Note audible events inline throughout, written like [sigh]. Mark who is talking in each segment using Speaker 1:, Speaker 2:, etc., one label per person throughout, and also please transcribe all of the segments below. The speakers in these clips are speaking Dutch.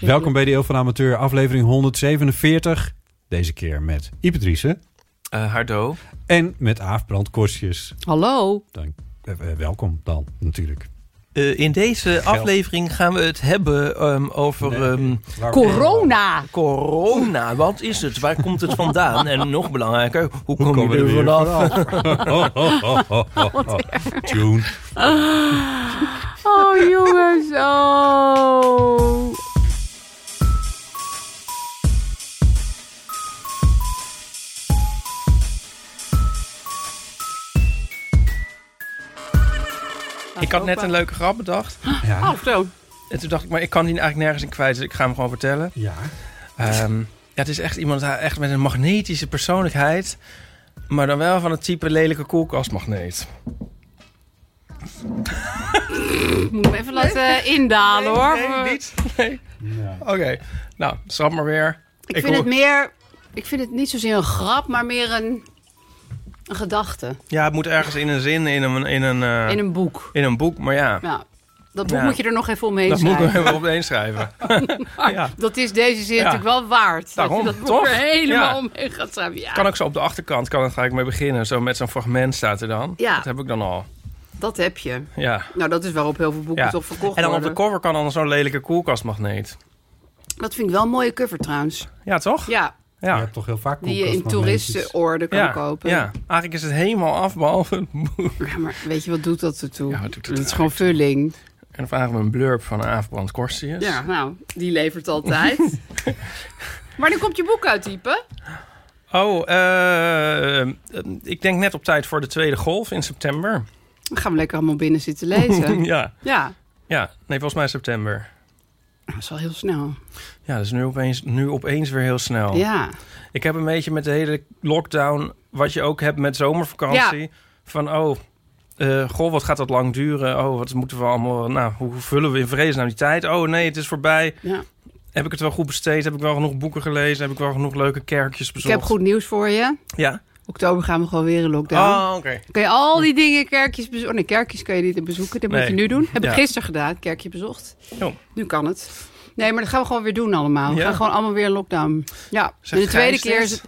Speaker 1: Welkom bij de Eeuw van de Amateur, aflevering 147. Deze keer met Ipatrice
Speaker 2: Eh, Hardo.
Speaker 1: en met Aaf Brandkorstjes.
Speaker 3: Hallo.
Speaker 1: Dank. eh, eh, welkom dan, natuurlijk.
Speaker 2: Eh, in deze aflevering gaan we het hebben ehm, over ehm,
Speaker 1: Waar-
Speaker 3: Corona.
Speaker 2: corona. Wat is het? Waar komt het vandaan? en nog belangrijker, hoe kom
Speaker 1: Komen
Speaker 2: je
Speaker 1: we
Speaker 2: er
Speaker 1: weer
Speaker 2: vanaf?
Speaker 1: vanaf. Ho, ho, ho, ho, ho, ho. Tune.
Speaker 3: Oh jongens, oh.
Speaker 4: Ik had net een leuke grap bedacht. Oh,
Speaker 1: Ja.
Speaker 3: zo.
Speaker 4: En toen dacht ik, maar ik kan die eigenlijk nergens in kwijt. Dus ik ga hem gewoon vertellen.
Speaker 1: ja.
Speaker 4: Ehm, ja, het is echt iemand hij- echt met een magnetische persoonlijkheid. Maar dan wel van het type lelijke koelkastmagneet.
Speaker 3: Ik moet hem even laten eh, indalen hoor.
Speaker 4: Nee, niet. Nee.
Speaker 1: Ja.
Speaker 4: Oké. Nou, schrap maar weer.
Speaker 3: Ik,
Speaker 4: Ik
Speaker 3: vind
Speaker 4: hoor-
Speaker 3: het meer... Ik vind het niet zozeer een grap, maar meer een, een gedachte.
Speaker 4: Ja, het moet ergens in een zin, in een, in een, eh,
Speaker 3: In een boek.
Speaker 4: in een boek. Maar ja,
Speaker 3: Ja. Dat boek
Speaker 4: Ja.
Speaker 3: moet je er nog even omheen
Speaker 4: dat moet ik
Speaker 3: schrijven.
Speaker 4: er even opeen [laughs] schrijven. ja.
Speaker 3: [laughs] Dat is deze zin
Speaker 4: Ja.
Speaker 3: natuurlijk wel waard.
Speaker 4: Daarom,
Speaker 3: dat je dat boek
Speaker 4: toch?
Speaker 3: er helemaal
Speaker 4: Ja.
Speaker 3: omheen gaat schrijven. Ja,
Speaker 4: Kan ook zo op de achterkant, kan het gelijk mee beginnen. Zo met zo'n fragment staat er dan.
Speaker 3: Ja.
Speaker 4: Dat heb ik dan al.
Speaker 3: dat heb je.
Speaker 4: Ja.
Speaker 3: Nou, dat is waarop heel veel boeken
Speaker 4: ja.
Speaker 3: toch verkocht
Speaker 4: en dan op
Speaker 3: worden.
Speaker 4: de cover kan dan zo'n lelijke koelkastmagneet.
Speaker 3: dat vind ik wel een mooie cover trouwens.
Speaker 4: Ja, toch?
Speaker 3: Ja,
Speaker 1: Je
Speaker 4: Ja.
Speaker 1: hebt toch heel vaak
Speaker 3: die je in
Speaker 1: koelkastmagneetjes.
Speaker 3: toeristenorde kan
Speaker 4: ja.
Speaker 3: kopen.
Speaker 4: Ja, eigenlijk is het helemaal af, behalve het boek.
Speaker 3: Ja, maar weet je, wat doet dat ertoe?
Speaker 4: Ja, wat doet dat
Speaker 3: het is
Speaker 4: er
Speaker 3: gewoon vulling.
Speaker 4: En dan vragen we een blurb van Aafbrand Korstius.
Speaker 3: Ja, nou, die
Speaker 4: [laughs]
Speaker 3: levert altijd. maar nu komt je boek uit, type.
Speaker 4: Oh, eh, eh, ik denk net op tijd voor de tweede golf in september. [laughs]
Speaker 3: Dan gaan we lekker allemaal binnen zitten lezen.
Speaker 4: ja.
Speaker 3: ja,
Speaker 4: ja, nee, volgens mij september.
Speaker 3: dat is wel heel snel.
Speaker 4: Ja, dat is nu opeens, nu opeens weer heel snel.
Speaker 3: Ja.
Speaker 4: Ik heb een beetje met de hele lockdown, wat je ook hebt met zomervakantie, van oh, eh, goh, wat gaat dat lang duren? Oh, wat moeten we allemaal, nou, hoe vullen we in vrees nou die tijd? Oh nee, het is voorbij.
Speaker 3: ja.
Speaker 4: Heb ik het wel goed besteed? Heb ik wel genoeg boeken gelezen? Heb ik wel genoeg leuke kerkjes
Speaker 3: Ik
Speaker 4: bezocht?
Speaker 3: heb goed nieuws voor je.
Speaker 4: Ja.
Speaker 3: Oktober gaan we gewoon weer in lockdown.
Speaker 4: Oh, oké.
Speaker 3: Dan Kun je al die dingen, kerkjes bezoeken. Oh nee, kerkjes kan je niet bezoeken. Dat moet
Speaker 4: Nee.
Speaker 3: je nu doen. Heb
Speaker 4: Ja.
Speaker 3: ik gisteren gedaan, kerkje bezocht.
Speaker 4: Oh.
Speaker 3: Nu kan het. Nee, maar dat gaan we gewoon weer doen allemaal. We
Speaker 4: Ja.
Speaker 3: gaan gewoon allemaal weer in lockdown. Ja, en de tweede
Speaker 4: Gijs
Speaker 3: keer
Speaker 4: dit?
Speaker 3: is het...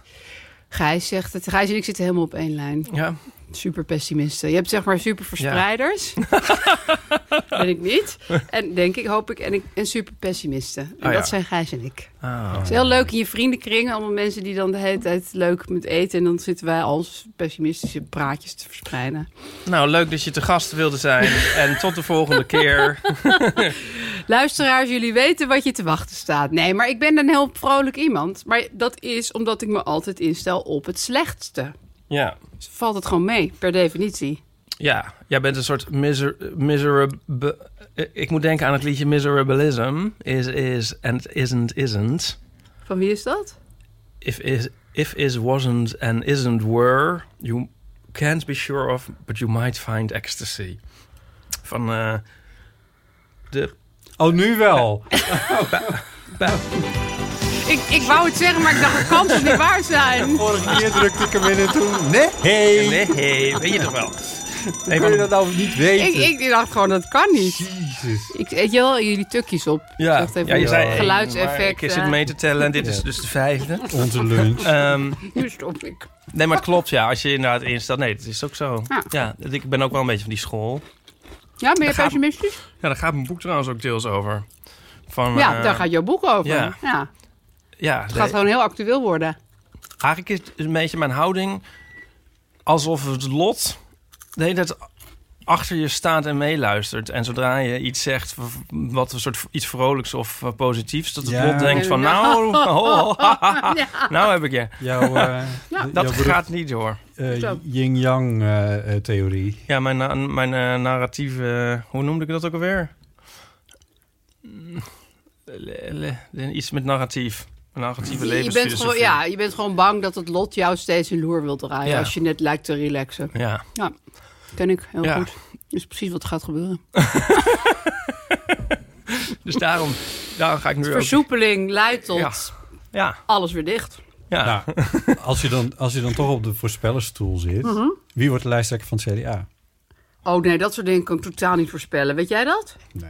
Speaker 3: Gijs zegt het. Gijs en ik zitten helemaal op één lijn.
Speaker 4: Ja.
Speaker 3: super pessimisten. Je hebt zeg maar super verspreiders. [laughs] ben ik niet. En denk ik, hoop ik. En, ik, en super pessimisten. En
Speaker 4: Ah, ja.
Speaker 3: dat zijn Gijs en ik.
Speaker 4: Ah.
Speaker 3: Het is heel leuk in je vriendenkring. Allemaal mensen die dan de hele tijd leuk met eten. En dan zitten wij als pessimistische praatjes te verspreiden.
Speaker 4: Nou, leuk dat je te gast wilde
Speaker 3: [laughs]
Speaker 4: zijn. en tot de volgende keer.
Speaker 3: Luisteraars, jullie weten wat je te wachten staat. Nee, maar ik ben een heel vrolijk iemand. Maar dat is omdat ik me altijd instel op het slechtste.
Speaker 4: Ja.
Speaker 3: Dus valt het gewoon mee, per definitie.
Speaker 4: Ja, jij bent een soort miser, miserable... Ik moet denken aan het liedje Miserabilism. Is, is, and isn't, isn't.
Speaker 3: Van wie is dat?
Speaker 4: If is, if is, wasn't, and isn't were... You can't be sure of, but you might find ecstasy. Van eh, de...
Speaker 1: Oh, nu wel.
Speaker 3: Ik, ik wou het zeggen, maar ik dacht, het kan toch niet waar [laughs] zijn?
Speaker 1: Vorige keer drukte ik hem in en toen... Nee.
Speaker 4: Nee, weet je toch wel. Nee,
Speaker 1: Kun je dat
Speaker 4: van-
Speaker 1: nou niet weten?
Speaker 3: Ik, ik dacht gewoon, dat kan niet.
Speaker 1: Jezus.
Speaker 3: Ik eet wel jullie tukjes op.
Speaker 4: ja,
Speaker 3: Wacht even,
Speaker 4: ja, je zei één, maar
Speaker 3: geluidseffect. eh.
Speaker 4: Ik zit mee te tellen en dit is dus de vijfde.
Speaker 1: Onze lunch.
Speaker 4: Ehm,
Speaker 3: Nu stop ik.
Speaker 4: nee, maar het klopt, ja. Als je inderdaad instaat. Nee, dat is ook zo.
Speaker 3: Ja.
Speaker 4: Ja. ik ben ook wel een beetje van die school.
Speaker 3: Ja, ben je
Speaker 4: Dat gaat-
Speaker 3: pessimistisch?
Speaker 4: Ja, daar gaat mijn boek trouwens ook deels over. Van,
Speaker 3: Ja,
Speaker 4: eh,
Speaker 3: daar gaat jouw boek over. Ja.
Speaker 4: ja. Ja,
Speaker 3: het
Speaker 4: nee,
Speaker 3: gaat gewoon heel actueel worden.
Speaker 4: eigenlijk is het een beetje mijn houding alsof het lot de hele tijd achter je staat en meeluistert. En zodra je iets zegt, v- wat een soort v- iets vrolijks of eh, positiefs, dat het
Speaker 1: Ja.
Speaker 4: lot denkt van nou,
Speaker 3: [laughs]
Speaker 4: oh,
Speaker 3: Ja.
Speaker 4: nou heb ik je.
Speaker 1: Jouw, eh,
Speaker 3: Ja.
Speaker 4: Dat
Speaker 1: jouw
Speaker 4: gaat niet hoor.
Speaker 1: beroep- eh,
Speaker 3: Zo.
Speaker 1: yin-yang eh, eh, theorie.
Speaker 4: Ja, mijn, na- mijn eh, narratieve, eh, hoe noemde ik dat ook alweer? Mm, le- le- le- Iets met narratief. Een narratieve
Speaker 3: Je bent,
Speaker 4: levensfilosofie.
Speaker 3: gewoon, ja, je bent gewoon bang dat het lot jou steeds een loer wil draaien
Speaker 4: Ja.
Speaker 3: als je net lijkt te relaxen.
Speaker 4: ja.
Speaker 3: Ken ik heel
Speaker 4: Ja.
Speaker 3: goed. Dat is precies wat gaat gebeuren.
Speaker 4: Dus daarom, daarom ga ik nu ook...
Speaker 3: Versoepeling leidt tot
Speaker 4: Ja. Ja,
Speaker 3: alles weer dicht.
Speaker 4: ja.
Speaker 1: Nou, als je, dan, als je dan toch op de voorspellersstoel zit,
Speaker 3: Mhm.
Speaker 1: wie wordt de lijsttrekker van het CDA?
Speaker 3: Oh nee, dat soort dingen kan ik totaal niet voorspellen. Weet jij dat?
Speaker 1: Nee.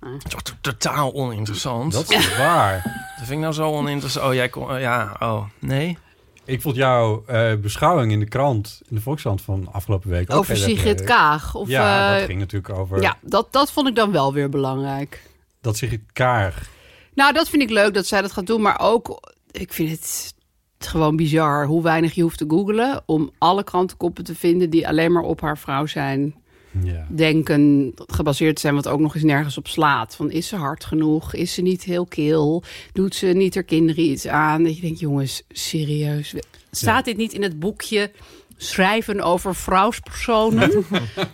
Speaker 4: Het is toch to- totaal oninteressant.
Speaker 1: Dat is waar.
Speaker 4: Dat vind ik nou zo oninteressant. Oh, jij kon... eh, ja, oh, nee.
Speaker 1: Ik vond jouw eh, beschouwing in de krant, in de Volkskrant van afgelopen week ook
Speaker 3: Over
Speaker 1: heel erg
Speaker 3: Sigrid
Speaker 1: leuk.
Speaker 3: Kaag. Of,
Speaker 1: ja,
Speaker 3: eh,
Speaker 1: dat ging natuurlijk over
Speaker 3: ja dat, dat vond ik dan wel weer belangrijk.
Speaker 1: dat Sigrid Kaag...
Speaker 3: Nou, dat vind ik leuk dat zij dat gaat doen. Maar ook, ik vind het gewoon bizar hoe weinig je hoeft te googlen... om alle krantenkoppen te vinden die alleen maar op haar vrouw zijn
Speaker 1: Ja.
Speaker 3: denken gebaseerd zijn, wat ook nog eens nergens op slaat. Van is ze hard genoeg? Is ze niet heel kil? Doet ze niet haar kinderen iets aan? Dat je denkt, jongens, serieus. Staat dit niet in het boekje schrijven over vrouwspersonen?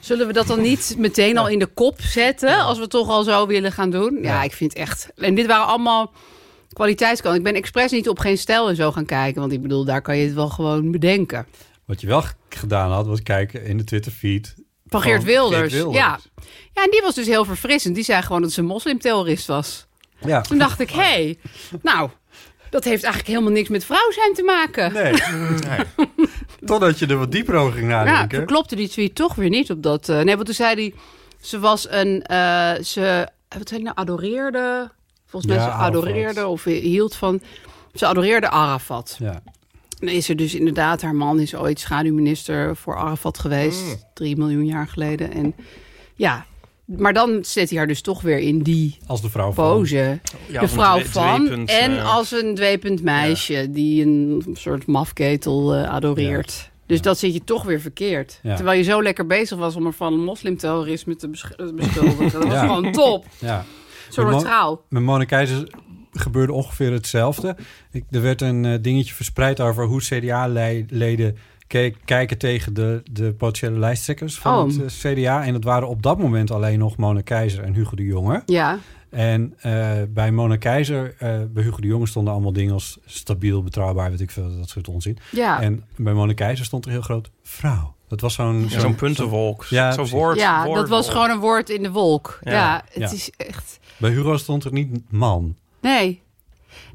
Speaker 3: Zullen we dat dan niet meteen al in de kop zetten? Als we het toch al zo willen gaan doen? Ja, ik vind het echt. En dit waren allemaal. Kwaliteitskant. Ik ben expres niet op geen stijl en zo gaan kijken. Want ik bedoel, daar kan je het wel gewoon bedenken.
Speaker 1: Wat je wel g- gedaan had, was kijken in de Twitterfeed.
Speaker 3: Van Geert Wilders.
Speaker 1: Geert
Speaker 3: Ja. ja, en die was dus heel verfrissend. Die zei gewoon dat ze een moslimterrorist was.
Speaker 1: Ja.
Speaker 3: Toen dacht [laughs] ik, hé, hey, nou, dat heeft eigenlijk helemaal niks met vrouw zijn te maken. [laughs]
Speaker 1: Nee. Totdat je er wat dieper over ging
Speaker 3: ja,
Speaker 1: nadenken.
Speaker 3: toen klopte die tweet toch weer niet op dat... eh, nee, want toen zei hij, ze was een, eh, ze, wat zei ik nou, adoreerde... Volgens mij
Speaker 1: Ja,
Speaker 3: ze
Speaker 1: Arafat.
Speaker 3: adoreerde of hield van... Ze adoreerde Arafat.
Speaker 1: ja.
Speaker 3: Dan is er dus inderdaad, haar man is ooit schaduwminister voor Arafat geweest.
Speaker 4: Mm.
Speaker 3: Drie miljoen jaar geleden. En ja, maar dan zet hij haar dus toch weer in die
Speaker 1: Als de vrouw van-
Speaker 3: pose.
Speaker 4: Ja,
Speaker 3: de
Speaker 4: of een
Speaker 3: vrouw
Speaker 4: dwe-
Speaker 3: van.
Speaker 4: dweepend,
Speaker 3: en
Speaker 4: eh,
Speaker 3: als een dwepend meisje die een soort mafketel eh, adoreert. Dus dat zit je toch weer verkeerd.
Speaker 1: Ja.
Speaker 3: Terwijl je zo lekker bezig was om er van moslimterrorisme te besch- eh, beschuldigen. Dat was
Speaker 1: Ja. [laughs]
Speaker 3: gewoon top.
Speaker 1: Ja.
Speaker 3: Zo
Speaker 1: Met Mon-
Speaker 3: neutraal.
Speaker 1: Met Mona Keizer gebeurde ongeveer hetzelfde. Ik, er werd een eh, dingetje verspreid over hoe CDA-leden kijken tegen de, de potentiële lijsttrekkers van
Speaker 3: Oh.
Speaker 1: het eh, CDA. En dat waren op dat moment alleen nog Mona Keizer en Hugo de Jonge.
Speaker 3: Ja.
Speaker 1: En eh, bij Mona Keizer, eh, bij Hugo de Jonge stonden allemaal dingen als stabiel, betrouwbaar, weet ik veel, dat soort onzin.
Speaker 3: Ja.
Speaker 1: En bij Mona Keizer stond er heel groot vrouw. Dat was zo'n...
Speaker 4: Zo'n puntenwolk.
Speaker 1: Ja,
Speaker 4: Zo'n
Speaker 1: precies.
Speaker 4: woord.
Speaker 3: ja, dat
Speaker 4: woordwolk.
Speaker 3: was gewoon een woord in de wolk. Ja,
Speaker 4: Ja.
Speaker 3: het
Speaker 1: Ja.
Speaker 3: is echt...
Speaker 1: Bij Hugo stond er niet man.
Speaker 3: Nee.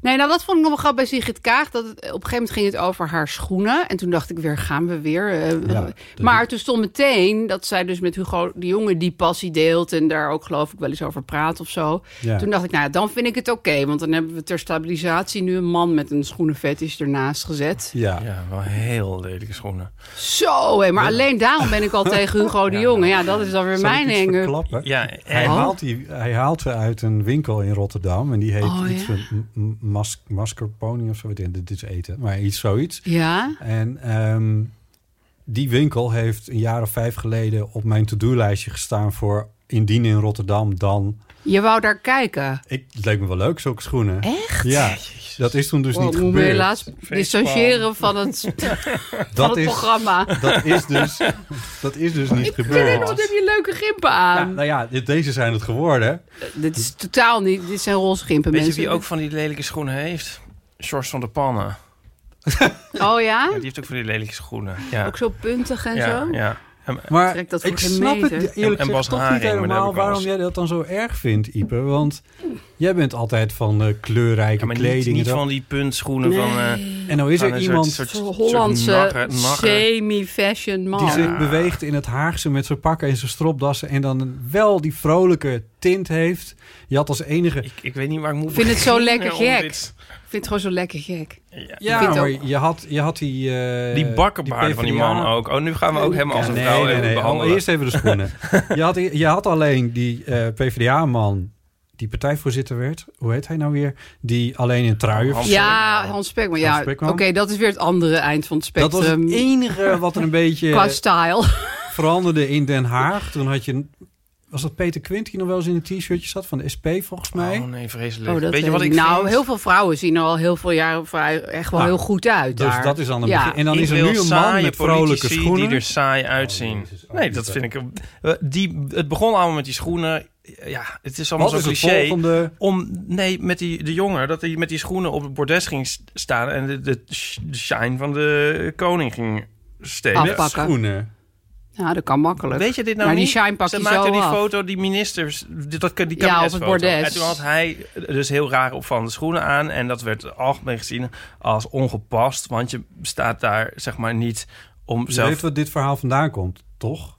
Speaker 3: Nee, nou dat vond ik nog wel grappig bij Sigrid Kaag. Dat het, op een gegeven moment ging het over haar schoenen. En toen dacht ik weer, gaan we weer. eh,
Speaker 1: Ja,
Speaker 3: eh.
Speaker 1: dat-
Speaker 3: maar toen stond meteen dat zij dus met Hugo de Jonge die passie deelt. En daar ook geloof ik wel eens over praat of zo.
Speaker 1: Ja.
Speaker 3: Toen dacht ik, nou ja, dan vind ik het oké. want dan hebben we ter stabilisatie nu een man met een schoenenfetish ernaast gezet.
Speaker 1: Ja.
Speaker 4: Ja, wel heel lelijke schoenen.
Speaker 3: Zo, hé, maar alleen daarom ben ik
Speaker 1: [laughs]
Speaker 3: al tegen Hugo de Jonge. Ja, dat is dan weer
Speaker 1: Zal nou, ik
Speaker 3: mijn
Speaker 1: iets
Speaker 3: hanger.
Speaker 1: verklappen?
Speaker 4: Ja,
Speaker 1: Hij,
Speaker 4: en-
Speaker 3: Oh.
Speaker 1: haalt die, hij haalt ze uit een winkel in Rotterdam. En die heet
Speaker 3: Oh,
Speaker 1: iets
Speaker 3: ja.
Speaker 1: van m- m- mas, mascarpone of zo. weet ik, Dit is eten, maar iets zoiets.
Speaker 3: Ja,
Speaker 1: En ehm, die winkel heeft een jaar of vijf geleden op mijn to-do-lijstje gestaan voor indien in Rotterdam dan.
Speaker 3: je wou daar kijken.
Speaker 1: Ik, het leek me wel leuk, zulke schoenen.
Speaker 3: Echt?
Speaker 1: Ja, dat is toen dus
Speaker 3: Wow,
Speaker 1: niet
Speaker 3: moet me
Speaker 1: gebeurd.
Speaker 3: helaas distancieren van het van
Speaker 1: dat,
Speaker 3: het
Speaker 1: is,
Speaker 3: programma.
Speaker 1: dat, is dus,
Speaker 3: [laughs]
Speaker 1: dat is dus niet
Speaker 3: Wat
Speaker 1: gebeurd.
Speaker 3: heb je leuke gimpen aan?
Speaker 1: Ja, nou ja, dit- deze zijn het geworden.
Speaker 3: dit is totaal niet. Dit zijn roze gimpen,
Speaker 4: Weet je
Speaker 3: mensen.
Speaker 4: wie ook van die lelijke schoenen heeft? George van der Pannen.
Speaker 3: Oh ja?
Speaker 4: Ja, die heeft ook van die lelijke schoenen. Ja.
Speaker 3: Ook zo puntig en
Speaker 4: ja,
Speaker 3: zo?
Speaker 4: Ja. En-
Speaker 1: Maar
Speaker 3: Trek dat voor
Speaker 1: ik
Speaker 3: geen
Speaker 1: snap het
Speaker 3: meter.
Speaker 1: eerlijk
Speaker 4: En- en
Speaker 1: gezegd
Speaker 4: Bas
Speaker 1: toch niet
Speaker 4: Haring, maar daar heb
Speaker 1: helemaal
Speaker 4: ik wel
Speaker 1: waarom
Speaker 4: eens-
Speaker 1: jij dat dan zo erg vindt, Ipe. Want jij bent altijd van eh, kleurrijke
Speaker 4: ja, maar
Speaker 1: kleding.
Speaker 4: niet,
Speaker 1: en
Speaker 4: niet
Speaker 1: zo.
Speaker 4: van die puntschoenen van... eh,
Speaker 1: En nou is
Speaker 4: van
Speaker 1: er
Speaker 4: een
Speaker 1: iemand
Speaker 4: soort,
Speaker 3: Zo'n
Speaker 4: soort, soort
Speaker 3: Hollandse
Speaker 4: nagger- nagger.
Speaker 3: semi-fashion man.
Speaker 1: die zich beweegt in het Haagse met zijn pakken en zijn stropdassen... en dan wel die vrolijke tint heeft. Je had als enige...
Speaker 4: Ik, ik weet niet waar ik moet
Speaker 3: Ik vind het zo
Speaker 4: beginnen
Speaker 3: lekker
Speaker 4: om
Speaker 3: gek.
Speaker 4: dit-
Speaker 3: Ik vind het gewoon zo lekker gek.
Speaker 1: Ja,
Speaker 3: vind
Speaker 1: maar
Speaker 3: ook-
Speaker 1: je had, je had die... eh,
Speaker 4: Die bakkenbaarden van die man
Speaker 1: PvdA.
Speaker 4: ook. Oh, nu gaan we ook helemaal als een
Speaker 1: nee,
Speaker 4: vrouw
Speaker 1: nee,
Speaker 4: even
Speaker 1: nee.
Speaker 4: behandelen.
Speaker 1: Eerst even de
Speaker 4: [laughs]
Speaker 1: schoenen. je, had, je had alleen die eh, PvdA-man... die partijvoorzitter werd. Hoe heet hij nou weer? Die alleen in truien...
Speaker 4: Hans-
Speaker 3: Ja, Hans Spekman. Ja,
Speaker 1: Hans
Speaker 3: oké,
Speaker 1: Spekman.
Speaker 3: dat is weer het andere eind van het
Speaker 4: ehm,
Speaker 1: Dat was
Speaker 4: [laughs]
Speaker 3: spectrum.
Speaker 1: het enige wat er een beetje
Speaker 3: Qua style.
Speaker 1: veranderde in Den Haag. Toen had je... Was dat Peter Quint die nog wel eens in een t-shirtje zat van de SP volgens mij?
Speaker 4: Oh nee, vreselijk.
Speaker 3: Oh, dat
Speaker 4: Weet je wat ik
Speaker 3: nou,
Speaker 4: vind?
Speaker 3: heel veel vrouwen zien er al heel veel jaren vrij- echt wel
Speaker 1: Nou,
Speaker 3: heel goed uit
Speaker 1: dus
Speaker 3: daar.
Speaker 1: dat is dan een
Speaker 3: Ja.
Speaker 1: begin. En dan
Speaker 4: Ik
Speaker 1: is er
Speaker 4: wil
Speaker 1: nu een man
Speaker 4: saaie
Speaker 1: met vrolijke
Speaker 4: politici
Speaker 1: schoenen. Oh,
Speaker 4: die er saai uitzien. nee, dat vind ik... eh, Die, het begon allemaal met die schoenen. Ja, het is allemaal
Speaker 1: Wat is
Speaker 4: zo
Speaker 1: het
Speaker 4: cliché.
Speaker 1: volgende?
Speaker 4: Om, nee, met die, de jongen, dat hij met die schoenen op het bordes ging s- staan... en de, de, sh- de shine van de koning ging stelen.
Speaker 3: Afpakken.
Speaker 1: Met schoenen.
Speaker 3: Nou, dat kan makkelijk.
Speaker 4: Weet je dit nou
Speaker 3: Maar die
Speaker 4: niet?
Speaker 3: shine pak
Speaker 4: Ze
Speaker 3: je
Speaker 4: maakte
Speaker 3: zo
Speaker 4: die
Speaker 3: af.
Speaker 4: foto, die ministers, die- dat, die
Speaker 3: Ja, op het
Speaker 4: kabinetsfoto.
Speaker 3: bordes.
Speaker 4: En toen had hij dus heel raar op van de schoenen aan. En dat werd algemeen gezien als ongepast. Want je staat daar zeg maar niet om
Speaker 1: Je
Speaker 4: zelf...
Speaker 1: weet wat dit verhaal vandaan komt, toch?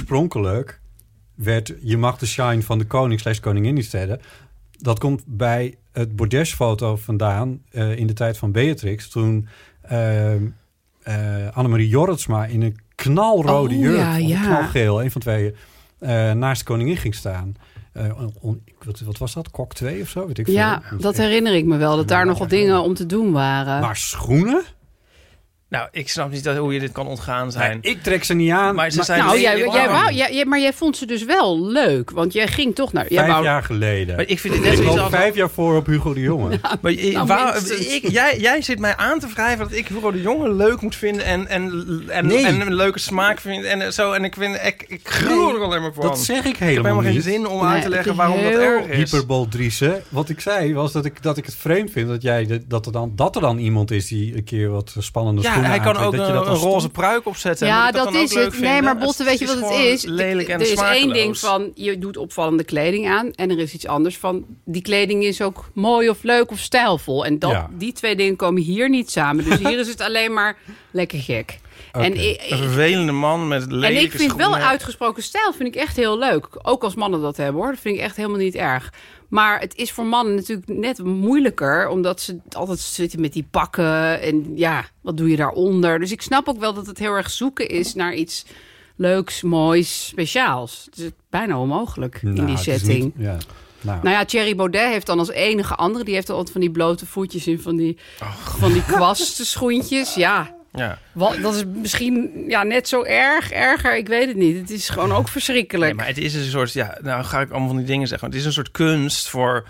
Speaker 1: Oorspronkelijk werd je mag de shine van de koning slash koningin niet stellen. Dat komt bij het bordesfoto vandaan eh, in de tijd van Beatrix. Toen eh, eh, Annemarie Jorritsma in een knalrode
Speaker 3: Oh,
Speaker 1: jurk,
Speaker 3: ja,
Speaker 1: of
Speaker 3: ja.
Speaker 1: knalgeel, een van twee, eh, naast de koningin ging staan. Eh, on- on- ik- wat, wat was dat? Kok 2 of zo? Weet ik
Speaker 3: Ja,
Speaker 1: veel.
Speaker 3: dat herinner ik me wel. Dat daar nogal dingen om te doen waren.
Speaker 1: Maar schoenen?
Speaker 4: Nou, ik snap niet dat, hoe je dit kan ontgaan zijn.
Speaker 1: Ik trek ze niet aan.
Speaker 4: Maar ze zijn
Speaker 3: nou,
Speaker 4: Nee,
Speaker 3: jij,
Speaker 4: waarom?
Speaker 3: jij wou, jij, jij- maar jij vond ze dus wel leuk. Want jij ging toch naar... Jij
Speaker 1: vijf
Speaker 3: wou,
Speaker 1: jaar geleden.
Speaker 4: Maar ik vind het net
Speaker 1: Ik
Speaker 4: zoiets
Speaker 1: loop
Speaker 4: als...
Speaker 1: vijf jaar voor op Hugo de [laughs] Jonge.
Speaker 4: Maar je-
Speaker 3: Nou,
Speaker 4: waar-
Speaker 3: minstens.
Speaker 4: ik, jij, jij zit mij aan te wrijven dat ik Hugo de Jonge leuk moet vinden en, en, en,
Speaker 1: Nee.
Speaker 4: en een leuke smaak vind en zo. En ik, vind, ik, ik gruw er alleen maar van.
Speaker 1: Dat zeg ik
Speaker 4: ik heb
Speaker 1: helemaal
Speaker 4: helemaal geen
Speaker 1: niet.
Speaker 4: zin om
Speaker 3: Nee,
Speaker 4: uit te
Speaker 3: het
Speaker 4: leggen
Speaker 3: is
Speaker 4: waarom dat
Speaker 3: heel
Speaker 4: erg is.
Speaker 1: Hyperbol Driessen. Wat ik zei was dat ik, dat ik het vreemd vind dat, jij, de- dat, er dan, dat er dan iemand is die een keer wat spannende
Speaker 4: Ja,
Speaker 1: schoenen
Speaker 4: hij kan
Speaker 1: aantrekt,
Speaker 4: ook
Speaker 1: dat je
Speaker 4: een,
Speaker 1: dat
Speaker 4: een
Speaker 1: als
Speaker 4: roze
Speaker 1: stom-
Speaker 4: pruik opzetten.
Speaker 3: Ja,
Speaker 4: Moet ik
Speaker 3: dat,
Speaker 4: dan ook
Speaker 3: is
Speaker 4: leuk
Speaker 3: het.
Speaker 4: vinden?
Speaker 3: Nee, maar Botte, weet je wat het
Speaker 4: gewoon
Speaker 3: is?
Speaker 4: Lelijk en
Speaker 3: er is één
Speaker 4: smakeloos.
Speaker 3: ding van, je doet op van de kleding aan. En er is iets anders van, die kleding is ook mooi of leuk of stijlvol. En dat,
Speaker 1: Ja.
Speaker 3: die twee dingen komen hier niet samen. Dus hier is het alleen maar lekker gek. En,
Speaker 1: Oké.
Speaker 3: ik,
Speaker 4: Een vervelende man met lelijke
Speaker 3: en ik vind wel
Speaker 4: schoenen.
Speaker 3: uitgesproken stijl vind ik echt heel leuk. Ook als mannen dat hebben hoor. Dat vind ik echt helemaal niet erg. Maar het is voor mannen natuurlijk net moeilijker. Omdat ze altijd zitten met die pakken. En ja, wat doe je daaronder? Dus ik snap ook wel dat het heel erg zoeken is naar iets leuks, moois, speciaals. Het is bijna onmogelijk in
Speaker 1: Nou,
Speaker 3: die
Speaker 1: het is
Speaker 3: setting.
Speaker 1: niet- ja. Nou,
Speaker 3: Nou ja, Thierry Baudet heeft dan als enige andere... die heeft dan altijd van die blote voetjes in van die, van die kwastschoentjes. Ja,
Speaker 4: Ja.
Speaker 3: wat, dat is misschien ja, net zo erg, erger, ik weet het niet. Het is gewoon ook verschrikkelijk.
Speaker 4: Nee, maar het is een soort, ja, nou ga ik allemaal van die dingen zeggen. maar Het is een soort kunst voor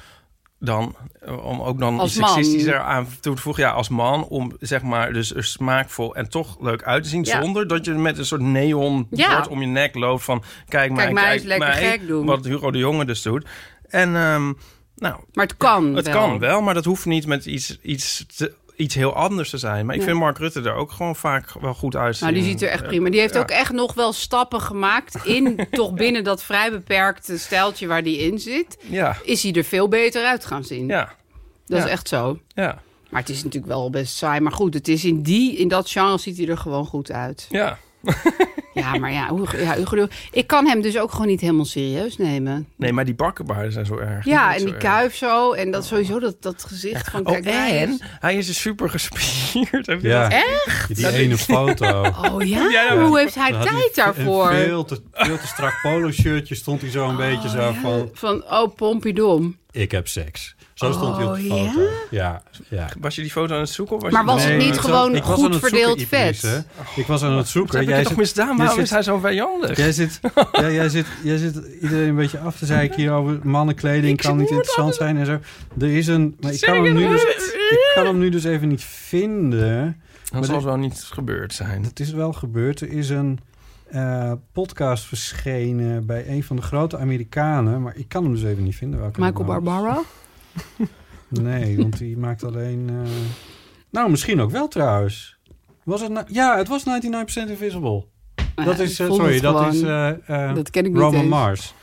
Speaker 4: dan, eh, om ook dan
Speaker 3: Als
Speaker 4: iets
Speaker 3: man.
Speaker 4: seksistischer aan toe te voegen. Ja, als man, om zeg maar dus er smaakvol en toch leuk uit te zien.
Speaker 3: Ja.
Speaker 4: Zonder dat je met een soort neon
Speaker 3: Ja.
Speaker 4: bord om je nek loopt van, kijk maar,
Speaker 3: Kijk mij eens lekker gek doen.
Speaker 4: Wat Hugo de Jonge dus doet. En ehm, nou,
Speaker 3: Maar het kan
Speaker 4: het
Speaker 3: wel.
Speaker 4: kan wel, maar dat hoeft niet met iets, iets, te- iets heel anders te zijn. Maar ik vind Mark Rutte er ook gewoon vaak wel goed uitzien.
Speaker 3: Nou, die ziet er echt
Speaker 4: Eh,
Speaker 3: prima. Die heeft
Speaker 4: ja.
Speaker 3: ook echt nog wel stappen gemaakt... [laughs] in toch binnen dat vrij beperkte stijltje waar die in zit...
Speaker 4: Ja,
Speaker 3: is hij er veel beter uit gaan zien.
Speaker 4: ja,
Speaker 3: dat
Speaker 4: ja.
Speaker 3: is echt zo.
Speaker 4: ja,
Speaker 3: Maar het is natuurlijk wel best saai. Maar goed, het is in, die, in dat genre ziet hij er gewoon goed uit.
Speaker 4: ja.
Speaker 3: [laughs] Ja, maar ja, hoe, ja Hugo de- ik kan hem dus ook gewoon niet helemaal serieus nemen.
Speaker 4: Nee, maar die bakkenbaarden zijn zo erg.
Speaker 3: Ja,
Speaker 4: vind ik
Speaker 3: en
Speaker 4: zo
Speaker 3: die
Speaker 4: erg.
Speaker 3: kuif zo. Oh. En dat sowieso, dat, dat gezicht van...
Speaker 4: Oh,
Speaker 3: kijk mij eens.
Speaker 4: en hij is dus super gespierd. [laughs] Heb je
Speaker 1: ja.
Speaker 4: dat?
Speaker 1: Die ene
Speaker 4: [laughs]
Speaker 1: foto.
Speaker 3: Oh ja,
Speaker 4: Ja, ja,
Speaker 3: hoe heeft hij
Speaker 1: Dan had
Speaker 3: tijd
Speaker 1: hij
Speaker 3: daarvoor?
Speaker 1: Een veel te, veel te strak polo shirtje stond hij
Speaker 4: Oh,
Speaker 1: zo een beetje zo van...
Speaker 3: Van, oh, Pompidom.
Speaker 1: Ik heb seks. Zo stond hij op de
Speaker 3: Oh,
Speaker 1: foto. Ja, ja.
Speaker 4: Was je die foto aan het zoeken? Of was
Speaker 3: Maar
Speaker 4: je...
Speaker 3: was het
Speaker 1: maar
Speaker 3: niet
Speaker 1: ik
Speaker 3: gewoon
Speaker 1: ik was
Speaker 3: goed
Speaker 1: aan het zoeken,
Speaker 3: verdeeld
Speaker 1: Ibris,
Speaker 3: vet?
Speaker 1: hè. Ik was aan het zoeken.
Speaker 4: Heb ik
Speaker 1: Jij
Speaker 4: het toch
Speaker 1: zit-
Speaker 4: misdaan?
Speaker 1: jij
Speaker 4: Waarom
Speaker 1: zit-
Speaker 4: is hij zo vijandig?
Speaker 1: Jij zit, ja, jij, zit, jij zit iedereen een beetje af te zeiken hier over mannenkleding. kan niet interessant zijn en zo. Er is een... Maar ik, kan hem nu dus, ik kan hem nu dus even niet vinden.
Speaker 4: Dat zal wel niet gebeurd zijn.
Speaker 1: Het is wel gebeurd. Er is een eh, podcast verschenen bij een van de grote Amerikanen. Maar ik kan hem dus even niet vinden. Welke
Speaker 3: Michael
Speaker 1: dat nou was.
Speaker 3: Barbaro?
Speaker 1: Nee, want
Speaker 3: [laughs]
Speaker 1: die maakt alleen... eh, Nou, misschien ook wel trouwens. Was het nou- ja, het was 99% Invisible. dat
Speaker 3: Ja,
Speaker 1: is,
Speaker 3: ik
Speaker 1: eh,
Speaker 3: vond
Speaker 1: sorry,
Speaker 3: het
Speaker 1: dat
Speaker 3: gewoon-
Speaker 1: is eh, eh,
Speaker 3: dat ken ik niet
Speaker 1: Roman
Speaker 3: eens.
Speaker 1: [laughs] Mars.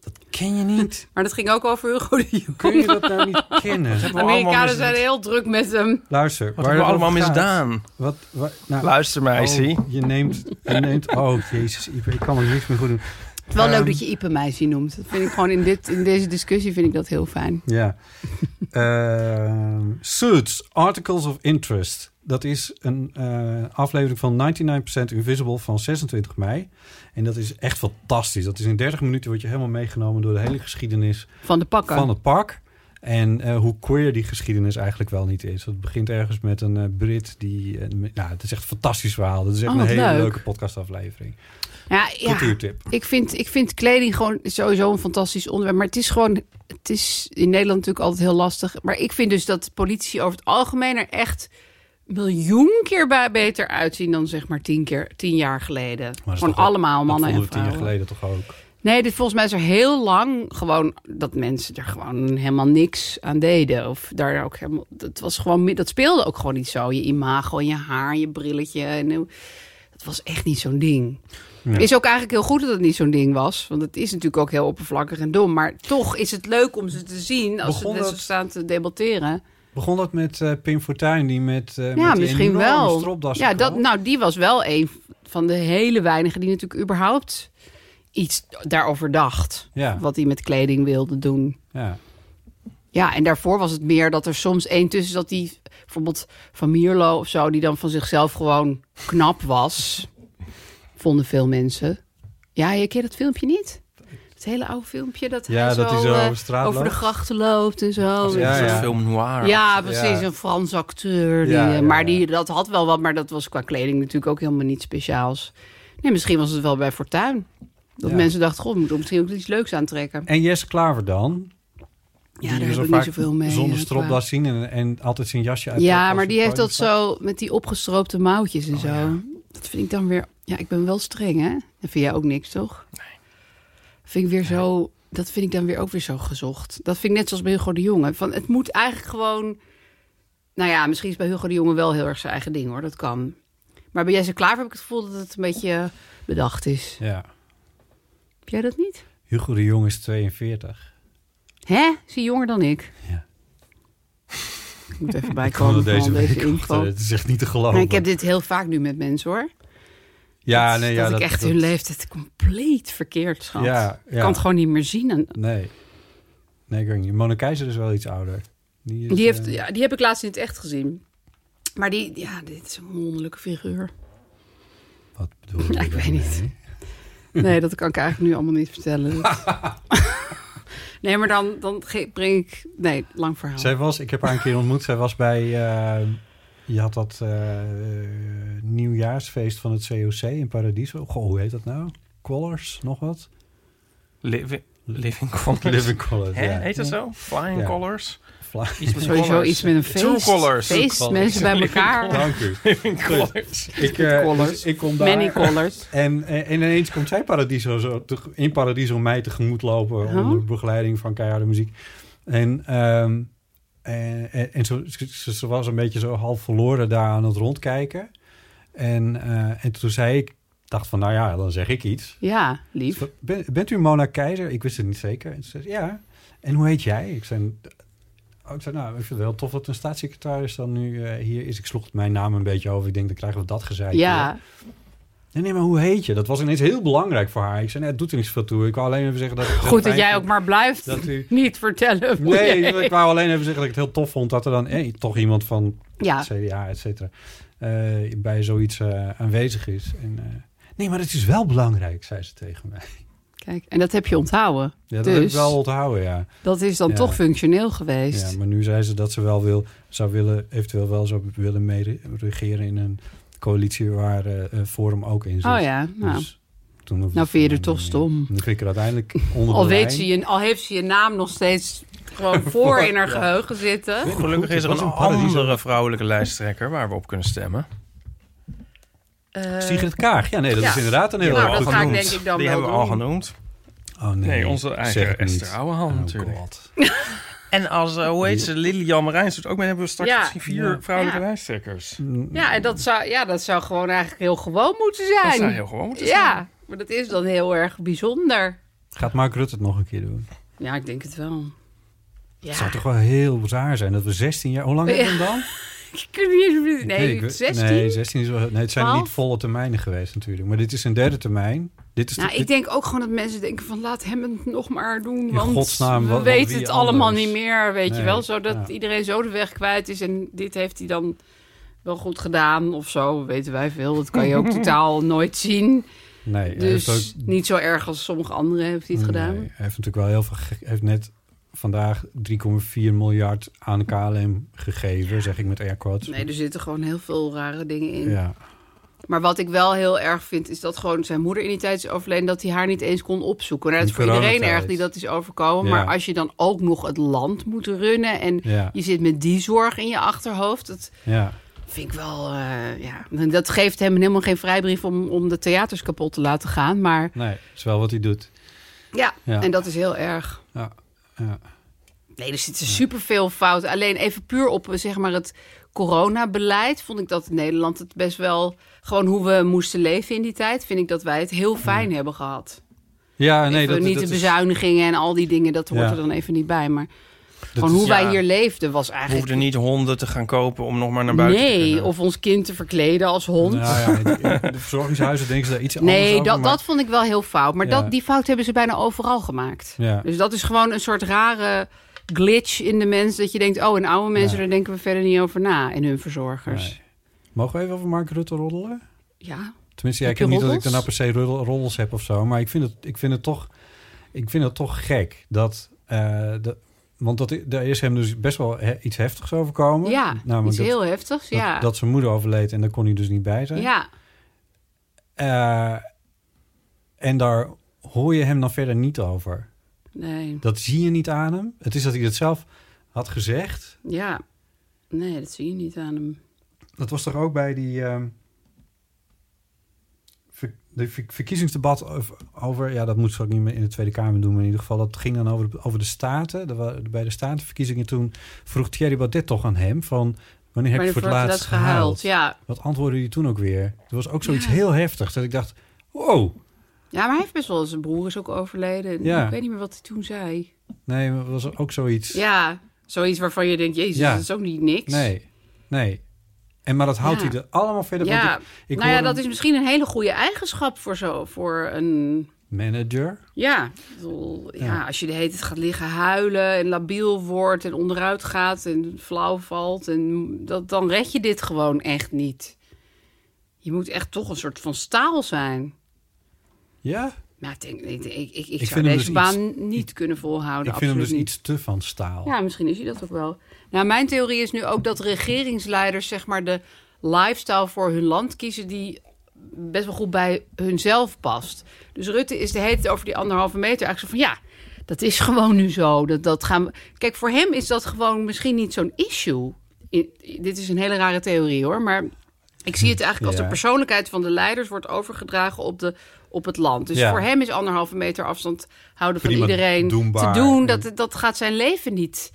Speaker 1: Dat ken je niet.
Speaker 3: Maar dat ging ook over Hugo de Jong.
Speaker 1: Kun je dat nou
Speaker 3: [laughs]
Speaker 1: niet kennen?
Speaker 4: we allemaal
Speaker 3: Amerikanen
Speaker 4: misdaan?
Speaker 3: zijn heel druk met hem.
Speaker 1: Luister,
Speaker 4: Wat
Speaker 1: waar
Speaker 4: hebben we
Speaker 1: het
Speaker 4: allemaal
Speaker 1: over gaat-
Speaker 4: misdaan?
Speaker 1: Wat, wa- nou,
Speaker 4: Luister mij,
Speaker 1: oh,
Speaker 4: zie.
Speaker 1: je neemt, je
Speaker 3: [laughs]
Speaker 1: neemt, oh jezus, Ipe, ik kan er niks meer goed doen.
Speaker 3: Het is wel
Speaker 1: Ehm,
Speaker 3: leuk dat je Ipe meisje noemt. Dat vind ik gewoon in, dit, in deze discussie vind ik dat heel fijn. [laughs]
Speaker 1: Ja. Ehm, suits, Articles of Interest. Dat is een eh, aflevering van 99% Invisible van 26 mei. En dat is echt fantastisch. Dat is in 30 minuten word je helemaal meegenomen door de hele geschiedenis
Speaker 3: Van de pakken.
Speaker 1: van het park. En eh, hoe queer die geschiedenis eigenlijk wel niet is. Het begint ergens met een eh, Brit die... eh, me- nou, het is echt een fantastisch verhaal. Dat is echt
Speaker 3: Oh,
Speaker 1: een
Speaker 3: wat
Speaker 1: hele
Speaker 3: leuk.
Speaker 1: leuke podcastaflevering.
Speaker 3: Ja, ja
Speaker 1: Cultuurtip.
Speaker 3: ik, vind, ik vind kleding gewoon sowieso een fantastisch onderwerp. Maar het is gewoon, het is in Nederland natuurlijk altijd heel lastig. Maar ik vind dus dat politici over het algemeen er echt miljoen keer bij beter uitzien dan zeg maar tien, keer, tien jaar geleden.
Speaker 1: Maar dat is
Speaker 3: Gewoon
Speaker 1: toch wel-
Speaker 3: allemaal
Speaker 1: dat
Speaker 3: mannen en
Speaker 1: vonden we tien
Speaker 3: vrouwen.
Speaker 1: jaar geleden toch ook.
Speaker 3: Nee, dit, volgens mij is er heel lang gewoon dat mensen er gewoon helemaal niks aan deden. Of daar ook helemaal. Dat, was gewoon, mi- dat speelde ook gewoon niet zo. Je imago en je haar en je brilletje. En, hoe- dat was echt niet zo'n ding.
Speaker 1: Nee.
Speaker 3: Is ook eigenlijk heel goed dat het niet zo'n ding was. Want het is natuurlijk ook heel oppervlakkig en dom. Maar toch is het leuk om ze te zien als
Speaker 1: Begon
Speaker 3: ze net zo
Speaker 1: dat-
Speaker 3: staan te debatteren.
Speaker 1: Begon dat met eh Pim Fortuyn, die met, eh met
Speaker 3: ja,
Speaker 1: die
Speaker 3: misschien
Speaker 1: enorme
Speaker 3: wel.
Speaker 1: stropdas
Speaker 3: Ja, dat,
Speaker 1: kwam?
Speaker 3: nou, die was wel een van de hele weinigen die natuurlijk überhaupt iets daarover dacht
Speaker 1: ja,
Speaker 3: wat hij met kleding wilde doen.
Speaker 1: ja.
Speaker 3: Ja, en daarvoor was het meer dat er soms één tussen zat die bijvoorbeeld van Mierlo of zo, die dan van zichzelf gewoon knap was.
Speaker 1: [laughs]
Speaker 3: Vonden veel mensen. Ja, je kent dat filmpje niet? Het hele oude filmpje dat
Speaker 1: Ja,
Speaker 3: hij
Speaker 1: dat
Speaker 3: zo,
Speaker 1: hij zo
Speaker 3: eh,
Speaker 1: over straat
Speaker 3: over de
Speaker 1: loopt.
Speaker 3: grachten loopt en zo.
Speaker 1: Ja,
Speaker 4: een soort
Speaker 1: ja.
Speaker 4: film noir.
Speaker 3: Ja, precies.
Speaker 1: Ja.
Speaker 3: Een Frans acteur. Die,
Speaker 1: Ja,
Speaker 3: eh,
Speaker 1: ja,
Speaker 3: maar
Speaker 1: ja.
Speaker 3: Die, dat had wel wat, maar dat was qua kleding natuurlijk ook helemaal niet speciaals. Nee, misschien was het wel bij Fortuin. Dat
Speaker 1: Ja.
Speaker 3: mensen dachten, god, we moeten misschien ook iets leuks aantrekken.
Speaker 1: En Jesse Klaver dan?
Speaker 3: Ja,
Speaker 1: die
Speaker 3: daar
Speaker 1: we
Speaker 3: heb
Speaker 1: zo
Speaker 3: ik niet
Speaker 1: vaak
Speaker 3: zoveel mee.
Speaker 1: Zonder
Speaker 3: eh, qua-
Speaker 1: stropdas zien en, en altijd zijn jasje uit.
Speaker 3: Ja,
Speaker 1: als
Speaker 3: maar
Speaker 1: je
Speaker 3: die heeft
Speaker 1: podium
Speaker 3: dat
Speaker 1: staat.
Speaker 3: zo met die opgestroopte mouwtjes en zo.
Speaker 1: ja.
Speaker 3: Dat vind ik dan weer. Ja, ik ben wel streng, hè? Dat vind jij ook niks, toch? Nee. Vind ik weer zo. Dat vind ik dan weer ook weer zo gezocht. Dat vind ik net zoals bij Hugo de Jonge. Van, het moet eigenlijk gewoon. Nou ja, misschien is bij Hugo de Jonge wel heel erg zijn eigen ding, hoor. Dat kan. Maar bij Jesse Klaver heb ik het gevoel dat het een beetje bedacht is.
Speaker 1: Ja.
Speaker 3: Heb jij dat niet?
Speaker 1: Hugo de Jong is 42.
Speaker 3: Hè? Is hij jonger dan ik?
Speaker 1: Ja.
Speaker 3: Ik
Speaker 1: [laughs]
Speaker 3: moet even
Speaker 1: Ik vond
Speaker 3: bijkomen
Speaker 1: het
Speaker 3: van deze,
Speaker 1: deze week.
Speaker 3: info.
Speaker 1: want, eh, Het is echt niet te geloven.
Speaker 3: Nee, ik heb dit heel vaak nu met mensen, hoor.
Speaker 1: ja,
Speaker 3: dat,
Speaker 1: nee, ja,
Speaker 3: dat, ik echt hun leeftijd compleet verkeerd schat.
Speaker 1: Ja,
Speaker 3: Ik
Speaker 1: ja.
Speaker 3: kan het gewoon niet meer zien. En
Speaker 1: Nee. Nee, ik weet niet. Mona Keizer is wel iets ouder. is,
Speaker 3: die, heeft,
Speaker 1: eh,
Speaker 3: ja, die heb ik laatst in het echt gezien. Maar die, ja, dit is een wonderlijke figuur. [laughs]
Speaker 1: Wat bedoel je?
Speaker 3: Ja, ik weet niet.
Speaker 1: daarmee?
Speaker 3: Nee, dat kan ik eigenlijk nu allemaal niet
Speaker 1: [laughs]
Speaker 3: vertellen. Dat- nee, maar dan, dan ge- breng ik... Nee, lang verhaal.
Speaker 1: Zij was, ik heb haar een keer ontmoet. Zij was bij, eh, je had dat eh, nieuwjaarsfeest van het COC in Paradiso. Goh, hoe heet dat nou? Collars, nog wat?
Speaker 4: Living, living
Speaker 1: [laughs]
Speaker 4: Colors.
Speaker 1: Living Collars,
Speaker 4: Hè?
Speaker 1: ja.
Speaker 4: Heet dat zo? Flying
Speaker 1: Ja. [laughs]
Speaker 4: Colors?
Speaker 1: Fly-
Speaker 4: Iets met
Speaker 3: Sowieso
Speaker 4: colors.
Speaker 3: iets met een
Speaker 4: True
Speaker 3: feest.
Speaker 4: colors.
Speaker 1: [laughs]
Speaker 3: Feest,
Speaker 1: True
Speaker 3: mensen bij
Speaker 4: colors.
Speaker 3: elkaar.
Speaker 1: Dank [laughs] u.
Speaker 4: Living Colors.
Speaker 1: Ik, eh,
Speaker 3: Collars.
Speaker 1: dus ik kom daar.
Speaker 3: Many colors.
Speaker 1: En, eh, en, en ineens komt zij Paradiso zo, te- in Paradiso mij tegemoet lopen
Speaker 3: Oh.
Speaker 1: onder begeleiding van keiharde muziek. En, ehm, en, en, en zo, ze, ze was een beetje zo half verloren daar aan het rondkijken. En, eh, en toen zei ik, dacht van nou ja, dan zeg ik iets.
Speaker 3: Ja, lief.
Speaker 1: Ben- bent u Mona Keizer? Ik wist het niet zeker. En ze zei, ja. En hoe heet jij? Ik zei, oh, ik zei, nou, ik vind het wel tof dat een staatssecretaris dan nu eh, hier is. Ik sloeg mijn naam een beetje over. Ik denk, dan krijgen we dat gezeik. hier.
Speaker 3: Ja,
Speaker 1: Nee, nee, maar hoe heet je? Dat was ineens heel belangrijk voor haar. Ik zei, nee, het doet er niet zoveel toe. Ik wou alleen even zeggen dat... ik het heel
Speaker 3: goed dat
Speaker 1: fijn
Speaker 3: jij ook
Speaker 1: vond
Speaker 3: maar blijft
Speaker 1: Dat u...
Speaker 3: niet vertellen. hoe [laughs]
Speaker 1: Nee,
Speaker 3: jij-
Speaker 1: ik wou alleen even zeggen dat ik het heel tof vond... dat er dan eh, toch iemand van
Speaker 3: Ja,
Speaker 1: CDA, et cetera... eh, bij zoiets eh, aanwezig is. En, eh, nee, maar het is wel belangrijk, zei ze tegen mij.
Speaker 3: kijk. En dat heb je onthouden.
Speaker 1: Ja, dat heb ik
Speaker 3: Dus-
Speaker 1: wel onthouden, ja.
Speaker 3: Dat is dan
Speaker 1: Ja.
Speaker 3: toch functioneel geweest.
Speaker 1: Ja, maar nu zei ze dat ze wel wil, zou willen, eventueel wel zou willen meeregeren in een coalitie waar eh, eh, Forum ook in zit.
Speaker 3: Oh ja, nou.
Speaker 1: Dus toen hoef ik
Speaker 3: Nou
Speaker 1: het
Speaker 3: vind je er
Speaker 1: niet
Speaker 3: toch
Speaker 1: meer.
Speaker 3: stom.
Speaker 1: Dan vind ik er
Speaker 3: [laughs]
Speaker 1: uiteindelijk onder
Speaker 3: al,
Speaker 1: de
Speaker 3: weet
Speaker 1: lijn.
Speaker 3: ze je, al heeft ze je naam nog steeds gewoon voor in haar geheugen zitten.
Speaker 4: Gelukkig is er
Speaker 1: was
Speaker 4: een
Speaker 1: een paradies.
Speaker 4: andere vrouwelijke lijsttrekker waar we op kunnen stemmen.
Speaker 3: Eh,
Speaker 1: Sigrid Kaag. Ja, nee, dat
Speaker 3: Ja.
Speaker 1: is inderdaad een heel
Speaker 3: Nou,
Speaker 1: erg
Speaker 3: dat
Speaker 1: goed
Speaker 3: ga ik
Speaker 1: doel.
Speaker 3: denk ik dan
Speaker 4: Die
Speaker 3: wel
Speaker 4: hebben we al
Speaker 3: doen.
Speaker 4: genoemd.
Speaker 1: Oh nee,
Speaker 4: Nee, onze eigen
Speaker 1: zeg het niet.
Speaker 4: Esther Ouwehand
Speaker 1: Oh,
Speaker 4: natuurlijk.
Speaker 1: God.
Speaker 4: [laughs] En als, eh, hoe heet ze, Lilian Marijns doet ook mee. hebben we straks
Speaker 3: Ja.
Speaker 4: misschien vier
Speaker 1: Ja.
Speaker 4: vrouwelijke
Speaker 3: Ja.
Speaker 4: lijsttrekkers.
Speaker 3: ja, en dat zou, ja, dat zou gewoon eigenlijk heel gewoon moeten zijn.
Speaker 4: Dat zou heel gewoon moeten zijn.
Speaker 3: Ja, maar dat is dan heel erg bijzonder.
Speaker 1: Gaat Mark Rutte het nog een keer doen?
Speaker 3: Ja, ik denk het wel. Ja,
Speaker 1: Het zou toch wel heel raar zijn dat we 16 jaar... Hoe lang hebben we hem
Speaker 3: [laughs]
Speaker 1: dan?
Speaker 3: ik kan niet eens... Nee,
Speaker 1: ik weet-
Speaker 3: 16?
Speaker 1: Nee, 16 is wel... Nee, het zijn
Speaker 3: 12?
Speaker 1: niet volle termijnen geweest natuurlijk. Maar dit is een derde termijn. Dit is
Speaker 3: Nou,
Speaker 1: de-
Speaker 3: ik denk ook gewoon dat mensen denken van laat hem het nog maar doen.
Speaker 1: In
Speaker 3: Want
Speaker 1: godsnaam,
Speaker 3: we
Speaker 1: wa- wa-
Speaker 3: weten
Speaker 1: wie
Speaker 3: het allemaal
Speaker 1: anders?
Speaker 3: niet meer, weet
Speaker 1: Nee,
Speaker 3: je wel. Zodat
Speaker 1: ja.
Speaker 3: iedereen zo de weg kwijt is. En dit heeft hij dan wel goed gedaan of zo. Weten wij veel. Dat kan
Speaker 1: [laughs]
Speaker 3: je ook totaal nooit zien.
Speaker 1: nee, hij
Speaker 3: Dus
Speaker 1: heeft ook-
Speaker 3: niet zo erg als sommige anderen heeft hij het
Speaker 1: Nee,
Speaker 3: gedaan.
Speaker 1: hij heeft natuurlijk wel heel veel... gege- Hij heeft net vandaag 3,4 miljard aan KLM gegeven, zeg ik met air quotes.
Speaker 3: Nee, er zitten gewoon heel veel rare dingen in.
Speaker 1: Ja.
Speaker 3: Maar wat ik wel heel erg vind, is dat gewoon zijn moeder in die tijd is overleden... dat hij haar niet eens kon opzoeken. Nou, dat
Speaker 1: In
Speaker 3: is voor iedereen
Speaker 1: coronatijd.
Speaker 3: erg die dat is overkomen.
Speaker 1: Ja.
Speaker 3: Maar als je dan ook nog het land moet runnen... en
Speaker 1: Ja.
Speaker 3: je zit met die zorg in je achterhoofd... dat
Speaker 1: Ja.
Speaker 3: vind ik wel... eh, ja. En Dat geeft hem helemaal geen vrijbrief om, om de theaters kapot te laten gaan. Maar
Speaker 1: Nee, dat is wel wat hij doet.
Speaker 3: ja,
Speaker 1: Ja.
Speaker 3: en dat is heel erg.
Speaker 1: Ja. Ja.
Speaker 3: Nee, er zitten superveel fouten. Alleen even puur op eh, zeg maar, het coronabeleid vond ik dat in Nederland het best wel... gewoon hoe we moesten leven in die tijd... vind ik dat wij het heel fijn hebben gehad.
Speaker 1: Ja, nee,
Speaker 3: Even
Speaker 1: dat,
Speaker 3: niet
Speaker 1: dat
Speaker 3: de
Speaker 1: is-
Speaker 3: bezuinigingen en al die dingen, dat hoort
Speaker 1: Ja.
Speaker 3: er dan even niet bij. Maar
Speaker 1: dat
Speaker 3: gewoon
Speaker 1: is-
Speaker 3: hoe wij
Speaker 4: ja.
Speaker 3: hier leefden was
Speaker 4: We
Speaker 3: eigenlijk...
Speaker 4: hoefden niet honden te gaan kopen om nog maar naar buiten te
Speaker 3: Nee,
Speaker 4: kunnen.
Speaker 3: of ons kind te verkleden als hond.
Speaker 1: Nou ja, in de- in de verzorgingshuizen denken ze daar iets anders
Speaker 3: nee,
Speaker 1: over,
Speaker 3: dat,
Speaker 1: maar-
Speaker 3: dat vond ik wel heel fout. Maar
Speaker 1: Ja.
Speaker 3: dat, die fout hebben ze bijna overal gemaakt.
Speaker 1: Ja.
Speaker 3: Dus dat is gewoon een soort rare glitch in de mens. Dat je denkt, oh, en oude mensen,
Speaker 1: Ja.
Speaker 3: daar denken we verder niet over na. En hun verzorgers.
Speaker 1: Nee. Mogen we even over Mark Rutte roddelen?
Speaker 3: Ja,
Speaker 1: Tenminste, ja, ik
Speaker 3: Heb je
Speaker 1: heb niet dat ik
Speaker 3: roddels?
Speaker 1: daarna per se roddel- roddels heb of zo. Maar ik vind het, ik vind het, toch, ik vind het toch gek dat... eh, dat want dat, daar is hem dus best wel he- iets heftigs overkomen.
Speaker 3: ja
Speaker 1: Namelijk
Speaker 3: iets
Speaker 1: Nou, dat-
Speaker 3: heel heftigs.
Speaker 1: dat,
Speaker 3: ja.
Speaker 1: dat zijn moeder overleed en daar kon hij dus niet bij zijn.
Speaker 3: ja,
Speaker 1: Eh, en daar hoor je hem dan verder niet over.
Speaker 3: nee.
Speaker 1: Dat zie je niet aan hem. Het is dat hij dat zelf had gezegd.
Speaker 3: Ja, nee, dat zie je niet aan hem.
Speaker 1: Dat was toch ook bij die... ehm ver- de ver- verkiezingsdebat over, over- Ja, dat moeten ze ook niet meer in de Tweede Kamer doen. Maar in ieder geval, dat ging dan over de, over de Staten. Er wa- bij de Statenverkiezingen toen vroeg Thierry Baudet toch aan hem... van wanneer heb
Speaker 3: Maar
Speaker 1: je voor het laatst gehuild?
Speaker 3: Ja.
Speaker 1: Wat antwoordde hij toen ook weer? Er was ook zoiets heel heftigs dat ik dacht... Wow,
Speaker 3: ja, maar hij heeft best wel... Zijn broer is ook overleden.
Speaker 1: Ja.
Speaker 3: Ik weet niet meer wat hij toen zei.
Speaker 1: nee, maar was ook zoiets...
Speaker 3: Ja, zoiets waarvan je denkt, jezus,
Speaker 1: Ja.
Speaker 3: dat is ook niet niks.
Speaker 1: Nee, nee. En maar dat houdt
Speaker 3: Ja.
Speaker 1: hij er allemaal verder van.
Speaker 3: Ja,
Speaker 1: Ik, ik
Speaker 3: nou ja,
Speaker 1: hoor
Speaker 3: dat
Speaker 1: een
Speaker 3: is misschien een hele goede eigenschap voor, zo, voor een...
Speaker 1: manager.
Speaker 3: Ja, ik bedoel, ja.
Speaker 1: Ja.
Speaker 3: als je de hele tijd gaat liggen huilen en labiel wordt en onderuit gaat en flauw valt... En dat, dan red je dit gewoon echt niet. Je moet echt toch een soort van staal zijn.
Speaker 1: Ja,
Speaker 3: Maar ik, denk, ik, ik, ik, ik
Speaker 1: vind
Speaker 3: zou
Speaker 1: hem
Speaker 3: deze
Speaker 1: dus
Speaker 3: baan niet kunnen
Speaker 1: ik
Speaker 3: volhouden.
Speaker 1: vind hem
Speaker 3: absoluut
Speaker 1: dus
Speaker 3: niet.
Speaker 1: iets te van staal.
Speaker 3: Ja, misschien is hij dat ook wel. Nou, mijn theorie is nu ook dat regeringsleiders, zeg maar, de lifestyle voor hun land kiezen die best wel goed bij hunzelf past. Dus Rutte is de hele tijd over die anderhalve meter eigenlijk zo van ja, dat is gewoon nu zo. Dat, dat gaan we... Kijk, voor hem is dat gewoon misschien niet zo'n issue. I- i- dit is een hele rare theorie hoor, maar ik zie het eigenlijk als
Speaker 1: Ja.
Speaker 3: de persoonlijkheid van de leiders wordt overgedragen op, de, op het land. Dus
Speaker 1: Ja.
Speaker 3: voor hem is anderhalve meter afstand houden van
Speaker 1: Prima
Speaker 3: iedereen
Speaker 1: doenbaar.
Speaker 3: te doen. Dat, dat gaat zijn leven niet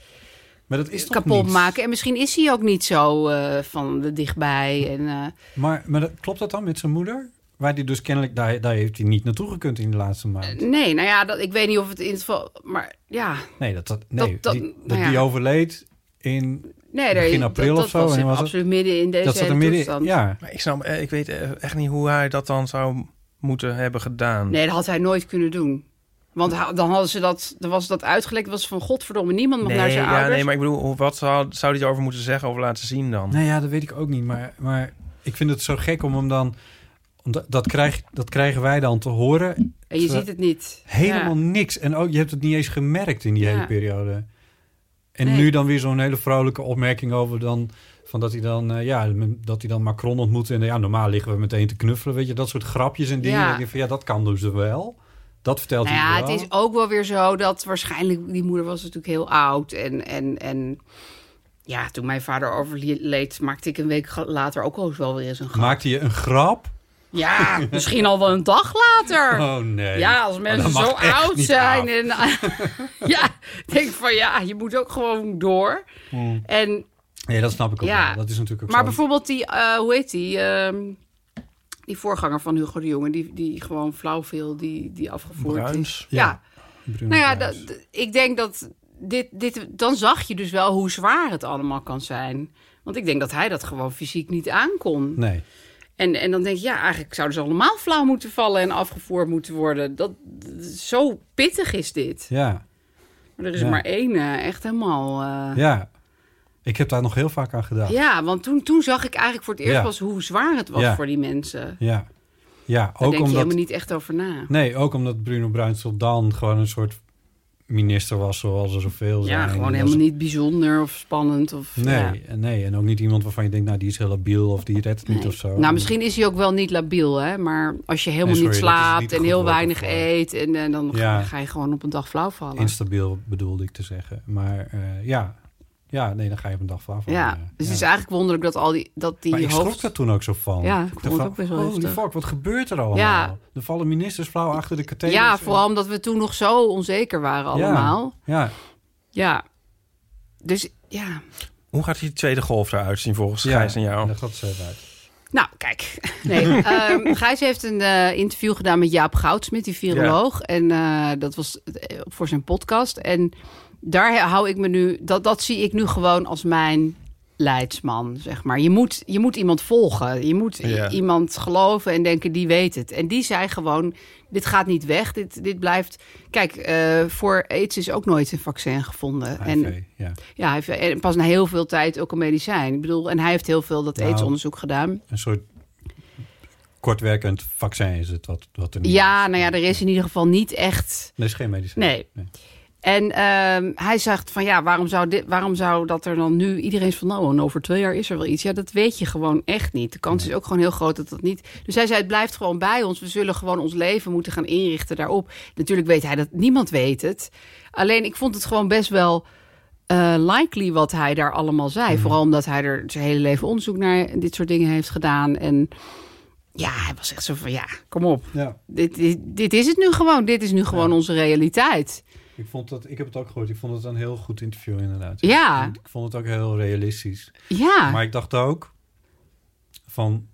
Speaker 1: Maar dat is toch
Speaker 3: kapot
Speaker 1: niet?
Speaker 3: maken. En misschien is hij ook niet zo eh, van de dichtbij. En, eh,
Speaker 1: Maar, maar dat, klopt dat dan met zijn moeder? Waar die dus kennelijk, daar, daar heeft hij niet naartoe gekund in de laatste maand.
Speaker 3: nee, nou ja, dat, ik weet niet of het in het geval... Maar ja,
Speaker 1: Nee, dat, dat, nee,
Speaker 3: dat-
Speaker 1: die,
Speaker 3: nou
Speaker 1: dat
Speaker 3: ja.
Speaker 1: die overleed in...
Speaker 3: nee,
Speaker 1: Begin
Speaker 3: daar,
Speaker 1: april
Speaker 3: dat,
Speaker 1: of zo,
Speaker 3: Dat was
Speaker 1: en
Speaker 3: in-
Speaker 1: was het-
Speaker 3: absoluut midden in deze
Speaker 1: dat zat
Speaker 3: hele
Speaker 1: er midden
Speaker 3: toestand.
Speaker 1: Ja,
Speaker 4: Maar ik, snap, eh, ik weet eh, echt niet hoe hij dat dan zou moeten hebben gedaan.
Speaker 3: Nee, dat had hij nooit kunnen doen. Want ha- dan hadden ze dat, dan was dat uitgelekt. was van godverdomme, niemand mag naar
Speaker 4: Nee,
Speaker 3: zijn
Speaker 4: ja,
Speaker 3: ouders.
Speaker 4: nee, maar ik bedoel, hoe- wat zou, zou hij daarover moeten zeggen of laten zien dan?
Speaker 1: nou ja, dat weet ik ook niet. Maar, maar ik vind het zo gek om hem dan... omdat- Dat, krijg, dat krijgen wij dan te horen.
Speaker 3: en je ziet het niet.
Speaker 1: Helemaal
Speaker 3: Ja.
Speaker 1: niks. En ook, je hebt het niet eens gemerkt in die
Speaker 3: Ja.
Speaker 1: hele periode. En
Speaker 3: Nee.
Speaker 1: nu dan weer zo'n hele vrolijke opmerking over dan... Van dat hij dan, eh, ja, dat hij dan Macron ontmoet. En eh, ja, normaal liggen we meteen te knuffelen. Weet je, dat soort grapjes en dingen.
Speaker 3: Ja.
Speaker 1: En ik denk van, ja, dat kan dus wel. Dat vertelt
Speaker 3: Nou
Speaker 1: hij
Speaker 3: ja,
Speaker 1: wel.
Speaker 3: het is ook wel weer zo dat waarschijnlijk die moeder was natuurlijk heel oud en en en ja, toen mijn vader overleed, maakte ik een week ge- later ook al wel weer eens een grap.
Speaker 1: Maakt hij een grap?
Speaker 3: Ja, misschien al wel een dag later.
Speaker 1: Oh nee.
Speaker 3: Ja, als mensen
Speaker 1: Dat mag
Speaker 3: zo
Speaker 1: echt
Speaker 3: oud
Speaker 1: niet
Speaker 3: zijn.
Speaker 1: af.
Speaker 3: En, [laughs] ja, ik denk van ja, je moet ook gewoon door.
Speaker 1: Hmm.
Speaker 3: En
Speaker 1: Nee, dat snap ik ook
Speaker 3: Ja.
Speaker 1: wel. Dat is natuurlijk ook
Speaker 3: maar
Speaker 1: zo.
Speaker 3: bijvoorbeeld die, eh, hoe heet die? ehm, die voorganger van Hugo de Jonge, die, die gewoon flauw viel, die, die afgevoerd
Speaker 4: Bruins.
Speaker 3: is. Ja,
Speaker 1: Bruno
Speaker 3: nou ja,
Speaker 1: Kruijs.
Speaker 3: dat- d- ik denk dat dit, dit, dan zag je dus wel hoe zwaar het allemaal kan zijn. Want ik denk dat hij dat gewoon fysiek niet aankon.
Speaker 1: Nee.
Speaker 3: En, en dan denk je, ja, eigenlijk zouden ze allemaal flauw moeten vallen en afgevoerd moeten worden. Dat, d- zo pittig is dit.
Speaker 1: Ja.
Speaker 3: Maar er is
Speaker 1: Ja.
Speaker 3: er maar één eh, echt helemaal. eh,
Speaker 1: Ja. Ik heb daar nog heel vaak aan gedacht.
Speaker 3: ja. want toen, toen zag ik eigenlijk voor het eerst
Speaker 1: Ja.
Speaker 3: pas hoe zwaar het was
Speaker 1: Ja.
Speaker 3: voor die mensen.
Speaker 1: Ja. Ja,
Speaker 3: Daar
Speaker 1: ook
Speaker 3: denk je
Speaker 1: omdat...
Speaker 3: helemaal niet echt over na.
Speaker 1: Nee, ook omdat Bruno Bruinsel dan gewoon een soort minister was, zoals er zoveel zijn.
Speaker 3: Ja,
Speaker 1: Die
Speaker 3: gewoon
Speaker 1: was-
Speaker 3: helemaal niet bijzonder of spannend. Of, ja.
Speaker 1: Nee, nee, en ook niet iemand waarvan je denkt, nou, die is heel labiel of die redt het niet
Speaker 3: Nee.
Speaker 1: of zo.
Speaker 3: Nou, misschien is hij ook wel niet labiel, hè? maar als je helemaal
Speaker 1: Nee,
Speaker 3: niet
Speaker 1: sorry, dat is
Speaker 3: slaapt
Speaker 1: niet
Speaker 3: en
Speaker 1: goed
Speaker 3: heel
Speaker 1: woord
Speaker 3: weinig
Speaker 1: ervoor.
Speaker 3: eet, en, eh, dan ga-
Speaker 1: Ja.
Speaker 3: ga je gewoon op een dag flauw vallen.
Speaker 1: Instabiel bedoelde ik te zeggen. Maar eh, ja. ja, nee, dan ga je op een dag vanaf. Eh,
Speaker 3: ja, dus het is eigenlijk wonderlijk dat al die, dat die
Speaker 1: maar ik
Speaker 3: hoofd...
Speaker 1: schrok daar toen ook zo van.
Speaker 3: Ja, ik
Speaker 1: dacht
Speaker 3: vond het
Speaker 1: van,
Speaker 3: ook best wel
Speaker 1: holy
Speaker 3: heftig.
Speaker 1: fuck, wat gebeurt er allemaal?
Speaker 3: Ja.
Speaker 1: Er vallen ministers flauw achter de katheders.
Speaker 3: ja,
Speaker 1: en-
Speaker 3: vooral omdat we toen nog zo onzeker waren
Speaker 1: Ja,
Speaker 3: allemaal.
Speaker 1: Ja,
Speaker 3: Ja. Dus ja.
Speaker 4: Hoe gaat die tweede golf eruit zien volgens
Speaker 1: ja,
Speaker 4: Gijs en jou?
Speaker 1: Dat gaat ze eruit.
Speaker 3: Nou, kijk. Nee, ehm, Gijs heeft een eh, interview gedaan met Jaap Goudsmit, die viroloog. En eh, dat was eh, voor zijn podcast. En daar hou ik me nu... Dat, dat zie ik nu gewoon als mijn leidsman, zeg maar. Je moet, je moet iemand volgen. Je moet i-
Speaker 4: Ja.
Speaker 3: iemand geloven en denken, die weet het. En die zei gewoon, dit gaat niet weg. Dit, dit blijft... Kijk, eh, voor aids is ook nooit een vaccin gevonden.
Speaker 1: HIV,
Speaker 3: En
Speaker 1: ja.
Speaker 3: ja, hij heeft en pas na heel veel tijd ook een medicijn. Ik bedoel, en hij heeft heel veel dat
Speaker 1: Nou,
Speaker 3: aidsonderzoek gedaan.
Speaker 1: Een soort kortwerkend vaccin is het wat, wat er nu
Speaker 3: Ja,
Speaker 1: is.
Speaker 3: nou ja, er is in ieder geval niet echt.
Speaker 1: Er is geen medicijn.
Speaker 3: Nee. En ehm, hij zegt van ja, waarom zou, dit, waarom zou dat er dan nu iedereen is van nou, en over twee jaar is er wel iets. Ja, dat weet je gewoon echt niet. De kans is ook gewoon heel groot dat dat niet. Dus hij zei, het blijft gewoon bij ons. We zullen gewoon ons leven moeten gaan inrichten daarop. Natuurlijk weet hij dat niemand weet het. Alleen ik vond het gewoon best wel eh, likely wat hij daar allemaal zei. Vooral omdat hij er zijn hele leven onderzoek naar dit soort dingen heeft gedaan. En ja, hij was echt zo van ja, kom op
Speaker 1: Ja,
Speaker 3: dit, dit, dit is het nu gewoon. Dit is nu gewoon onze realiteit.
Speaker 1: ik, vond dat, ik heb het ook gehoord. Ik vond het een heel goed interview inderdaad.
Speaker 3: Ja.
Speaker 1: Ik vond het ook heel realistisch.
Speaker 3: Ja,
Speaker 1: Maar ik dacht ook van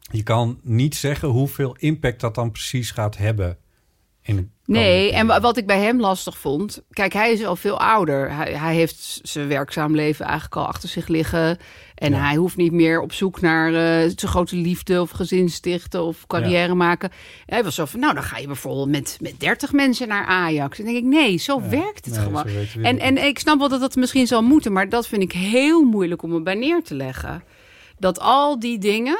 Speaker 1: je kan niet zeggen hoeveel impact dat dan precies gaat hebben. In de
Speaker 3: nee.
Speaker 1: komende
Speaker 3: En wa-
Speaker 1: periode.
Speaker 3: wat ik bij hem lastig vond... Kijk, hij is al veel ouder. Hij, hij heeft z- zijn werkzaam leven eigenlijk al achter zich liggen. En
Speaker 1: Ja.
Speaker 3: hij hoeft niet meer op zoek naar eh, zijn grote liefde... of gezin stichten of carrière maken. Hij was zo van, nou, dan ga je bijvoorbeeld met, met 30 mensen naar Ajax. En dan denk ik, nee, zo
Speaker 1: Ja,
Speaker 3: werkt het
Speaker 1: nee,
Speaker 3: gewoon.
Speaker 1: zo werkt de
Speaker 3: En,
Speaker 1: wereld
Speaker 3: en ik snap wel dat dat misschien zal moeten, maar dat vind ik heel moeilijk om me bij neer te leggen. Dat al die dingen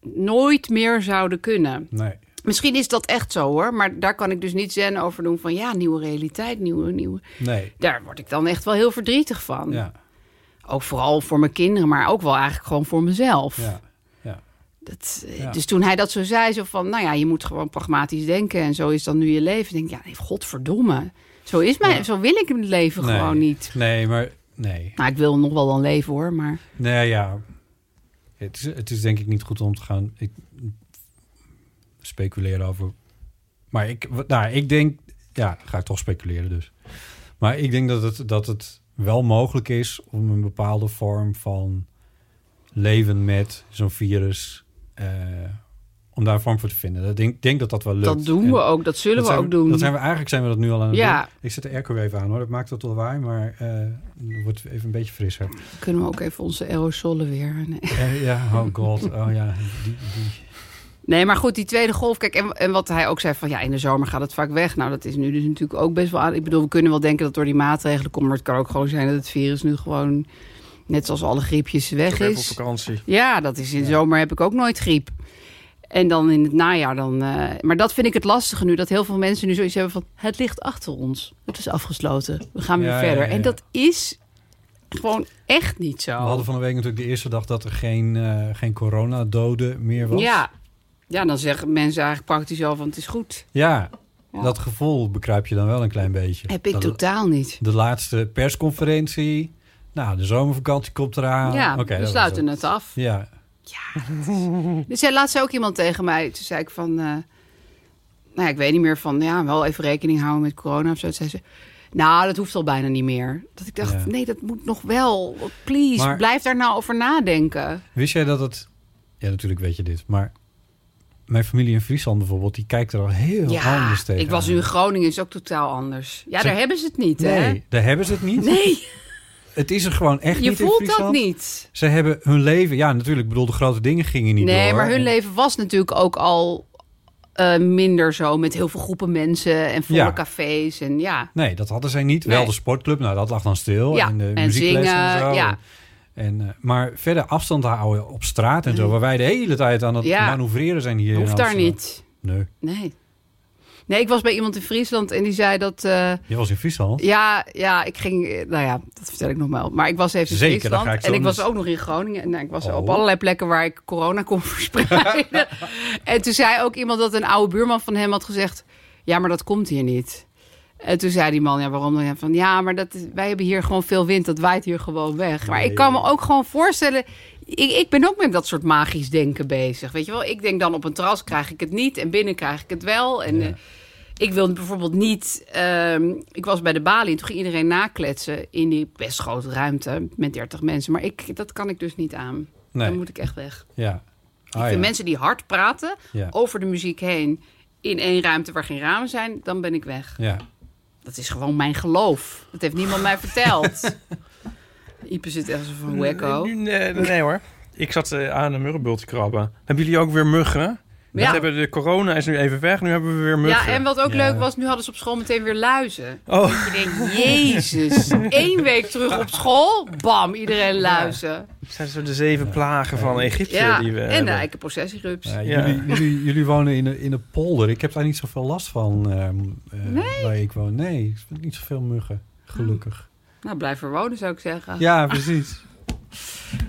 Speaker 3: nooit meer zouden kunnen.
Speaker 1: Nee.
Speaker 3: Misschien is dat echt zo hoor, maar daar kan ik dus niet zen over doen van ja, nieuwe realiteit, nieuwe, nieuwe.
Speaker 1: Nee.
Speaker 3: Daar word ik dan echt wel heel verdrietig van.
Speaker 1: Ja.
Speaker 3: Ook vooral voor mijn kinderen, maar ook wel eigenlijk gewoon voor mezelf.
Speaker 1: Ja. Ja.
Speaker 3: Dat, eh,
Speaker 1: Ja.
Speaker 3: Dus toen hij dat zo zei, zo van, nou ja, je moet gewoon pragmatisch denken en zo is dan nu je leven. Ik denk, ja, nee, godverdomme. Zo is mijn, zo wil ik het leven
Speaker 1: Nee.
Speaker 3: gewoon niet.
Speaker 1: Nee, maar nee.
Speaker 3: Nou, ik wil nog wel dan leven hoor, maar
Speaker 1: Nee, Nou ja. Het is, het is denk ik niet goed om te gaan ik, speculeren over. Maar ik, wat- nou, ik denk. Ja, ga ik toch speculeren dus. Maar ik denk dat het, dat het wel mogelijk is om een bepaalde vorm van leven met zo'n virus. eh, om daar een vorm voor te vinden. Ik denk, denk dat dat wel lukt.
Speaker 3: dat doen we
Speaker 1: En
Speaker 3: ook, dat zullen
Speaker 1: dat
Speaker 3: we
Speaker 1: zijn
Speaker 3: ook doen.
Speaker 1: Dat zijn we, eigenlijk zijn we dat nu al aan het
Speaker 3: Ja.
Speaker 1: doen. Ik zet de airco even aan hoor. Dat maakt het wel waar. Maar eh, het wordt even een beetje frisser.
Speaker 3: Kunnen we ook even onze aerosolen weer... Nee.
Speaker 1: Eh, ja, oh god. Oh ja. Die, die.
Speaker 3: Nee, maar goed, die tweede golf. Kijk, en, en wat hij ook zei van ja, in de zomer gaat het vaak weg. Nou, dat is nu dus natuurlijk ook best wel aan. Ik bedoel, we kunnen wel denken dat door die maatregelen komt. Maar het kan ook gewoon zijn dat het virus nu gewoon, net zoals alle griepjes, weg
Speaker 4: Ik heb op
Speaker 3: is.
Speaker 4: vakantie.
Speaker 3: Ja, dat is in de zomer heb ik ook nooit griep. En dan in het najaar dan. eh, maar dat vind ik het lastige nu. Dat heel veel mensen nu zoiets hebben van het ligt achter ons. Het is afgesloten. We gaan weer
Speaker 1: Ja, ja,
Speaker 3: verder.
Speaker 1: ja,
Speaker 3: En
Speaker 1: ja.
Speaker 3: dat is gewoon echt niet zo.
Speaker 1: We hadden van de week natuurlijk de eerste dag dat er geen, eh, geen coronadoden meer was.
Speaker 3: ja. ja, dan zeggen mensen eigenlijk praktisch al van het is goed.
Speaker 1: Ja,
Speaker 3: Ja.
Speaker 1: dat gevoel bekruip je dan wel een klein beetje.
Speaker 3: Heb ik
Speaker 1: Dat-
Speaker 3: totaal niet.
Speaker 1: De laatste persconferentie. Nou, de zomervakantie komt eraan.
Speaker 3: ja,
Speaker 1: Ah, Oké, dat
Speaker 3: we
Speaker 1: was
Speaker 3: sluiten
Speaker 1: het.
Speaker 3: het af.
Speaker 1: Ja,
Speaker 3: Dus zei laatst zei ook iemand tegen mij, toen zei ik van... eh, nou ja, ik weet niet meer van, ja, wel even rekening houden met corona of zo. Toen zei ze, nou, dat hoeft al bijna niet meer. Dat ik dacht,
Speaker 1: Ja.
Speaker 3: nee, dat moet nog wel. Please,
Speaker 1: Maar-
Speaker 3: blijf daar nou over nadenken.
Speaker 1: wist jij dat het... Ja, natuurlijk weet je dit, maar... Mijn familie in Friesland bijvoorbeeld, die kijkt er al heel
Speaker 3: ja,
Speaker 1: anders tegen.
Speaker 3: ik was nu in Groningen, is ook totaal anders. Ja,
Speaker 1: Zeg-
Speaker 3: daar hebben ze het niet, hè?
Speaker 1: Nee, daar hebben ze het niet.
Speaker 3: [laughs] Nee,
Speaker 1: Het is er gewoon echt
Speaker 3: je
Speaker 1: niet in
Speaker 3: voelt dat
Speaker 1: Friesland.
Speaker 3: niet.
Speaker 1: Ze hebben hun leven... Ja, natuurlijk, ik bedoel, de grote dingen gingen niet door.
Speaker 3: nee, maar hun
Speaker 1: En-
Speaker 3: leven was natuurlijk ook al eh, minder zo... met heel veel groepen mensen en volle
Speaker 1: Ja.
Speaker 3: cafés en ja...
Speaker 1: Nee, dat hadden zij niet.
Speaker 3: Nee.
Speaker 1: Wel de sportclub, nou dat lag dan stil.
Speaker 3: Ja,
Speaker 1: en de
Speaker 3: en
Speaker 1: muziekles en
Speaker 3: zingen,
Speaker 1: zo.
Speaker 3: ja.
Speaker 1: En, eh, maar verder afstand houden op straat en zo, waar wij de hele tijd aan het
Speaker 3: Mm. Ja.
Speaker 1: manoeuvreren zijn hier. in
Speaker 3: Hoeft daar
Speaker 1: Amsterdam.
Speaker 3: niet.
Speaker 1: Nee.
Speaker 3: Nee. Nee, ik was bij iemand in Friesland en die zei dat... eh,
Speaker 1: Je was in Friesland.
Speaker 3: ja, ja, ik ging... eh, Nou ja, dat vertel ik nog wel. Maar ik was even in
Speaker 1: Zeker, dan
Speaker 3: Friesland
Speaker 1: ga ik zo
Speaker 3: en ik was
Speaker 1: eens-
Speaker 3: ook nog in Groningen. En nou, ik was
Speaker 1: Oh.
Speaker 3: op allerlei plekken waar ik corona kon [laughs]
Speaker 1: [laughs]
Speaker 3: verspreiden. en toen zei ook iemand dat een oude buurman van hem had gezegd... Ja, maar dat komt hier niet. En toen zei die man, ja, waarom dan? Ja, Van, ja, maar dat, is- wij hebben hier gewoon veel wind. Dat waait hier gewoon weg. Maar ik kan me ook gewoon voorstellen... Ik, ik ben ook met dat soort magisch denken bezig. Weet je wel, ik denk dan op een terras krijg ik het niet... en binnen krijg ik het wel. En eh, ik wilde bijvoorbeeld niet... ehm, ik was bij de balie en toen ging iedereen nakletsen... in die best grote ruimte met 30 mensen. Maar ik, dat kan ik dus niet aan.
Speaker 1: Nee.
Speaker 3: Dan moet ik echt weg.
Speaker 1: Ja.
Speaker 3: Ik
Speaker 1: Ah,
Speaker 3: vind
Speaker 1: ja.
Speaker 3: mensen die hard praten
Speaker 1: Ja.
Speaker 3: over de muziek heen... in één ruimte waar geen ramen zijn, dan ben ik weg.
Speaker 1: ja.
Speaker 3: Dat is gewoon mijn geloof. Dat heeft niemand mij verteld.
Speaker 1: [laughs]
Speaker 3: Ipe zit echt zo van wacko.
Speaker 4: Nee, nee, nee hoor. Ik zat eh, aan een muggenbult te krabben. Hebben jullie ook weer muggen?
Speaker 3: Ja.
Speaker 4: Ja. Hebben de corona is nu even weg. Nu hebben we weer muggen.
Speaker 3: Ja, en wat ook
Speaker 1: Ja.
Speaker 3: leuk was, nu hadden ze op school meteen weer luizen.
Speaker 4: Oh,
Speaker 3: Ik [laughs] denk, jezus, één week terug op school, bam, iedereen luizen.
Speaker 4: het zijn zo de zeven plagen van Egypte
Speaker 3: Ja,
Speaker 4: die we
Speaker 3: en eh, de
Speaker 4: hebben.
Speaker 3: eikenprocessierups.
Speaker 1: Ja,
Speaker 4: Ja.
Speaker 1: Jullie, jullie, jullie wonen in een, in een polder. Ik heb daar niet zoveel last van ehm, eh, waar ik woon. Nee, ik vind niet zoveel muggen, gelukkig.
Speaker 3: Nou, blijf er wonen, zou ik zeggen.
Speaker 1: Ja, precies.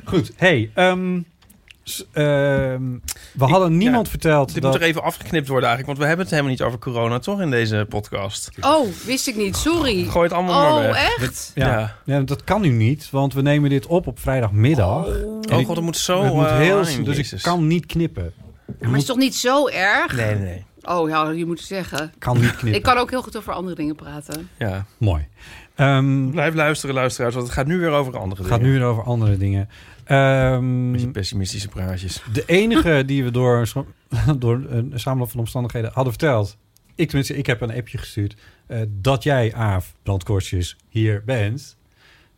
Speaker 1: Goed, hey, ehm, s- ehm, we hadden niemand verteld
Speaker 4: Dit
Speaker 1: dat...
Speaker 4: moet er even afgeknipt worden eigenlijk, want we hebben het helemaal niet over corona toch in deze podcast.
Speaker 3: Oh, wist ik niet, sorry.
Speaker 4: Gooi het allemaal maar
Speaker 3: Oh,
Speaker 4: weg.
Speaker 3: echt?
Speaker 1: ja.
Speaker 4: Ja.
Speaker 1: Ja, dat kan nu niet, want we nemen dit op op vrijdagmiddag. En
Speaker 4: Oh
Speaker 1: ik-
Speaker 4: god, het moet zo...
Speaker 1: het moet
Speaker 4: eh,
Speaker 1: heel,
Speaker 4: online,
Speaker 1: dus
Speaker 4: Jezus.
Speaker 1: ik kan niet knippen.
Speaker 3: Maar het is toch niet zo erg?
Speaker 4: Nee, nee, nee.
Speaker 3: Oh, ja, je moet het zeggen.
Speaker 1: Kan niet knippen.
Speaker 3: Ik kan ook heel goed over andere dingen praten.
Speaker 4: Ja.
Speaker 1: Mooi. Ehm,
Speaker 4: Blijf luisteren, luisteraars, want het gaat nu Mm. weer over andere
Speaker 1: het gaat nu
Speaker 4: dingen.
Speaker 1: weer over andere dingen. Ehm,
Speaker 4: Beetje pessimistische praatjes.
Speaker 1: De enige die we door, een som- [laughs] door een samenloop van omstandigheden hadden verteld. Ik tenminste, ik heb een appje gestuurd. eh, dat jij, Aaf Brandkortjes, hier bent.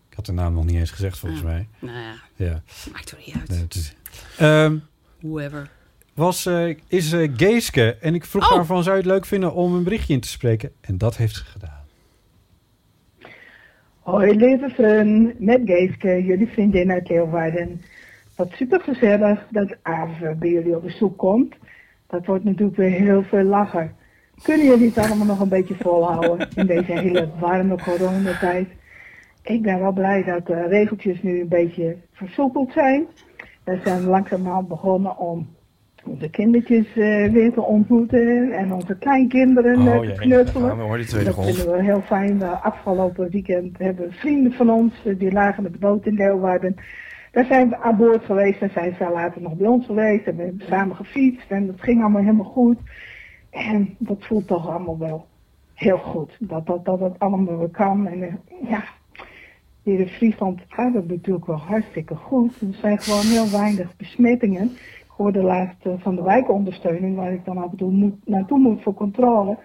Speaker 1: Ik had de naam nog niet eens gezegd, volgens
Speaker 3: Ja.
Speaker 1: mij.
Speaker 3: Nou ja,
Speaker 1: Ja,
Speaker 3: maakt toch niet uit.
Speaker 1: nee, het is- Ehm,
Speaker 3: Whoever.
Speaker 1: was, eh, is eh, Geeske. En ik vroeg
Speaker 3: Oh.
Speaker 1: haar van, zou je het leuk vinden om een berichtje in te spreken? En dat heeft ze gedaan.
Speaker 5: Hoi lieve vriend, met Geeske, jullie vriendin uit Leeuwarden. Wat super gezellig dat Aave bij jullie op bezoek komt. Dat wordt natuurlijk weer heel veel lachen. Kunnen jullie het allemaal nog een beetje volhouden in deze hele warme coronatijd? Ik ben wel blij dat de regeltjes nu een beetje versoepeld zijn. We zijn langzamerhand begonnen om onze kindertjes eh, weer te ontmoeten en onze kleinkinderen eh,
Speaker 4: Oh
Speaker 5: te
Speaker 4: jee, daar
Speaker 5: knuffelen.
Speaker 4: gaan we hoor, die tweede
Speaker 5: Dat
Speaker 4: golf.
Speaker 5: vinden we heel fijn. Eh, afgelopen weekend hebben vrienden van ons, eh, die lagen met de boot in Leeuwarden. Daar zijn we aan boord geweest en zijn ze later nog bij ons geweest. En we hebben samen gefietst en dat ging allemaal helemaal goed. En dat voelt toch allemaal wel heel goed. Dat, dat, dat het allemaal weer kan. En eh, ja, hier in Friesland gaat het natuurlijk wel hartstikke goed. Er zijn gewoon heel weinig besmettingen. Ik hoorde laatst eh, van de wijkondersteuning, waar ik dan af en toe moet, naartoe moet voor controle,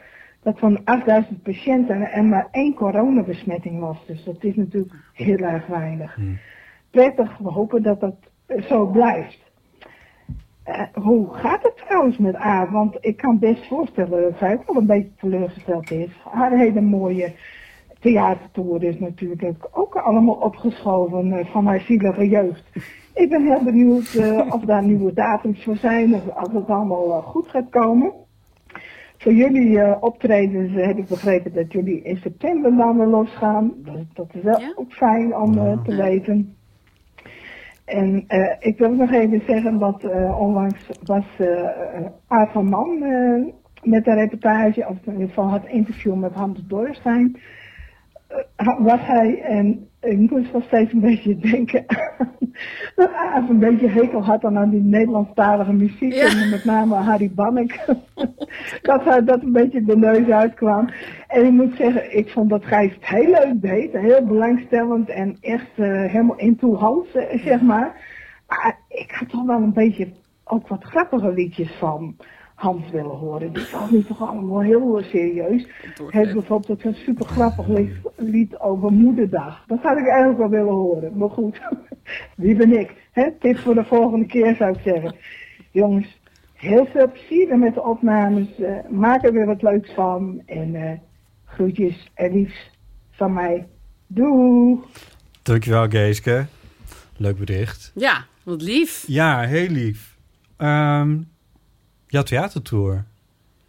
Speaker 5: dat van 8000 patiënten en maar één coronabesmetting was. Dus dat is natuurlijk heel erg weinig. Prettig, we hopen dat dat eh, zo blijft. Eh, hoe gaat het trouwens met A? Want ik kan best voorstellen dat zij ook wel een beetje teleurgesteld is. Haar hele mooie theatertour is natuurlijk ook allemaal opgeschoven eh, van haar zielige jeugd. Ik ben heel benieuwd eh, of daar nieuwe datums voor zijn, of als het allemaal eh, goed gaat komen. Voor jullie eh, optredens eh, heb ik begrepen dat jullie in september dan weer losgaan. Dat, dat is wel
Speaker 3: Ja.
Speaker 5: ook fijn om eh, te weten. En eh, ik wil ook nog even zeggen dat eh, onlangs was eh Aad van Man eh, met een reportage, of in ieder geval had interview met Hans Dorstein. Eh, was hij, en ik moest wel steeds een beetje [laughs] denken, dat Aaf een beetje hekel had dan aan die Nederlandstalige muziek.
Speaker 3: Ja.
Speaker 5: En met name Harry Bannek. [laughs] dat hij dat een beetje de neus uitkwam. En ik moet zeggen, ik vond dat Gijs het heel leuk deed. Heel belangstellend en echt eh, helemaal into Hans, eh, zeg maar. Maar ik had toch wel een beetje ook wat grappige liedjes van Hans willen horen. Die vond ik toch allemaal heel eh, serieus. Hij heeft bijvoorbeeld een super grappig lied, lied over moederdag. Dat had ik eigenlijk wel willen horen. Maar goed, [laughs] wie ben ik? Hè? Tip voor de volgende keer zou ik zeggen. Jongens, heel veel plezier met de opnames. Eh, maak er weer wat leuks van. En eh groetjes en liefs van mij. Doei!
Speaker 1: Dankjewel, Geeske. Leuk bericht.
Speaker 3: Ja, wat lief.
Speaker 1: Ja, heel lief. Ehm jouw theatertour.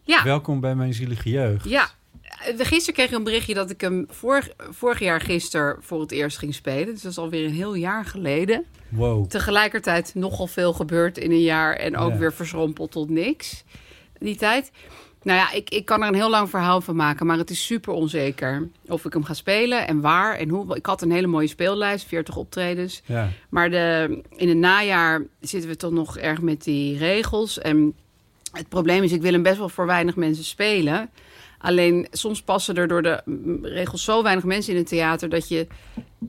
Speaker 3: Ja.
Speaker 1: Welkom bij mijn zielige jeugd.
Speaker 3: Ja. Eh, Gisteren kreeg ik een berichtje dat ik hem vorig, vorig jaar gisteren voor het eerst ging spelen. Dus dat is alweer een heel jaar geleden.
Speaker 1: Wow.
Speaker 3: Tegelijkertijd nogal veel gebeurd in een jaar en ook
Speaker 1: Ja.
Speaker 3: weer verschrompeld tot niks. Die tijd. Nou ja, ik, ik kan er een heel lang verhaal van maken, maar het is super onzeker of ik hem ga spelen en waar en hoe. Ik had een hele mooie speellijst, 40 optredens.
Speaker 1: Ja.
Speaker 3: Maar de, in het najaar zitten we toch nog erg met die regels. En het probleem is, ik wil hem best wel voor weinig mensen spelen. Alleen soms passen er door de mm, regels zo weinig mensen in het theater dat je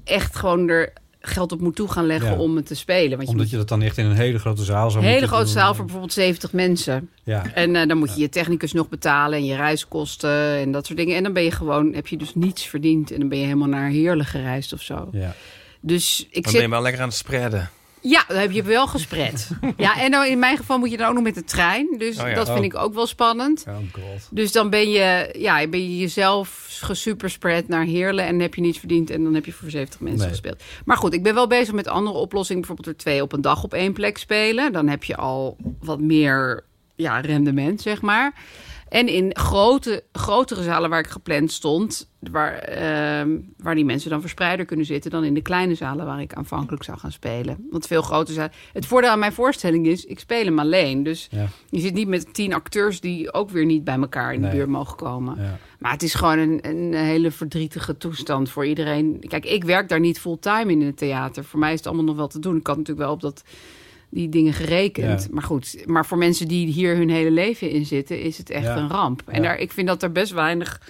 Speaker 3: echt gewoon er geld op moet toe gaan leggen
Speaker 1: Ja.
Speaker 3: om het te spelen. Want je
Speaker 1: Omdat je dat dan echt in een hele grote zaal zou
Speaker 3: een hele
Speaker 1: moeten
Speaker 3: grote
Speaker 1: doen.
Speaker 3: zaal voor bijvoorbeeld 70 mensen.
Speaker 1: Ja.
Speaker 3: En eh, dan moet je je technicus nog betalen en je reiskosten en dat soort dingen. En dan ben je gewoon, heb je dus niets verdiend. En dan ben je helemaal naar Heerlen gereisd of zo.
Speaker 1: Ja.
Speaker 3: Dus
Speaker 4: Dan
Speaker 3: ik zit
Speaker 4: ben je wel lekker aan het spreiden.
Speaker 3: ja, dan heb je wel gespret. ja, en nou, in mijn geval moet je dan ook nog met de trein. Dus
Speaker 4: Oh ja.
Speaker 3: dat vind
Speaker 1: Oh.
Speaker 3: ik ook wel spannend.
Speaker 1: Oh god.
Speaker 3: Dus dan ben je, ja, ben je jezelf gesuperspread naar Heerlen... en heb je niets verdiend en dan heb je voor 70 mensen
Speaker 1: Nee.
Speaker 3: gespeeld. Maar goed, ik ben wel bezig met andere oplossingen. Bijvoorbeeld er twee op een dag op één plek spelen. Dan heb je al wat meer ja, rendement, zeg maar. En in grote, grotere zalen waar ik gepland stond... Waar, ehm, waar die mensen dan verspreider kunnen zitten... dan in de kleine zalen waar ik aanvankelijk zou gaan spelen. Want veel grote zalen... Het voordeel aan mijn voorstelling is, ik speel hem alleen. Dus
Speaker 1: Ja.
Speaker 3: je zit niet met tien acteurs die ook weer niet bij elkaar in de
Speaker 1: Nee.
Speaker 3: buurt mogen komen.
Speaker 1: Ja.
Speaker 3: Maar het is gewoon een, een hele verdrietige toestand voor iedereen. Kijk, ik werk daar niet fulltime in het theater. Voor mij is het allemaal nog wel te doen. Ik had natuurlijk wel op dat, die dingen gerekend.
Speaker 1: Ja.
Speaker 3: Maar goed, maar voor mensen die hier hun hele leven in zitten, is het echt
Speaker 1: Ja.
Speaker 3: een ramp. En
Speaker 1: Ja.
Speaker 3: daar, ik vind dat er best weinig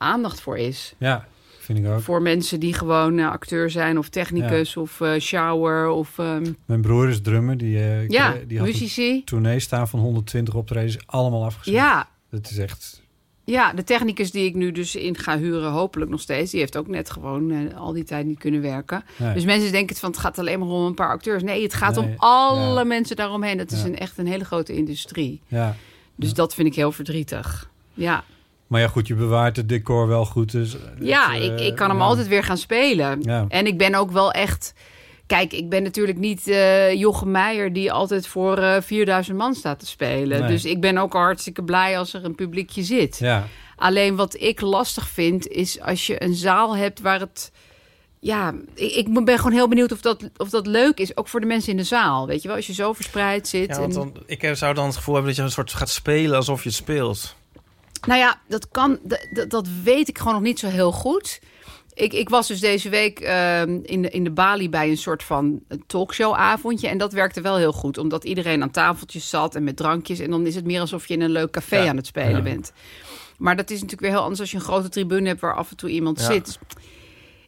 Speaker 3: aandacht voor is.
Speaker 1: ja, vind ik ook.
Speaker 3: Voor mensen die gewoon eh, acteur zijn of technicus of eh, shower of ehm,
Speaker 1: Mijn broer is drummer. Die, eh,
Speaker 3: ja,
Speaker 1: die had een
Speaker 3: muzici.
Speaker 1: tournee staan van 120 optredens. Allemaal afgezet.
Speaker 3: Ja,
Speaker 1: Dat is echt...
Speaker 3: Ja, de technicus die ik nu dus in ga huren, hopelijk nog steeds, die heeft ook net gewoon eh, al die tijd niet kunnen werken.
Speaker 1: Nee.
Speaker 3: Dus mensen denken het van het gaat alleen maar om een paar acteurs. Nee, het gaat om
Speaker 1: Nee,
Speaker 3: alle
Speaker 1: ja.
Speaker 3: mensen daaromheen. Dat is
Speaker 1: Ja.
Speaker 3: een, echt een hele grote industrie.
Speaker 1: Ja.
Speaker 3: Dus dat vind ik heel verdrietig. Ja,
Speaker 1: Maar ja, goed, je bewaart het decor wel goed. Dus
Speaker 3: ja
Speaker 1: het,
Speaker 3: ik,
Speaker 1: eh,
Speaker 3: ik kan hem
Speaker 1: ja.
Speaker 3: altijd weer gaan spelen.
Speaker 1: Ja.
Speaker 3: En ik ben ook wel echt. Kijk, ik ben natuurlijk niet eh Jochem Meijer die altijd voor eh, 4000 man staat te spelen.
Speaker 1: Nee.
Speaker 3: Dus ik ben ook hartstikke blij als er een publiekje zit.
Speaker 1: Ja,
Speaker 3: Alleen wat ik lastig vind is als je een zaal hebt waar het. Ja, ik, ik ben gewoon heel benieuwd of dat, of dat leuk is. Ook voor de mensen in de zaal. Weet je wel, als je zo verspreid zit.
Speaker 4: Ja, want
Speaker 3: en-
Speaker 4: dan, ik zou dan het gevoel hebben dat je een soort gaat spelen alsof je het speelt.
Speaker 3: Nou ja, dat kan. Dat, dat- dat weet ik gewoon nog niet zo heel goed. Ik, ik was dus deze week ehm, in, de, in de Bali bij een soort van talkshowavondje. En dat werkte wel heel goed. Omdat iedereen aan tafeltjes zat en met drankjes. En dan is het meer alsof je in een leuk café
Speaker 4: Ja.
Speaker 3: aan het spelen
Speaker 1: Ja.
Speaker 3: bent. Maar dat is natuurlijk weer heel anders als je een grote tribune hebt waar af en toe iemand
Speaker 4: Ja.
Speaker 3: zit.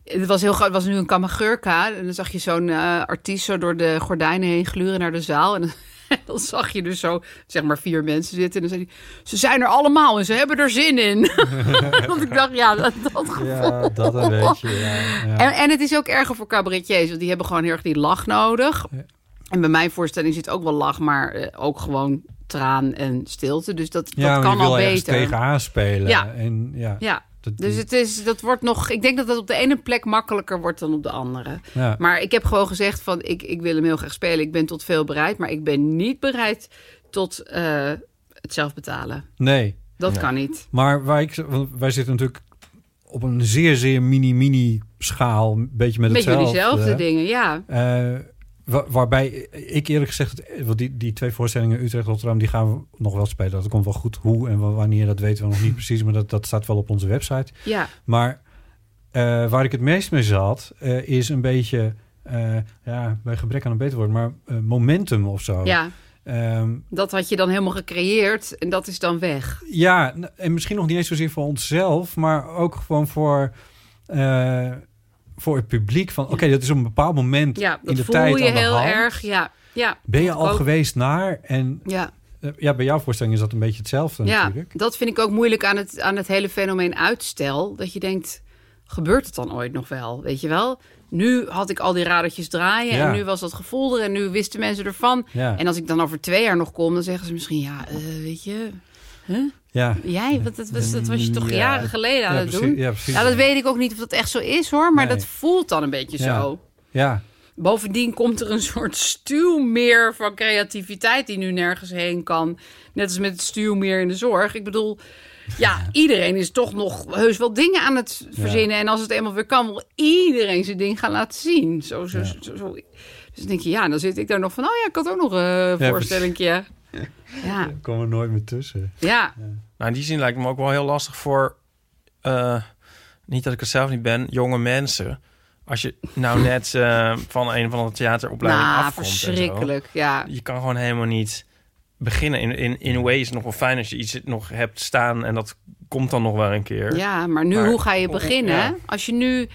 Speaker 3: Het was heel groot. Het was nu een Kamagurka. En dan zag je zo'n eh, artiest zo door de gordijnen heen gluren naar de zaal. En dan, [laughs] dan zag je dus zo, zeg maar, vier mensen zitten. En dan zei hij, ze zijn er allemaal en ze hebben er zin in. [laughs] Want ik dacht, ja, dat, dat gevoel.
Speaker 1: ja dat een beetje. Ja, ja.
Speaker 3: En, en het is ook erger voor cabaretiers, want die hebben gewoon heel erg die lach nodig.
Speaker 1: Ja.
Speaker 3: En bij mijn voorstelling zit ook wel lach, maar eh, ook gewoon traan en stilte. Dus dat,
Speaker 1: Ja,
Speaker 3: dat
Speaker 1: maar je
Speaker 3: kan
Speaker 1: wil
Speaker 3: al
Speaker 1: ergens
Speaker 3: beter.
Speaker 1: tegenaan spelen.
Speaker 3: Ja.
Speaker 1: En, ja,
Speaker 3: Ja,
Speaker 1: dat-
Speaker 3: dus het is, dat wordt nog. Ik denk dat dat op de ene plek makkelijker wordt dan op de andere.
Speaker 1: ja.
Speaker 3: Maar ik heb gewoon gezegd van ik, ik wil hem heel graag spelen. Ik ben tot veel bereid, maar ik ben niet bereid tot eh, het zelf betalen.
Speaker 1: Nee,
Speaker 3: Dat kan niet.
Speaker 1: maar waar ik, want wij zitten natuurlijk op een zeer, zeer mini-mini schaal. Een beetje met
Speaker 3: Met jullie
Speaker 1: hetzelfde.
Speaker 3: zelfde dingen, ja.
Speaker 1: Eh, wa- waarbij ik eerlijk gezegd, eh, want die, die twee voorstellingen Utrecht-Rotterdam, die gaan we nog wel spelen. Dat komt wel goed. Hoe en wa- wanneer, dat weten we nog
Speaker 3: [laughs]
Speaker 1: niet precies. Maar dat, dat staat wel op onze website.
Speaker 3: Ja,
Speaker 1: Maar eh, waar ik het meest mee zat, eh, is een beetje, eh, ja, bij gebrek aan een beter woord, maar eh, momentum of zo.
Speaker 3: ja,
Speaker 1: Ehm,
Speaker 3: dat had je dan helemaal gecreëerd en dat is dan weg.
Speaker 1: ja, n- en misschien nog niet eens zozeer voor onszelf, maar ook gewoon voor, eh, voor het publiek. Van oké, dat is op een bepaald moment
Speaker 3: Ja, dat
Speaker 1: in de
Speaker 3: voel
Speaker 1: tijd
Speaker 3: je
Speaker 1: aan de
Speaker 3: heel
Speaker 1: hand.
Speaker 3: erg. Ja, ja,
Speaker 1: Ben je al
Speaker 3: Ook-
Speaker 1: geweest naar? En
Speaker 3: ja.
Speaker 1: eh, ja, bij jouw voorstelling is dat een beetje hetzelfde
Speaker 3: ja.
Speaker 1: natuurlijk.
Speaker 3: Dat vind ik ook moeilijk aan het, aan het hele fenomeen uitstel. Dat je denkt, gebeurt het dan ooit nog wel? Weet je wel? Nu had ik al die radertjes draaien
Speaker 1: Ja.
Speaker 3: en nu was dat gevoel er en nu wisten mensen ervan.
Speaker 1: Ja,
Speaker 3: En als ik dan over twee jaar nog kom, dan zeggen ze misschien... ja, eh, weet je,
Speaker 1: ja.
Speaker 3: jij, wat, dat, was, dat was je toch
Speaker 1: Ja.
Speaker 3: jaren geleden aan
Speaker 1: ja,
Speaker 3: het
Speaker 1: precies,
Speaker 3: doen? Nou,
Speaker 1: ja, precies.
Speaker 3: Ja, dat weet ik ook niet of dat echt zo is, hoor. Maar
Speaker 1: Nee.
Speaker 3: dat voelt dan een beetje
Speaker 1: Ja.
Speaker 3: zo.
Speaker 1: Ja,
Speaker 3: Bovendien komt er een soort stuwmeer van creativiteit die nu nergens heen kan. Net als met het stuwmeer in de zorg. Ik bedoel, ja, iedereen is toch nog heus wel dingen aan het verzinnen. En als het eenmaal weer kan, wil iedereen zijn ding gaan laten zien. Zo, zo, zo, zo. Dus dan denk je, ja, dan zit ik daar nog van, oh ja, ik had ook nog een
Speaker 1: precies.
Speaker 3: voorstellingje. Ja,
Speaker 1: Ik kom er nooit meer tussen.
Speaker 3: ja.
Speaker 4: Nou, in die zin lijkt het me ook wel heel lastig voor... eh, niet dat ik het zelf niet ben, jonge mensen. Als je
Speaker 3: [laughs]
Speaker 4: nou net eh, van een van de theateropleiding
Speaker 3: Nou,
Speaker 4: afkomt en zo.
Speaker 3: verschrikkelijk. Ja.
Speaker 4: Je kan gewoon helemaal niet beginnen. In, in, in een way is het nog wel fijn als je iets nog hebt staan... en dat komt dan nog wel een keer.
Speaker 3: Ja, maar nu,
Speaker 4: Maar-
Speaker 3: hoe ga je
Speaker 4: Oh, oh,
Speaker 3: beginnen?
Speaker 4: ja.
Speaker 3: Als je nu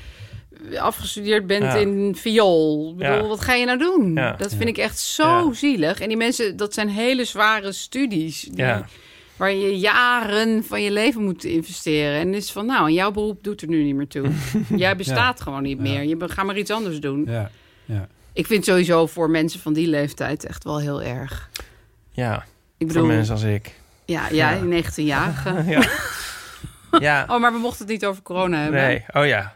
Speaker 3: afgestudeerd bent
Speaker 4: Ja.
Speaker 3: in viool, Ik bedoel,
Speaker 4: Ja.
Speaker 3: wat ga je nou doen?
Speaker 4: Ja.
Speaker 3: Dat vind ik echt zo
Speaker 4: Ja.
Speaker 3: zielig. En die mensen, dat zijn hele zware studies. Die,
Speaker 4: Ja.
Speaker 3: Waar je jaren van je leven moet investeren. En het is van, nou, en jouw beroep doet er nu niet meer
Speaker 4: [laughs]
Speaker 3: toe. Jij bestaat gewoon niet meer. Je be- ga maar iets anders doen.
Speaker 1: Ja, ja.
Speaker 3: Ik vind sowieso voor mensen van die leeftijd echt wel heel erg.
Speaker 4: ja
Speaker 3: Ik
Speaker 4: voor
Speaker 3: bedoel,
Speaker 4: mensen als [laughs] ik.
Speaker 3: ja, jij, 19-jarige. [laughs]
Speaker 4: Ja,
Speaker 3: Oh, maar we mochten het niet over corona hebben.
Speaker 4: nee. Oh ja.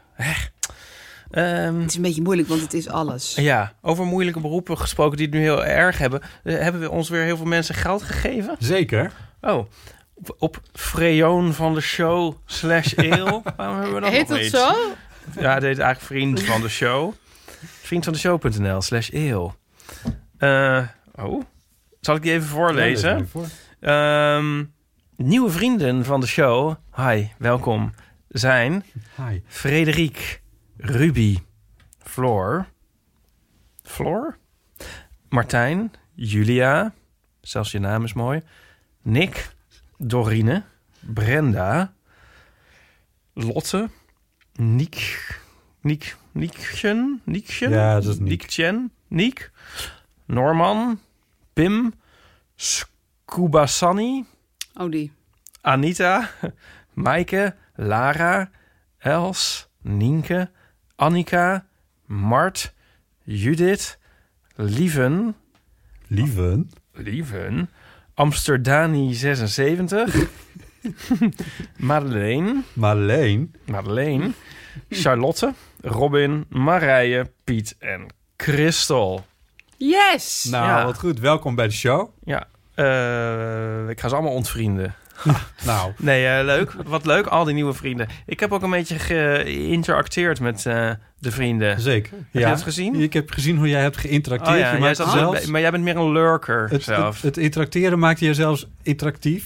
Speaker 4: Ehm,
Speaker 3: Het is een beetje moeilijk, want het is alles.
Speaker 4: ja, over moeilijke beroepen gesproken die het nu heel erg hebben. eh, hebben we ons weer heel veel mensen geld gegeven?
Speaker 1: Zeker.
Speaker 4: Oh, op, op Freon van de show slash eel. Waarom hebben we dat
Speaker 3: Heet
Speaker 4: nog
Speaker 3: dat
Speaker 4: iets?
Speaker 3: zo?
Speaker 4: Ja, het heet eigenlijk vriend van de show. Vriend van de show.nl slash eel. Eh, oh, zal ik die even voorlezen?
Speaker 1: Ja, voor.
Speaker 4: Ehm, nieuwe vrienden van de show. Hi, welkom. Zijn
Speaker 1: Hi.
Speaker 4: Frederik, Ruby, Floor, Floor, Martijn, Julia, zelfs je naam is mooi, Nick, Dorine, Brenda, Lotte, Niek, Niek, Niekchen, Niekchen,
Speaker 1: Ja, dat is Niek.
Speaker 4: Niekchen, Niek, Norman, Pim, Skubasani,
Speaker 3: Oh, die.
Speaker 4: Anita, Maaike, Lara, Els, Nienke, Annika, Mart, Judith, Lieven,
Speaker 1: Lieven.
Speaker 4: Lieven, Amsterdani76, Madeleine,
Speaker 1: Marleen.
Speaker 4: Madeleine, Charlotte, Robin, Marije, Piet en Christel.
Speaker 3: Yes!
Speaker 1: Nou,
Speaker 4: Ja.
Speaker 1: wat goed. Welkom bij de show.
Speaker 4: Ja, eh, ik ga ze allemaal ontvrienden.
Speaker 1: Nou,
Speaker 4: Nee, eh, leuk. Wat leuk, al die nieuwe vrienden. Ik heb ook een beetje geïnteracteerd met eh, de vrienden.
Speaker 1: zeker. Heb
Speaker 4: je dat gezien?
Speaker 1: Ik heb gezien hoe jij hebt geïnteracteerd.
Speaker 4: Oh ja,
Speaker 1: je
Speaker 4: jij
Speaker 1: maakt
Speaker 4: zat
Speaker 1: zelfs,
Speaker 4: maar jij bent meer een lurker
Speaker 1: het,
Speaker 4: zelf.
Speaker 1: het, het interacteren maakte je zelfs interactief.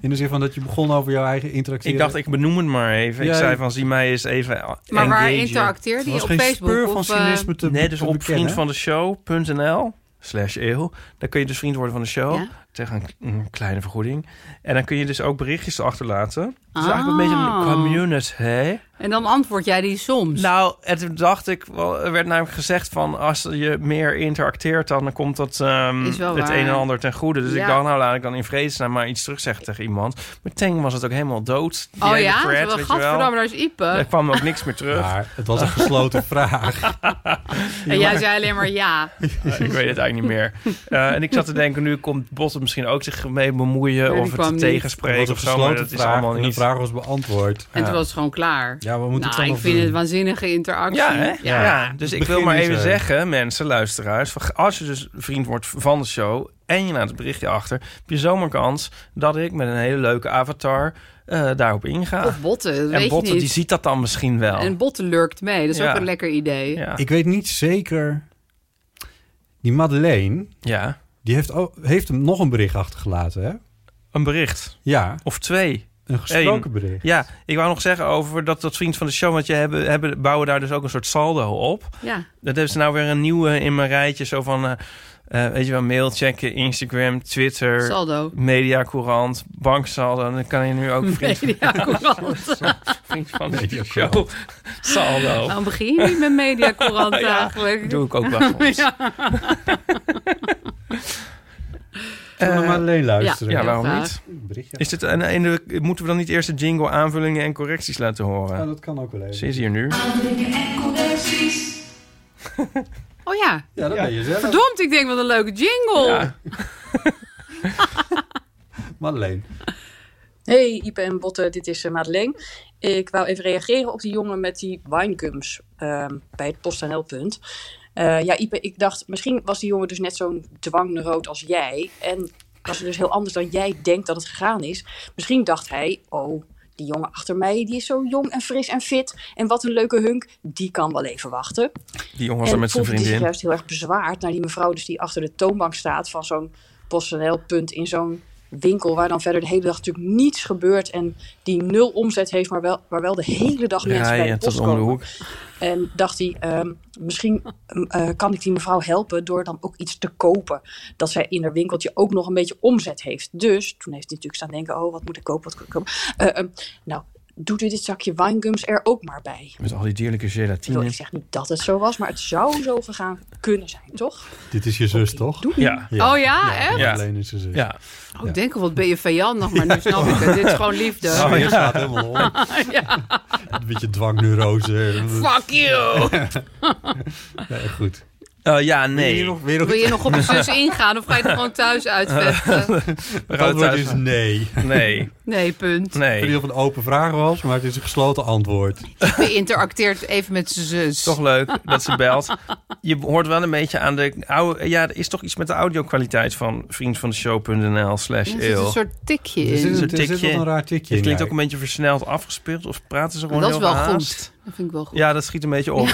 Speaker 1: In de zin van dat je begon over jouw eigen interacteren.
Speaker 4: ik dacht, ik benoem het maar even. Ik
Speaker 1: Ja,
Speaker 4: zei
Speaker 1: ik-
Speaker 4: van, zie mij eens even
Speaker 3: maar waar
Speaker 4: engagen.
Speaker 3: interacteerde
Speaker 1: Er
Speaker 3: je
Speaker 1: was
Speaker 3: op
Speaker 1: geen
Speaker 3: Facebook?
Speaker 1: speur van
Speaker 3: of, eh,
Speaker 1: cynisme te
Speaker 4: Nee, dus
Speaker 1: te
Speaker 4: op
Speaker 1: bekennen.
Speaker 4: vriendvandeshow.nl slash eeuw. Daar kun je dus vriend worden van de show.
Speaker 3: eh, Ja.
Speaker 4: Tegen een, k- een kleine vergoeding. En dan kun je dus ook berichtjes achterlaten. Het is
Speaker 3: Ah.
Speaker 4: eigenlijk een beetje een community.
Speaker 3: En dan antwoord jij die soms.
Speaker 4: Nou, en toen dacht ik, wel, er werd namelijk gezegd van als je meer interacteert, dan komt dat ehm,
Speaker 3: Is wel
Speaker 4: het
Speaker 3: waar.
Speaker 4: een en ander ten goede. Dus
Speaker 3: Ja.
Speaker 4: ik dacht, nou laat ik dan in vredesnaam maar iets terugzeggen tegen iemand. Meteen was het ook helemaal dood. Die
Speaker 3: oh
Speaker 4: hele
Speaker 3: ja?
Speaker 4: thread,
Speaker 3: Terwijl,
Speaker 4: weet je wel.
Speaker 3: Gadverdamme, daar is Ipe.
Speaker 4: Er kwam ook niks meer
Speaker 1: [laughs]
Speaker 4: terug.
Speaker 1: Maar het was een
Speaker 4: [laughs]
Speaker 1: gesloten vraag.
Speaker 3: en jij zei alleen maar ja.
Speaker 4: Eh, ik weet het eigenlijk niet meer. Eh, en ik zat te denken, nu komt Bot misschien ook zich mee bemoeien
Speaker 3: die
Speaker 4: of
Speaker 3: kwam
Speaker 4: het
Speaker 1: Het
Speaker 3: niet.
Speaker 1: was
Speaker 4: tegenspreken
Speaker 1: een
Speaker 4: of zo. Maar
Speaker 1: gesloten
Speaker 4: dat is
Speaker 1: vraag
Speaker 4: allemaal
Speaker 1: en de
Speaker 4: niet.
Speaker 1: vraag was beantwoord.
Speaker 3: En toen was het gewoon klaar.
Speaker 1: Ja, we moeten het
Speaker 3: nou,
Speaker 1: dan
Speaker 3: ik
Speaker 1: nog
Speaker 3: vind
Speaker 1: doen.
Speaker 3: het waanzinnige interactie.
Speaker 4: Ja, hè? Ja. Dus
Speaker 1: Het
Speaker 4: ik wil
Speaker 1: begin
Speaker 4: maar
Speaker 1: is
Speaker 4: even
Speaker 1: er.
Speaker 4: zeggen, mensen, luisteraars... van, als je dus vriend wordt van de show en je laat het berichtje achter... heb je zomaar kans dat ik met een hele leuke avatar eh, daarop inga.
Speaker 3: Of botten, dat
Speaker 4: en
Speaker 3: weet
Speaker 4: Botte,
Speaker 3: je
Speaker 4: die
Speaker 3: niet.
Speaker 4: ziet dat dan misschien wel.
Speaker 3: En botten lurkt mee, dat is
Speaker 4: Ja.
Speaker 3: ook een lekker idee.
Speaker 4: ja.
Speaker 1: Ik weet niet zeker. Die Madeleine,
Speaker 4: ja,
Speaker 1: die heeft, ook- heeft hem nog een bericht achtergelaten, hè?
Speaker 4: een bericht.
Speaker 1: Ja,
Speaker 4: Of twee.
Speaker 1: een gesproken
Speaker 4: Eén.
Speaker 1: bericht.
Speaker 4: Ja, ik wou nog zeggen over dat, dat vriend van de show... want je hebben, hebben, bouwen daar dus ook een soort saldo op.
Speaker 3: Ja.
Speaker 4: Dat hebben ze nou weer een nieuwe in mijn rijtje. Zo van, eh, eh, weet je wel, mail checken, Instagram, Twitter... [laughs]
Speaker 3: Saldo.
Speaker 4: Media, courant, banksaldo. En Dan kan je nu ook
Speaker 6: [laughs]
Speaker 4: vriend
Speaker 3: Mediacorant.
Speaker 4: vriend van de show.
Speaker 6: Oh.
Speaker 4: Saldo.
Speaker 3: Dan begin je niet met mediacorant
Speaker 4: Oh. [laughs] Ja,
Speaker 3: eigenlijk.
Speaker 4: Doe ik ook wel
Speaker 6: [laughs]
Speaker 4: soms. Ja,
Speaker 1: Zullen
Speaker 4: eh,
Speaker 1: we Madeleine luisteren?
Speaker 3: Ja,
Speaker 4: waarom
Speaker 3: graag.
Speaker 4: niet?
Speaker 1: Een berichtje.
Speaker 4: Is dit, en, en de- moeten we dan niet eerst de jingle aanvullingen en correcties laten
Speaker 1: Ja,
Speaker 4: horen?
Speaker 1: dat kan ook wel
Speaker 4: Ze
Speaker 1: even.
Speaker 4: is hier nu.
Speaker 3: Oh ja.
Speaker 1: Ja, dat ben je zelf.
Speaker 3: Verdomd, ik denk wat een leuke jingle.
Speaker 4: Ja.
Speaker 1: Madeleine.
Speaker 6: Hey Ipe en Botte, dit is eh, Madeleine. Ik wou even reageren op die jongen met die winegums ehm, bij het PostNL-punt. Eh, ja, Ipe, ik dacht, misschien was die jongen dus net zo'n dwangneuroot als jij. En was het dus heel anders dan jij denkt dat het gegaan is. Misschien dacht hij, oh, die jongen achter mij, die is zo jong en fris en fit. En wat een leuke hunk, die kan wel even wachten.
Speaker 4: Die jongen was er
Speaker 6: En
Speaker 4: met zijn
Speaker 6: voelde die zich
Speaker 4: vriendin.
Speaker 6: juist heel erg bezwaard naar die mevrouw dus die achter de toonbank staat van zo'n personeelpunt in zo'n winkel waar dan verder de hele dag natuurlijk niets gebeurt en die nul omzet heeft, maar wel, waar wel de hele dag mensen
Speaker 4: Ja,
Speaker 6: bij
Speaker 4: ja,
Speaker 6: de
Speaker 4: tot
Speaker 6: post
Speaker 4: om de
Speaker 6: komen.
Speaker 4: hoek.
Speaker 6: En dacht hij, ehm, misschien eh, kan ik die mevrouw helpen door dan ook iets te kopen. Dat zij in haar winkeltje ook nog een beetje omzet heeft. Dus toen heeft hij natuurlijk staan denken, oh wat moet ik kopen, wat kan ik kopen. Eh, ehm, nou, doet u dit zakje winegums er ook maar bij.
Speaker 4: Met al die dierlijke
Speaker 6: Ik wil- Ik
Speaker 4: gelatine.
Speaker 6: zeg niet dat het zo was, maar het zou zo gegaan kunnen zijn, toch?
Speaker 1: Dit is je zus, toch?
Speaker 4: Ja.
Speaker 3: Oh ja, echt?
Speaker 4: Ja.
Speaker 1: Alleen is ze zus.
Speaker 4: Ja.
Speaker 3: Oh, ik denk al, wat ben je vijandig, maar nu snap ik het. Dit is gewoon liefde.
Speaker 1: Oh, ja. staat helemaal om. [laughs] Een beetje dwangneurose.
Speaker 3: Fuck you!
Speaker 1: Ja, goed.
Speaker 4: Eh, ja, nee.
Speaker 3: Wil je nog op je zus ingaan of ga je er gewoon thuis uitvechten?
Speaker 4: We
Speaker 1: Het
Speaker 4: gaan
Speaker 1: antwoord
Speaker 4: thuis
Speaker 1: is
Speaker 4: maar-
Speaker 1: nee.
Speaker 3: [laughs]
Speaker 4: Nee,
Speaker 3: Nee, punt.
Speaker 1: Ik weet
Speaker 4: nee.
Speaker 1: niet of het een open vraag was, maar het is een gesloten antwoord.
Speaker 3: Je interacteert even met zijn zus.
Speaker 4: Toch leuk dat ze belt. Je hoort wel een beetje aan de oude... Ja, er is toch iets met de audio-kwaliteit van vriendvandeshow.nl slash
Speaker 3: Er zit een
Speaker 4: eeuw.
Speaker 3: soort tikje
Speaker 1: Er zit,
Speaker 3: in.
Speaker 4: een
Speaker 1: er zit
Speaker 4: tikje.
Speaker 1: wel een raar tikje
Speaker 4: Het
Speaker 1: in.
Speaker 4: klinkt
Speaker 1: ja.
Speaker 4: ook een beetje versneld afgespeeld. Of praten ze gewoon
Speaker 3: Dat is
Speaker 4: heel
Speaker 3: wel
Speaker 4: gehaast?
Speaker 3: goed. Dat vind ik wel goed.
Speaker 4: Ja, dat schiet een beetje op.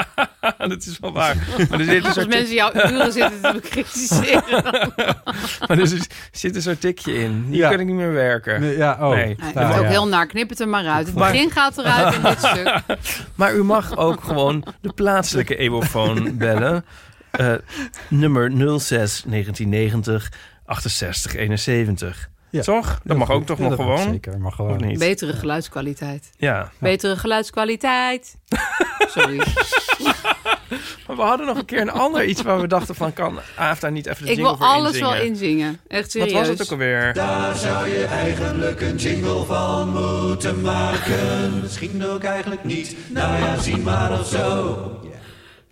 Speaker 4: [laughs] dat is wel waar. Maar er
Speaker 3: [laughs]
Speaker 4: zit een
Speaker 3: Als
Speaker 4: soort,
Speaker 3: mensen jouw uren zitten te bekritiseren.
Speaker 4: [laughs] maar er zit- zit een soort tikje in. Hier
Speaker 1: Ja.
Speaker 4: kan ik niet meer werken.
Speaker 1: Nee, ja, oh.
Speaker 4: Nee.
Speaker 3: Nee,
Speaker 1: Nou,
Speaker 3: het is ook
Speaker 1: ja.
Speaker 3: heel naar. Knip het er maar uit. Het
Speaker 4: Maar-
Speaker 3: begin gaat eruit in dit
Speaker 4: [laughs]
Speaker 3: stuk.
Speaker 4: Maar u mag ook gewoon de plaatselijke
Speaker 1: [laughs]
Speaker 4: Ebofoon bellen. Eh, nummer 06 1990 68 71.
Speaker 1: Ja.
Speaker 4: Toch? Dat
Speaker 1: Heel
Speaker 4: mag
Speaker 1: goed.
Speaker 4: ook toch
Speaker 1: Ja,
Speaker 4: nog
Speaker 1: dat mag
Speaker 4: gewoon?
Speaker 1: Zeker, mag
Speaker 4: Of
Speaker 1: gewoon.
Speaker 4: niet?
Speaker 3: Betere geluidskwaliteit.
Speaker 4: Ja.
Speaker 3: Betere
Speaker 1: [laughs]
Speaker 3: geluidskwaliteit. Sorry.
Speaker 4: Maar we hadden nog een keer een ander iets waar we dachten van... kan Afta niet even de
Speaker 3: Ik
Speaker 4: jingle
Speaker 3: wil
Speaker 4: voor
Speaker 3: alles
Speaker 4: inzingen?
Speaker 3: wel inzingen. Echt
Speaker 4: Wat
Speaker 3: serieus.
Speaker 4: was het ook alweer?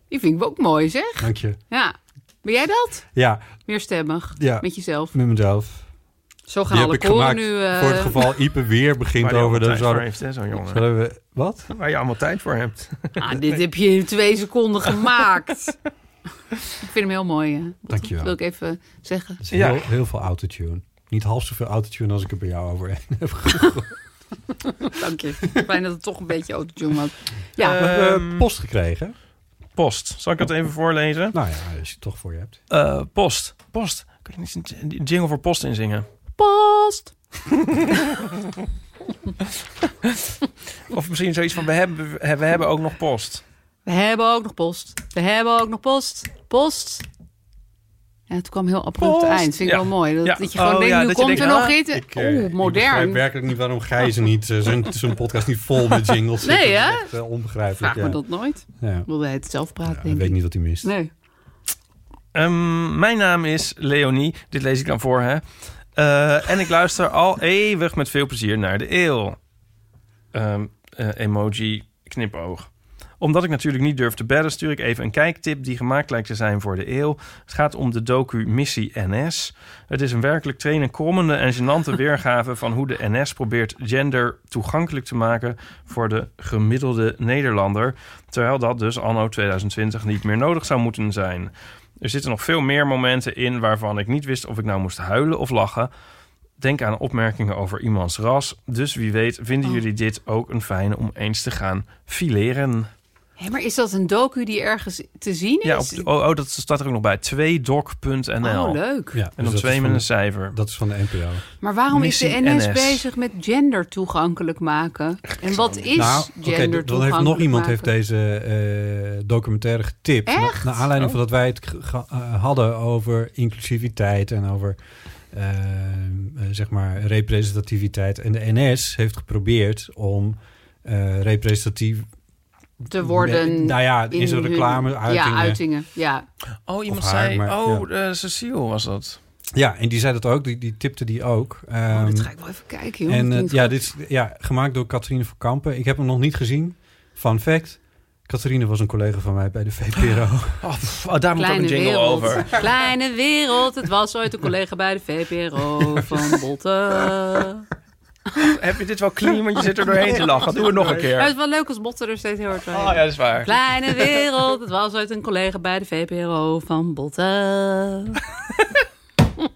Speaker 3: Die vind ik ook mooi, zeg.
Speaker 1: Dank je.
Speaker 3: Ja. Ben jij dat?
Speaker 1: Ja,
Speaker 3: Meer stemmig.
Speaker 1: Ja.
Speaker 3: met jezelf.
Speaker 1: met mezelf.
Speaker 3: Zo
Speaker 1: Die
Speaker 3: gaan
Speaker 1: heb
Speaker 3: alle
Speaker 1: ik
Speaker 3: koren
Speaker 1: gemaakt
Speaker 3: nu... eh,
Speaker 1: voor het geval Ipe weer begint
Speaker 4: Waar je
Speaker 1: over
Speaker 4: allemaal
Speaker 1: de...
Speaker 4: tijd voor
Speaker 1: Zouden,
Speaker 4: heeft, hè, zo'n jongen.
Speaker 1: zouden we... Wat?
Speaker 4: Waar je allemaal tijd voor hebt.
Speaker 3: ah, dit heb je in twee seconden gemaakt.
Speaker 1: [laughs]
Speaker 3: ik vind hem heel mooi. Hè.
Speaker 1: Dank je
Speaker 3: Dat wil
Speaker 1: wel.
Speaker 3: ik even zeggen.
Speaker 1: Het is
Speaker 4: Ja.
Speaker 1: heel, heel veel autotune. Niet half zoveel autotune als ik er bij jou overheen heb gegooid.
Speaker 3: Dank je. Fijn dat het toch een beetje autotune was. Ja.
Speaker 1: We hebben
Speaker 4: Ehm,
Speaker 1: eh, post gekregen.
Speaker 4: Post. Zal ik het even voorlezen?
Speaker 1: Nou ja, als je het toch voor je hebt.
Speaker 4: Eh, post. Post. Kan je niet een j- jingle voor post inzingen?
Speaker 3: Post.
Speaker 4: Of misschien zoiets van, we hebben, we hebben ook nog post.
Speaker 3: We hebben ook nog post. We hebben ook nog post. Post. Ja, het kwam heel abrupt
Speaker 4: Post.
Speaker 3: eind. Vind ik
Speaker 4: Ja.
Speaker 3: wel mooi. Dat,
Speaker 4: Ja.
Speaker 3: dat je gewoon
Speaker 4: Oh,
Speaker 3: denkt,
Speaker 4: ja,
Speaker 3: nu
Speaker 4: dat je
Speaker 3: komt er
Speaker 4: denkt,
Speaker 3: nog
Speaker 4: ah,
Speaker 3: iets.
Speaker 1: Ik, eh,
Speaker 3: Oeh,
Speaker 1: ik begrijp
Speaker 3: Oh, modern.
Speaker 1: werkelijk niet waarom Gijzen niet eh, zijn, zijn podcast niet vol met jingles zit.
Speaker 3: Nee,
Speaker 1: Dat is
Speaker 3: hè?
Speaker 1: echt, eh, onbegrijpelijk.
Speaker 3: Vraag
Speaker 1: Ja.
Speaker 3: me dat nooit.
Speaker 1: Ja.
Speaker 3: Wilde hij het zelf praten,
Speaker 1: Ja, ik
Speaker 3: denk
Speaker 1: weet
Speaker 3: ik.
Speaker 1: niet wat hij mist.
Speaker 3: Nee.
Speaker 4: Ehm, mijn naam is Leonie. Dit lees ik dan voor, hè. Eh, en ik luister al eeuwig met veel plezier naar de eeuw. Ehm, eh, emoji knipoog. Omdat ik natuurlijk niet durf te bellen, stuur ik even een kijktip die gemaakt lijkt te zijn voor de eeuw. Het gaat om de docu Missie NS. Het is een werkelijk trainenkomende en gênante weergave van hoe de NS probeert gender toegankelijk te maken voor de gemiddelde Nederlander. Terwijl dat dus anno 2020 niet meer nodig zou moeten zijn. Er zitten nog veel meer momenten in waarvan ik niet wist of ik nou moest huilen of lachen. Denk aan opmerkingen over iemands ras. Dus wie weet vinden jullie dit ook een fijne om eens te gaan fileren.
Speaker 3: Hé, maar is dat een docu die ergens te zien is?
Speaker 4: Ja, op, de- oh, oh, dat staat er ook nog bij. 2doc.nl.
Speaker 3: Oh, leuk.
Speaker 1: Ja,
Speaker 4: En
Speaker 1: dus
Speaker 4: dan
Speaker 1: dat
Speaker 4: twee
Speaker 1: is
Speaker 4: met
Speaker 1: van-
Speaker 4: een cijfer.
Speaker 1: Dat is van de NPO.
Speaker 3: Maar waarom is de
Speaker 4: Missie
Speaker 3: NS,
Speaker 4: NS.
Speaker 3: bezig met gender toegankelijk maken? En wat is
Speaker 1: nou,
Speaker 3: gender
Speaker 1: oké, dan- dan heeft nog
Speaker 3: toegankelijk
Speaker 1: iemand heeft
Speaker 3: maken?
Speaker 1: deze eh, documentaire getipt. Na-
Speaker 3: Echt? Oh.
Speaker 1: Naar aanleiding van dat wij het ge- ge- eh, hadden over inclusiviteit en over eh, eh, zeg maar representativiteit. En de NS heeft geprobeerd om eh, representatief
Speaker 3: te worden.
Speaker 1: Nou ja,
Speaker 3: in
Speaker 1: in zijn
Speaker 3: hun-
Speaker 1: reclame eh.
Speaker 3: Ja, uitingen. Ja.
Speaker 4: Oh, iemand
Speaker 1: Of haar,
Speaker 4: zei...
Speaker 1: maar-
Speaker 4: oh, eh, Cecile was dat.
Speaker 1: Ja, en die zei dat ook. Die, die tipte die ook.
Speaker 3: Oh, dit
Speaker 1: Ehm,
Speaker 3: ga ik wel even kijken, joh.
Speaker 1: En
Speaker 3: Dat
Speaker 1: eh,
Speaker 3: klinkt
Speaker 1: ja,
Speaker 3: goed.
Speaker 1: dit is ja, gemaakt door Catharine van Kampen. Ik heb hem nog niet gezien. Fun fact. Catharine was een collega van mij bij de
Speaker 3: [laughs]
Speaker 1: VPRO.
Speaker 4: Oh, pff, oh, daar moet ook
Speaker 3: Kleine
Speaker 4: een jingle
Speaker 3: wereld.
Speaker 4: [laughs] over.
Speaker 3: Kleine [laughs] wereld. Het was ooit een collega bij de VPRO van Botte.
Speaker 4: Heb je dit wel clean? Want je zit er doorheen te lachen. Doe het nog een
Speaker 3: Maar Oh, het
Speaker 4: keer.
Speaker 3: is wel leuk als botten er steeds heel hard bij.
Speaker 4: Oh ja, dat is waar.
Speaker 3: Kleine wereld, het was ooit een collega bij de VPRO van Botten.
Speaker 1: God,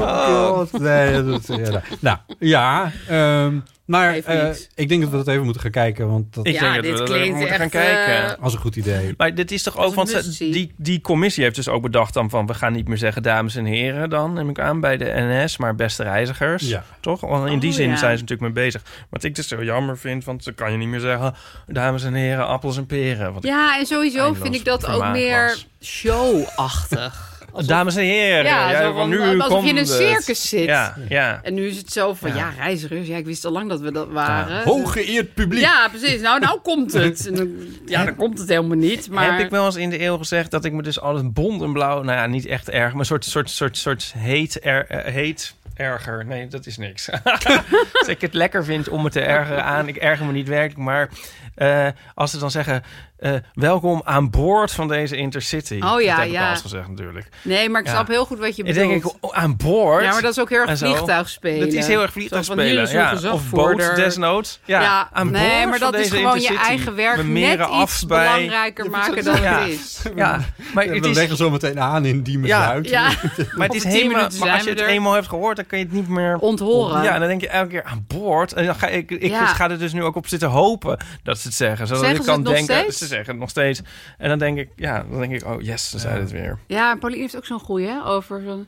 Speaker 1: Oh, [laughs] nee, dat, ja, nou, nou, ja. ehm, maar eh, ik denk dat we dat even moeten gaan kijken. Want dat
Speaker 4: Ik denk dat we dat moeten gaan kijken.
Speaker 1: als een goed idee.
Speaker 4: Maar dit is toch ook, want ze- die, die commissie heeft dus ook bedacht dan van... we gaan niet meer zeggen dames en heren dan, neem ik aan, bij de NS... maar beste reizigers,
Speaker 1: Ja.
Speaker 4: toch? Want in die
Speaker 1: Oh,
Speaker 4: zin
Speaker 1: ja.
Speaker 4: zijn ze natuurlijk mee bezig. Wat ik dus zo jammer vind, want dan kan je niet meer zeggen... dames en heren, appels en peren. Want
Speaker 3: Ja, en sowieso
Speaker 4: eindeloos
Speaker 3: vind ik dat ook
Speaker 4: vermaak
Speaker 3: meer
Speaker 4: was.
Speaker 3: showachtig.
Speaker 4: Dames en heren,
Speaker 3: Ja,
Speaker 4: ja,
Speaker 3: zo
Speaker 4: want
Speaker 3: van, eh,
Speaker 4: nu
Speaker 3: alsof je
Speaker 4: komt
Speaker 3: in een
Speaker 4: het.
Speaker 3: circus zit.
Speaker 4: Ja, ja.
Speaker 3: En nu is het zo van, ja,
Speaker 4: Ja.
Speaker 3: reizigers, ja, ik wist al lang dat we dat waren.
Speaker 4: Ja.
Speaker 1: Hooggeëerd publiek.
Speaker 3: Ja, precies. Nou, nou
Speaker 4: [laughs]
Speaker 3: komt het. En dan- Ja, dan komt het helemaal niet. Maar...
Speaker 4: Heb ik wel eens in de eeuw gezegd dat ik me dus altijd bont en blauw... nou ja, niet echt erg, maar een soort, soort, soort, soort heet, er, eh, heet erger. Nee, dat is niks. [laughs] dus ik het lekker vind om me te ergeren aan. Ik erger me niet werkelijk, maar eh, als ze dan zeggen... eh, welkom aan boord van deze Intercity.
Speaker 3: Oh ja,
Speaker 4: Dat heb ik
Speaker 3: ja.
Speaker 4: al eens gezegd natuurlijk.
Speaker 3: Nee, maar ik
Speaker 4: Ja.
Speaker 3: snap heel goed wat je
Speaker 4: Ik
Speaker 3: bedoelt.
Speaker 4: denk, ik, oh, aan boord?
Speaker 3: Ja, maar dat is ook heel erg
Speaker 4: En zo.
Speaker 3: vliegtuigspelen.
Speaker 4: Dat is heel erg
Speaker 3: Zo van, hier
Speaker 4: vliegtuigspelen.
Speaker 3: is uw
Speaker 4: Ja. Of boot,
Speaker 3: gezagvoerder.
Speaker 4: desnoods. Ja,
Speaker 3: Ja,
Speaker 4: aan
Speaker 3: nee,
Speaker 4: boord
Speaker 3: maar
Speaker 4: van
Speaker 3: dat is
Speaker 4: deze
Speaker 3: gewoon je
Speaker 4: Intercity.
Speaker 3: eigen werk
Speaker 4: We
Speaker 3: net
Speaker 4: meren
Speaker 3: iets
Speaker 4: af bij...
Speaker 3: belangrijker maken dan
Speaker 4: Ja.
Speaker 3: het is.
Speaker 4: Ja, maar
Speaker 1: En
Speaker 4: het
Speaker 1: we
Speaker 4: is
Speaker 1: leggen zo meteen aan in die besluit.
Speaker 3: Ja.
Speaker 4: Maar het
Speaker 3: Over
Speaker 4: is
Speaker 3: tien
Speaker 4: helemaal,
Speaker 3: minuten
Speaker 4: maar als je
Speaker 3: zijn
Speaker 4: het
Speaker 3: we er.
Speaker 4: eenmaal hebt gehoord, dan kun je het niet meer
Speaker 3: Onthoren.
Speaker 4: Ja, dan denk je elke keer aan boord. En dan ga ik, ik
Speaker 3: Ja.
Speaker 4: ga er dus nu ook op zitten hopen dat ze het zeggen. Zodat
Speaker 3: Zeggen
Speaker 4: ik
Speaker 3: ze
Speaker 4: kan
Speaker 3: het nog
Speaker 4: denken,
Speaker 3: steeds?
Speaker 4: ze zeggen het nog steeds. En dan denk ik, ja, dan denk ik, oh yes, ze zeiden het weer.
Speaker 3: Ja, en Pauline heeft ook zo'n goeie hè, over zo'n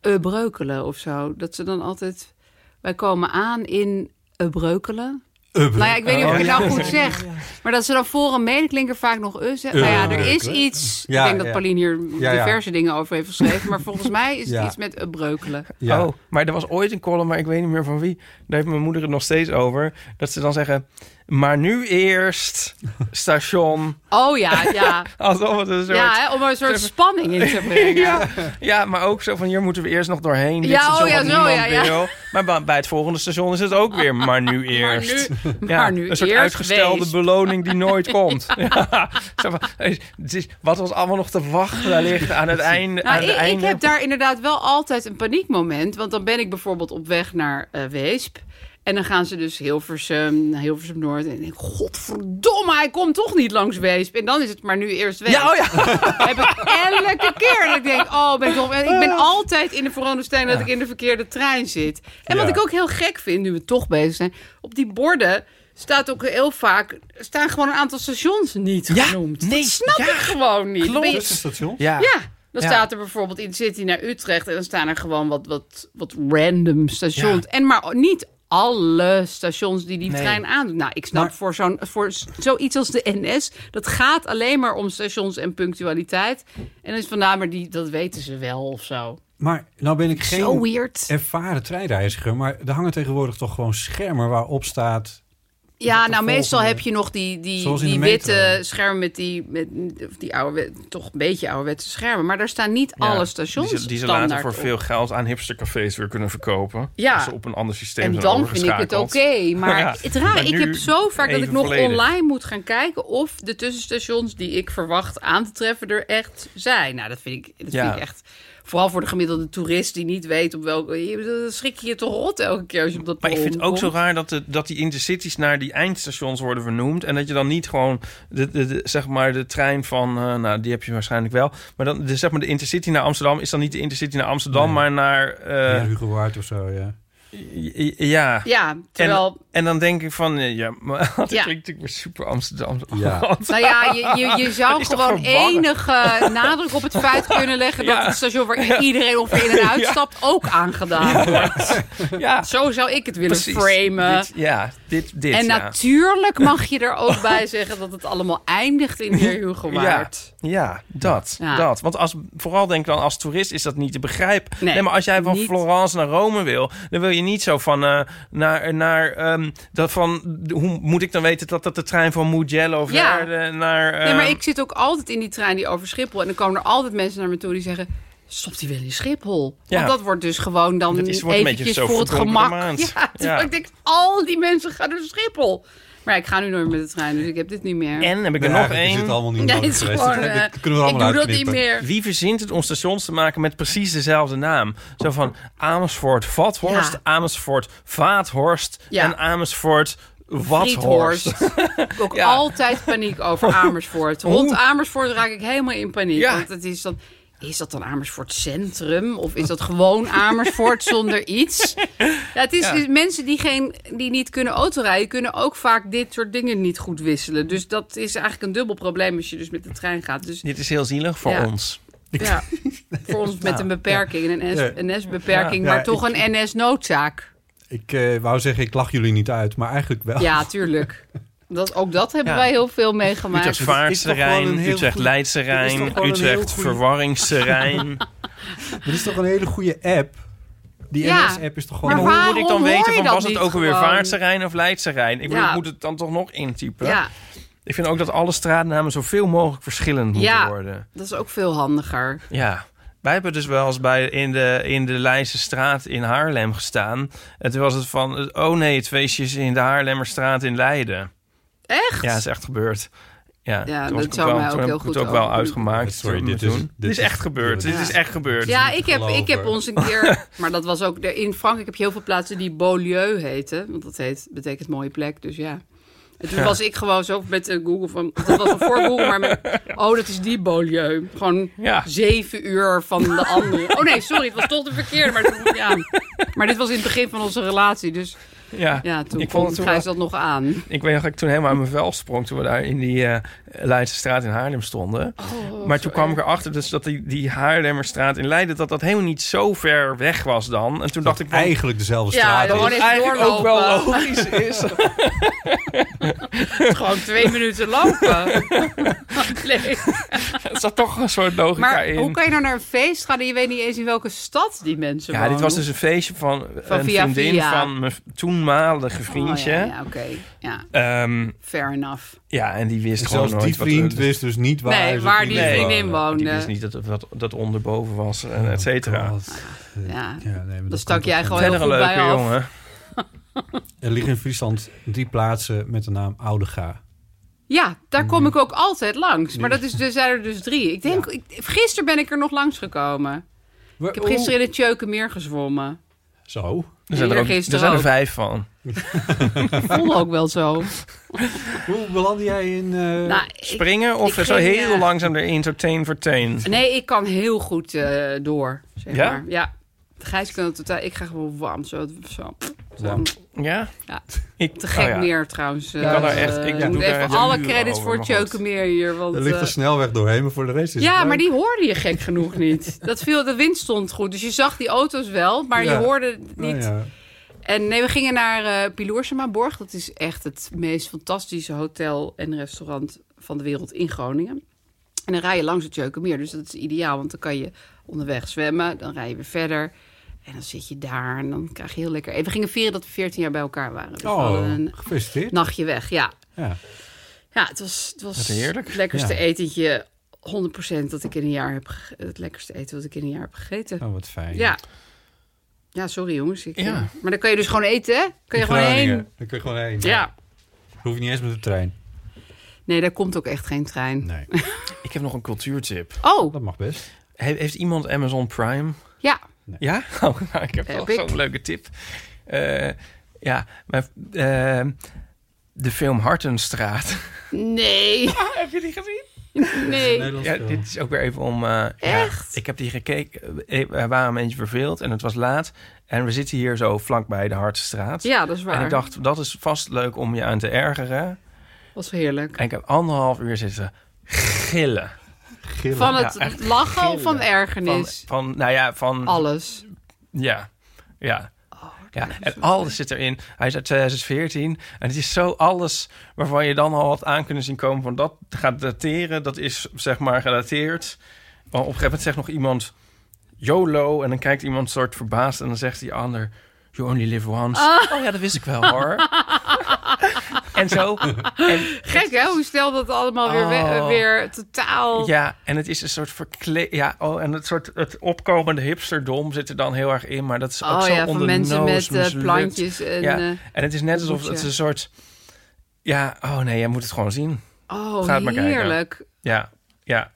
Speaker 3: eh, breukelen of zo. Dat ze dan altijd... Wij komen aan in eh, breukelen.
Speaker 1: Eh, Breukelen.
Speaker 3: Nou ja, ik weet niet of ik het
Speaker 1: Oh,
Speaker 3: nou
Speaker 1: ja.
Speaker 3: goed zeg. Maar dat ze dan voor een medeklinker vaak nog eh zeggen. Nou ja, er is
Speaker 1: Breukelen.
Speaker 3: iets...
Speaker 1: Ja,
Speaker 3: ik denk dat
Speaker 1: ja.
Speaker 3: Pauline hier
Speaker 1: Ja, ja.
Speaker 3: diverse dingen over heeft geschreven. Maar volgens mij is het
Speaker 4: Ja.
Speaker 3: iets met eh, breukelen.
Speaker 4: Oh, maar er was ooit een column, maar ik weet niet meer van wie. Daar heeft mijn moeder het nog steeds over. Dat ze dan zeggen, maar nu eerst station. [laughs]
Speaker 3: Oh ja, ja.
Speaker 4: Alsof het [laughs] een soort...
Speaker 3: Ja, hè, om er een
Speaker 4: [laughs]
Speaker 3: soort
Speaker 4: Zeg-
Speaker 3: spanning in te brengen.
Speaker 4: ja, eh, ja, maar ook zo van hier moeten we eerst nog doorheen. Dit
Speaker 3: Ja,
Speaker 4: station
Speaker 3: oh ja,
Speaker 4: wat
Speaker 3: zo,
Speaker 4: niemand
Speaker 3: ja, ja.
Speaker 4: wil. Maar ba- bij het volgende station is het ook weer, maar nu eerst. ja,
Speaker 3: maar nu
Speaker 4: een soort
Speaker 3: eerst
Speaker 4: uitgestelde
Speaker 3: wees.
Speaker 4: beloning die
Speaker 3: [laughs]
Speaker 4: nooit komt. Ja. Zo van, hey, het is- wat ons allemaal nog te wachten wellicht aan het einde. aan
Speaker 3: Nou,
Speaker 4: het
Speaker 3: ik, ik
Speaker 4: einde.
Speaker 3: heb daar inderdaad wel altijd een paniekmoment. Want dan ben ik bijvoorbeeld op weg naar eh, Weesp. En dan gaan ze dus Hilversum, naar Hilversum Noord. En ik denk, godverdomme, hij komt toch niet langs Weesp. En dan is het maar nu eerst Weesp.
Speaker 4: Ja, oh ja.
Speaker 3: heb ik elke keer. Dat ik denk, oh, ben ik dom. En ik ben altijd in de veronderstelling dat ik in de verkeerde trein zit. En wat
Speaker 7: Ja.
Speaker 3: ik ook heel gek vind, nu we toch bezig zijn. Op die borden staat ook heel vaak... staan gewoon een aantal stations niet genoemd. Nee, dat snap ik gewoon niet. Dan ben je-
Speaker 1: station?
Speaker 3: ja. Dan staat er bijvoorbeeld in City naar Utrecht en dan staan er gewoon wat, wat, wat random stations. En maar niet alle stations die die
Speaker 7: Nee.
Speaker 3: trein aandoen. Nou, ik snap voor, zo'n, voor s- zoiets als de NS, dat gaat alleen maar om stations en punctualiteit. En dan is van, nou, maar die, dat weten ze wel of zo.
Speaker 1: Maar nou ben ik geen
Speaker 3: Zo weird.
Speaker 1: ervaren treinreiziger, maar er hangen tegenwoordig toch gewoon schermen waarop staat...
Speaker 3: Ja, nou
Speaker 1: volgende-
Speaker 3: meestal heb je nog die, die,
Speaker 1: Zoals in
Speaker 3: die
Speaker 1: de metro.
Speaker 3: witte schermen met die, met, of die oude, toch een beetje ouderwetse schermen. Maar daar staan niet
Speaker 4: Ja,
Speaker 3: alle stations
Speaker 4: Die ze, die ze
Speaker 3: standaard
Speaker 4: later voor
Speaker 3: op.
Speaker 4: veel geld aan hipstercafés weer kunnen verkopen.
Speaker 3: Ja.
Speaker 4: Als ze op een ander systeem
Speaker 3: En
Speaker 4: zijn
Speaker 3: dan vind ik het oké.
Speaker 4: overgeschakeld. [laughs]
Speaker 3: maar
Speaker 4: Ja.
Speaker 3: het raar,
Speaker 4: Maar
Speaker 3: ik
Speaker 4: nu
Speaker 3: heb zo vaak dat ik
Speaker 4: even
Speaker 3: nog
Speaker 4: volledig.
Speaker 3: online moet gaan kijken of de tussenstations die ik verwacht aan te treffen er echt zijn. Nou, dat vind ik, dat
Speaker 4: Ja.
Speaker 3: vind ik echt. Vooral voor de gemiddelde toerist die niet weet op welke. je- Dan schrik je je toch rot elke keer als je op dat
Speaker 4: Maar ik vind het
Speaker 3: perron
Speaker 4: ook zo
Speaker 3: komt.
Speaker 4: raar dat, de, dat die intercities naar die eindstations worden vernoemd. En dat je dan niet gewoon, de, de, de- zeg maar, de trein van, eh, nou, die heb je waarschijnlijk wel. Maar dan, de, zeg maar, de intercity naar Amsterdam is dan niet de intercity naar Amsterdam, maar naar... eh,
Speaker 1: Ja, Hugo Waard of zo, ja.
Speaker 4: j- ja.
Speaker 3: Ja, terwijl-
Speaker 4: En, en dan denk ik van, eh, ja, maar [laughs] dat
Speaker 3: Ja.
Speaker 4: klinkt natuurlijk weer super Amsterdam.
Speaker 1: Ja.
Speaker 3: Nou ja, je, je, je
Speaker 4: Dat [laughs]
Speaker 3: zou
Speaker 4: is toch
Speaker 3: gewoon
Speaker 4: verwarrend?
Speaker 3: enige nadruk op het feit kunnen leggen dat
Speaker 4: Ja.
Speaker 3: het station waar iedereen ongeveer in en uitstapt ook aangedaan wordt.
Speaker 4: [laughs] Ja.
Speaker 3: Zo zou ik het willen
Speaker 4: Precies.
Speaker 3: framen.
Speaker 4: Dit- ja, dit, dit,
Speaker 3: en
Speaker 4: ja.
Speaker 3: natuurlijk mag je er
Speaker 4: [laughs]
Speaker 3: ook bij zeggen dat het allemaal eindigt in Heer Hugo Waard.
Speaker 4: Ja, ja dat,
Speaker 3: Ja.
Speaker 4: dat. Want als, vooral denk ik dan als toerist is dat niet te begrijpen.
Speaker 3: Nee,
Speaker 4: Nee, maar als jij van
Speaker 3: niet.
Speaker 4: Florence naar Rome wil... dan wil je niet zo van... eh, naar, naar ehm, dat van de- hoe moet ik dan weten dat dat de trein van Mugello
Speaker 3: Ja.
Speaker 4: Verde naar...
Speaker 3: nee, maar
Speaker 4: ehm,
Speaker 3: ik zit ook altijd in die trein die over Schiphol. En dan komen er altijd mensen naar me toe die zeggen... Stop die wel in Schiphol.
Speaker 4: Ja.
Speaker 3: Want dat wordt dus gewoon dan
Speaker 4: Dat is- wordt een beetje
Speaker 3: eventjes
Speaker 4: zo
Speaker 3: voor het [laughs]
Speaker 4: verdonkerde
Speaker 3: gemak.
Speaker 4: maand.
Speaker 3: Ja, terwijl
Speaker 4: Ja.
Speaker 3: ik denk, al die mensen gaan naar Schiphol. Maar ja, ik ga nu nooit met de trein, dus ik heb dit niet meer.
Speaker 4: En heb ik er nog één?
Speaker 1: Is het allemaal niet
Speaker 3: Nee,
Speaker 1: nodig
Speaker 3: het is
Speaker 1: geweest. [laughs]
Speaker 3: gewoon,
Speaker 1: Dit-
Speaker 3: eh,
Speaker 1: dit kunnen we
Speaker 3: ik
Speaker 1: allemaal
Speaker 3: doe dat niet
Speaker 1: uitknippen.
Speaker 3: meer.
Speaker 4: Wie verzint het om stations te maken met precies dezelfde naam? Zo van Amersfoort Vathorst,
Speaker 3: Ja.
Speaker 4: Amersfoort Vaathorst
Speaker 3: Ja.
Speaker 4: en Amersfoort Wathorst.
Speaker 3: [laughs] Ik ook altijd paniek over Amersfoort. Rond Amersfoort raak ik helemaal in paniek.
Speaker 4: Ja.
Speaker 3: Want het is dan... Is dat dan Amersfoort Centrum? Of is dat gewoon Amersfoort zonder iets? Ja, het is, dus Mensen die, geen, die niet kunnen autorijden... kunnen ook vaak dit soort dingen niet goed wisselen. Dus dat is eigenlijk een dubbel probleem... als je dus met de trein gaat. Dus
Speaker 4: Dit is heel zielig voor
Speaker 3: Ja.
Speaker 4: ons.
Speaker 3: ja, voor ons met een beperking. Een NS, NS-beperking,
Speaker 1: Ja.
Speaker 3: maar
Speaker 1: Ja,
Speaker 3: toch
Speaker 1: ik-
Speaker 3: een NS-noodzaak.
Speaker 1: Ik eh, wou zeggen, ik lach jullie niet uit, maar eigenlijk [laughs] wel.
Speaker 3: Ja, tuurlijk. Dat, ook dat hebben
Speaker 4: Ja.
Speaker 3: wij heel veel meegemaakt.
Speaker 4: Utrecht Vaartse
Speaker 1: toch gewoon een
Speaker 4: Rijn,
Speaker 1: heel
Speaker 4: Utrecht
Speaker 1: goeie-
Speaker 4: Leidse
Speaker 1: dit is toch
Speaker 4: Rijn,
Speaker 1: gewoon een heel
Speaker 4: Utrecht
Speaker 1: goeie-
Speaker 4: Verwarringse
Speaker 3: [laughs]
Speaker 4: Rijn.
Speaker 1: Er is toch een hele goede app? Die
Speaker 3: Ja.
Speaker 1: NS-app is toch
Speaker 3: Maar
Speaker 1: gewoon...
Speaker 4: Hoe moet ik dan
Speaker 3: Waarom hoor
Speaker 4: weten
Speaker 3: je
Speaker 4: van
Speaker 3: dat
Speaker 4: was het
Speaker 3: niet
Speaker 4: ook alweer
Speaker 3: gewoon?
Speaker 4: Vaartse Rijn of Leidse Rijn? Ik, bedoel,
Speaker 3: Ja.
Speaker 4: ik moet het dan toch nog intypen.
Speaker 3: Ja,
Speaker 4: Ik vind ook dat alle straatnamen zoveel mogelijk verschillend moeten
Speaker 3: Ja.
Speaker 4: worden.
Speaker 3: dat is ook veel handiger.
Speaker 4: Ja. Wij hebben dus wel eens bij, in, de, in de Leidse straat in Haarlem gestaan. En toen was het van, oh nee, het feestje is in de Haarlemmerstraat in Leiden.
Speaker 3: Echt?
Speaker 4: Ja, is echt gebeurd. Ja,
Speaker 3: Ja,
Speaker 4: toen was
Speaker 3: dat
Speaker 4: ik
Speaker 3: zou
Speaker 4: ook wel-
Speaker 3: mij ook
Speaker 4: toen heb
Speaker 3: heel
Speaker 4: ik het
Speaker 3: goed
Speaker 4: ook wel
Speaker 3: overkomen.
Speaker 4: uitgemaakt.
Speaker 1: Sorry,
Speaker 4: Toen
Speaker 1: dit
Speaker 4: we
Speaker 1: is-
Speaker 4: toen-
Speaker 1: dit
Speaker 4: dit is
Speaker 1: is-
Speaker 4: echt gebeurd. Dit
Speaker 1: Ja.
Speaker 4: is echt gebeurd.
Speaker 3: Ja, ik heb,
Speaker 1: geloven.
Speaker 3: ik heb ons een
Speaker 4: [laughs]
Speaker 3: keer... Maar dat was ook... de- In Frankrijk heb je heel veel plaatsen die Beaulieu heten. Want dat heet, betekent mooie plek, dus ja. En toen was ik gewoon zo met eh, Google van... Dat was al voor Google, maar met...
Speaker 4: [laughs]
Speaker 3: Oh, dat is die Beaulieu. Gewoon
Speaker 4: Ja.
Speaker 3: zeven uur van de andere. Oh nee, sorry, het was toch de verkeerde. Maar, toen- ja. maar dit was in het begin van onze relatie. Dus
Speaker 4: Ja,
Speaker 3: ja, toen
Speaker 4: ik
Speaker 3: ik
Speaker 4: vond het toen wel-
Speaker 3: dat nog aan.
Speaker 4: Ik weet nog dat ik toen helemaal aan mijn vel sprong toen we daar in die eh Leidse straat in Haarlem stonden.
Speaker 3: Oh,
Speaker 4: maar toen kwam ik erachter dus dat die, die Haarlemmerstraat in Leiden, dat dat helemaal niet zo ver weg was dan. En toen dacht ik, van,
Speaker 1: Eigenlijk dezelfde
Speaker 3: Ja,
Speaker 1: straat.
Speaker 3: dat
Speaker 1: is.
Speaker 3: gewoon
Speaker 4: dat
Speaker 3: even
Speaker 4: eigenlijk ook wel
Speaker 3: doorlopen.
Speaker 4: logisch [laughs] is.
Speaker 3: Gewoon twee minuten
Speaker 4: [laughs]
Speaker 3: lopen. Nee.
Speaker 4: er zat toch een soort logica
Speaker 3: Maar
Speaker 4: in.
Speaker 3: hoe kan je nou naar een feest gaan en je weet niet eens in welke stad die mensen
Speaker 4: ja,
Speaker 3: wonen?
Speaker 4: dit was dus een feestje van,
Speaker 3: Van
Speaker 4: een
Speaker 3: via
Speaker 4: vriendin
Speaker 3: via.
Speaker 4: van mijn toenmalige vriendje.
Speaker 3: Oh, ja,
Speaker 4: Ehm,
Speaker 3: ja, oké. Ja,
Speaker 4: ja.
Speaker 3: fair enough.
Speaker 4: en die wist
Speaker 1: Dus
Speaker 4: gewoon
Speaker 1: zelfs
Speaker 4: nooit
Speaker 1: die
Speaker 4: wat
Speaker 1: vriend
Speaker 4: er-
Speaker 1: wist dus niet waar,
Speaker 3: Nee,
Speaker 1: ze
Speaker 3: waar die
Speaker 1: woonde.
Speaker 3: vriendin
Speaker 1: Oh,
Speaker 3: woonde.
Speaker 4: Die wist niet dat, dat, dat onderboven was, en et cetera.
Speaker 1: God. Eh,
Speaker 3: Ja.
Speaker 1: nee, maar dat
Speaker 3: Dan stak
Speaker 1: kan
Speaker 3: jij
Speaker 1: toch
Speaker 3: gewoon
Speaker 1: niet?
Speaker 4: Verder een
Speaker 3: Heel goed bij
Speaker 4: leuke
Speaker 3: af.
Speaker 4: jongen.
Speaker 1: Er liggen in Friesland drie plaatsen met de naam Oudega.
Speaker 3: Ja, daar
Speaker 4: Mm.
Speaker 3: kom ik ook altijd langs. Maar dat is, er zijn er dus drie. Ik denk, ik, gisteren ben ik er nog langs gekomen. Ik heb gisteren in het Tjeukenmeer gezwommen.
Speaker 1: Zo.
Speaker 4: Er zijn er, ook, er
Speaker 3: Eergisteren
Speaker 4: zijn er
Speaker 3: ook.
Speaker 4: vijf van.
Speaker 3: Voelde ook wel
Speaker 4: [laughs]
Speaker 3: zo.
Speaker 1: Hoe belandde jij in... eh,
Speaker 3: Nou, ik-
Speaker 4: springen of
Speaker 3: ik
Speaker 4: zo
Speaker 3: ging,
Speaker 4: heel
Speaker 3: eh,
Speaker 4: langzaam erin, zo teen voor teen?
Speaker 3: Nee, ik kan heel goed eh, door, zeg
Speaker 4: Ja?
Speaker 3: maar. Ja. Gijs kan het totaal... Ik ga gewoon warm, zo. zo, zo.
Speaker 1: Wam.
Speaker 4: Ja?
Speaker 3: Ja.
Speaker 4: Ik,
Speaker 3: Te gek
Speaker 4: oh ja.
Speaker 3: meer trouwens. eh, Ik
Speaker 4: kan daar echt- ik doe
Speaker 3: moet
Speaker 4: daar
Speaker 3: even
Speaker 4: echt
Speaker 3: alle
Speaker 4: uren
Speaker 3: credits
Speaker 4: over,
Speaker 3: voor
Speaker 4: maar
Speaker 3: het Tjeukenmeer hier. Want,
Speaker 1: Er ligt
Speaker 3: eh,
Speaker 1: een snelweg doorheen, maar voor de rest is het
Speaker 3: ja,
Speaker 1: leuk.
Speaker 3: maar die hoorde je gek genoeg niet. Dat viel, de wind stond goed. Dus je zag die auto's wel, maar
Speaker 1: Ja.
Speaker 3: je hoorde het niet.
Speaker 1: Nou ja.
Speaker 3: En nee, we gingen naar eh Piloorsemaborg. Dat is echt het meest fantastische hotel en restaurant van de wereld in Groningen. En dan rij je langs het Jeukenmeer. Dus dat is ideaal, want dan kan je onderweg zwemmen. Dan rij je weer verder. En dan zit je daar en dan krijg je heel lekker... En we gingen vieren dat we 14 jaar bij elkaar waren. Dus we hadden
Speaker 1: Oh,
Speaker 3: een Nou.
Speaker 1: gefeliciteerd.
Speaker 3: nachtje weg, ja.
Speaker 1: Ja.
Speaker 3: Ja, het was, het was
Speaker 4: Wat heerlijk.
Speaker 3: het lekkerste
Speaker 1: Ja.
Speaker 3: etentje. 100% dat ik in een jaar heb... gege- Het lekkerste eten dat ik in een jaar heb gegeten.
Speaker 1: Oh, wat fijn.
Speaker 3: Ja. Ja, sorry jongens. Ik,
Speaker 4: Ja.
Speaker 3: eh, Maar dan kan je dus gewoon eten, hè? Kan
Speaker 1: In
Speaker 3: je gewoon
Speaker 1: Groningen.
Speaker 3: heen.
Speaker 1: Daar kun je gewoon heen.
Speaker 3: Ja.
Speaker 1: Dan Hoef je niet eens met de trein.
Speaker 3: Nee, daar komt ook echt geen trein.
Speaker 1: Nee,
Speaker 4: Ik heb nog een cultuurtip.
Speaker 3: Oh,
Speaker 1: dat mag best.
Speaker 4: He- heeft iemand Amazon Prime?
Speaker 3: ja.
Speaker 4: Ja? [laughs] Oh, nou, ik heb wel
Speaker 3: Heb ik.
Speaker 4: zo'n leuke tip. Eh, ja, maar, eh, de film Hartenstraat. [laughs]
Speaker 3: Nee,
Speaker 4: Ah, heb je die gezien?
Speaker 3: nee.
Speaker 1: Nederlands
Speaker 4: Ja, dit is ook weer even om... eh, ja,
Speaker 3: Echt?
Speaker 4: ik heb die gekeken. Eh, We waren een beetje verveeld en het was laat. En we zitten hier zo vlakbij de Hartenstraat.
Speaker 3: Ja, dat is waar.
Speaker 4: En ik dacht, dat is vast leuk om je aan te ergeren.
Speaker 3: was heerlijk.
Speaker 4: En ik heb anderhalf uur zitten gillen.
Speaker 1: Gillen.
Speaker 3: Van
Speaker 4: Ja,
Speaker 3: het
Speaker 4: echt
Speaker 3: lachen of van
Speaker 4: Van,
Speaker 3: ergernis?
Speaker 4: van, nou ja, van...
Speaker 3: Alles.
Speaker 4: Ja, ja. ja. En alles zit erin. Hij is uit 2014. En het is zo alles waarvan je dan al had aan kunnen zien komen... van dat gaat dateren, dat is zeg maar gedateerd. Maar op een gegeven moment zegt nog iemand YOLO... en dan kijkt iemand soort verbaasd en dan zegt die ander... You only live once. Oh ja, dat wist ik wel hoor. [laughs] en zo. En
Speaker 3: Gek hè, hoe stel dat allemaal weer,
Speaker 4: Oh.
Speaker 3: we- weer totaal...
Speaker 4: Ja, en het is een soort verkleed. Ja, oh, en het soort het opkomende hipsterdom zit er dan heel erg in, maar dat is ook
Speaker 3: Oh
Speaker 4: zo
Speaker 3: ja, van
Speaker 4: onder de
Speaker 3: mensen
Speaker 4: noos
Speaker 3: met eh,
Speaker 4: mislukt.
Speaker 3: plantjes en...
Speaker 4: ja,
Speaker 3: eh,
Speaker 4: en het is net alsof
Speaker 3: hoedje.
Speaker 4: het een soort Ja, oh nee, jij moet het gewoon zien.
Speaker 3: Oh,
Speaker 4: Ga het maar kijken.
Speaker 3: heerlijk.
Speaker 4: Ja, ja.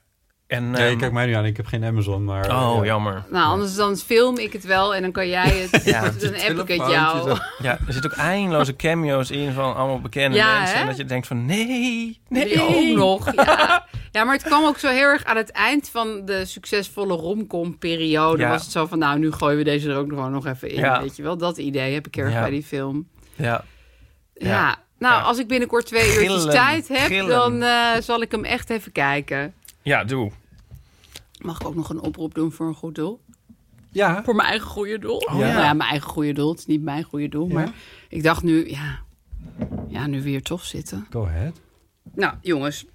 Speaker 4: En,
Speaker 1: Nee,
Speaker 4: ehm,
Speaker 1: kijk mij nu aan. Ik heb geen Amazon, maar... eh,
Speaker 4: Oh,
Speaker 1: ja.
Speaker 4: jammer.
Speaker 3: Nou, anders dan film ik het wel en dan kan jij het.
Speaker 4: Ja.
Speaker 3: dan
Speaker 1: Je
Speaker 3: app ik het
Speaker 1: telefoontje
Speaker 3: jou.
Speaker 1: zo.
Speaker 4: Ja, er zitten ook eindeloze cameo's in van allemaal bekende
Speaker 3: Ja,
Speaker 4: mensen.
Speaker 3: hè?
Speaker 4: En dat je denkt van, nee, nee.
Speaker 3: Die ook
Speaker 4: [laughs]
Speaker 3: nog. Ja. ja, maar het kwam ook zo heel erg aan het eind van de succesvolle romcom-periode.
Speaker 4: Ja.
Speaker 3: Was het zo van, nou, nu gooien we deze er ook gewoon nog even in.
Speaker 4: Ja.
Speaker 3: Weet je wel, dat idee heb ik erg
Speaker 4: Ja.
Speaker 3: bij die film.
Speaker 4: Ja.
Speaker 3: Ja. Nou, als ik binnenkort twee uurtjes
Speaker 4: Gillen,
Speaker 3: tijd heb,
Speaker 4: gillen.
Speaker 3: dan eh, zal ik hem echt even kijken.
Speaker 4: ja, doe.
Speaker 3: Mag ik ook nog een oproep doen voor een goed doel?
Speaker 1: Ja.
Speaker 3: Voor mijn eigen goede doel?
Speaker 1: ja.
Speaker 3: Nou ja, mijn eigen goede doel. Het is niet mijn goede doel, maar ik dacht nu, ja, ja, nu weer toch zitten.
Speaker 1: Go ahead.
Speaker 3: Nou, jongens.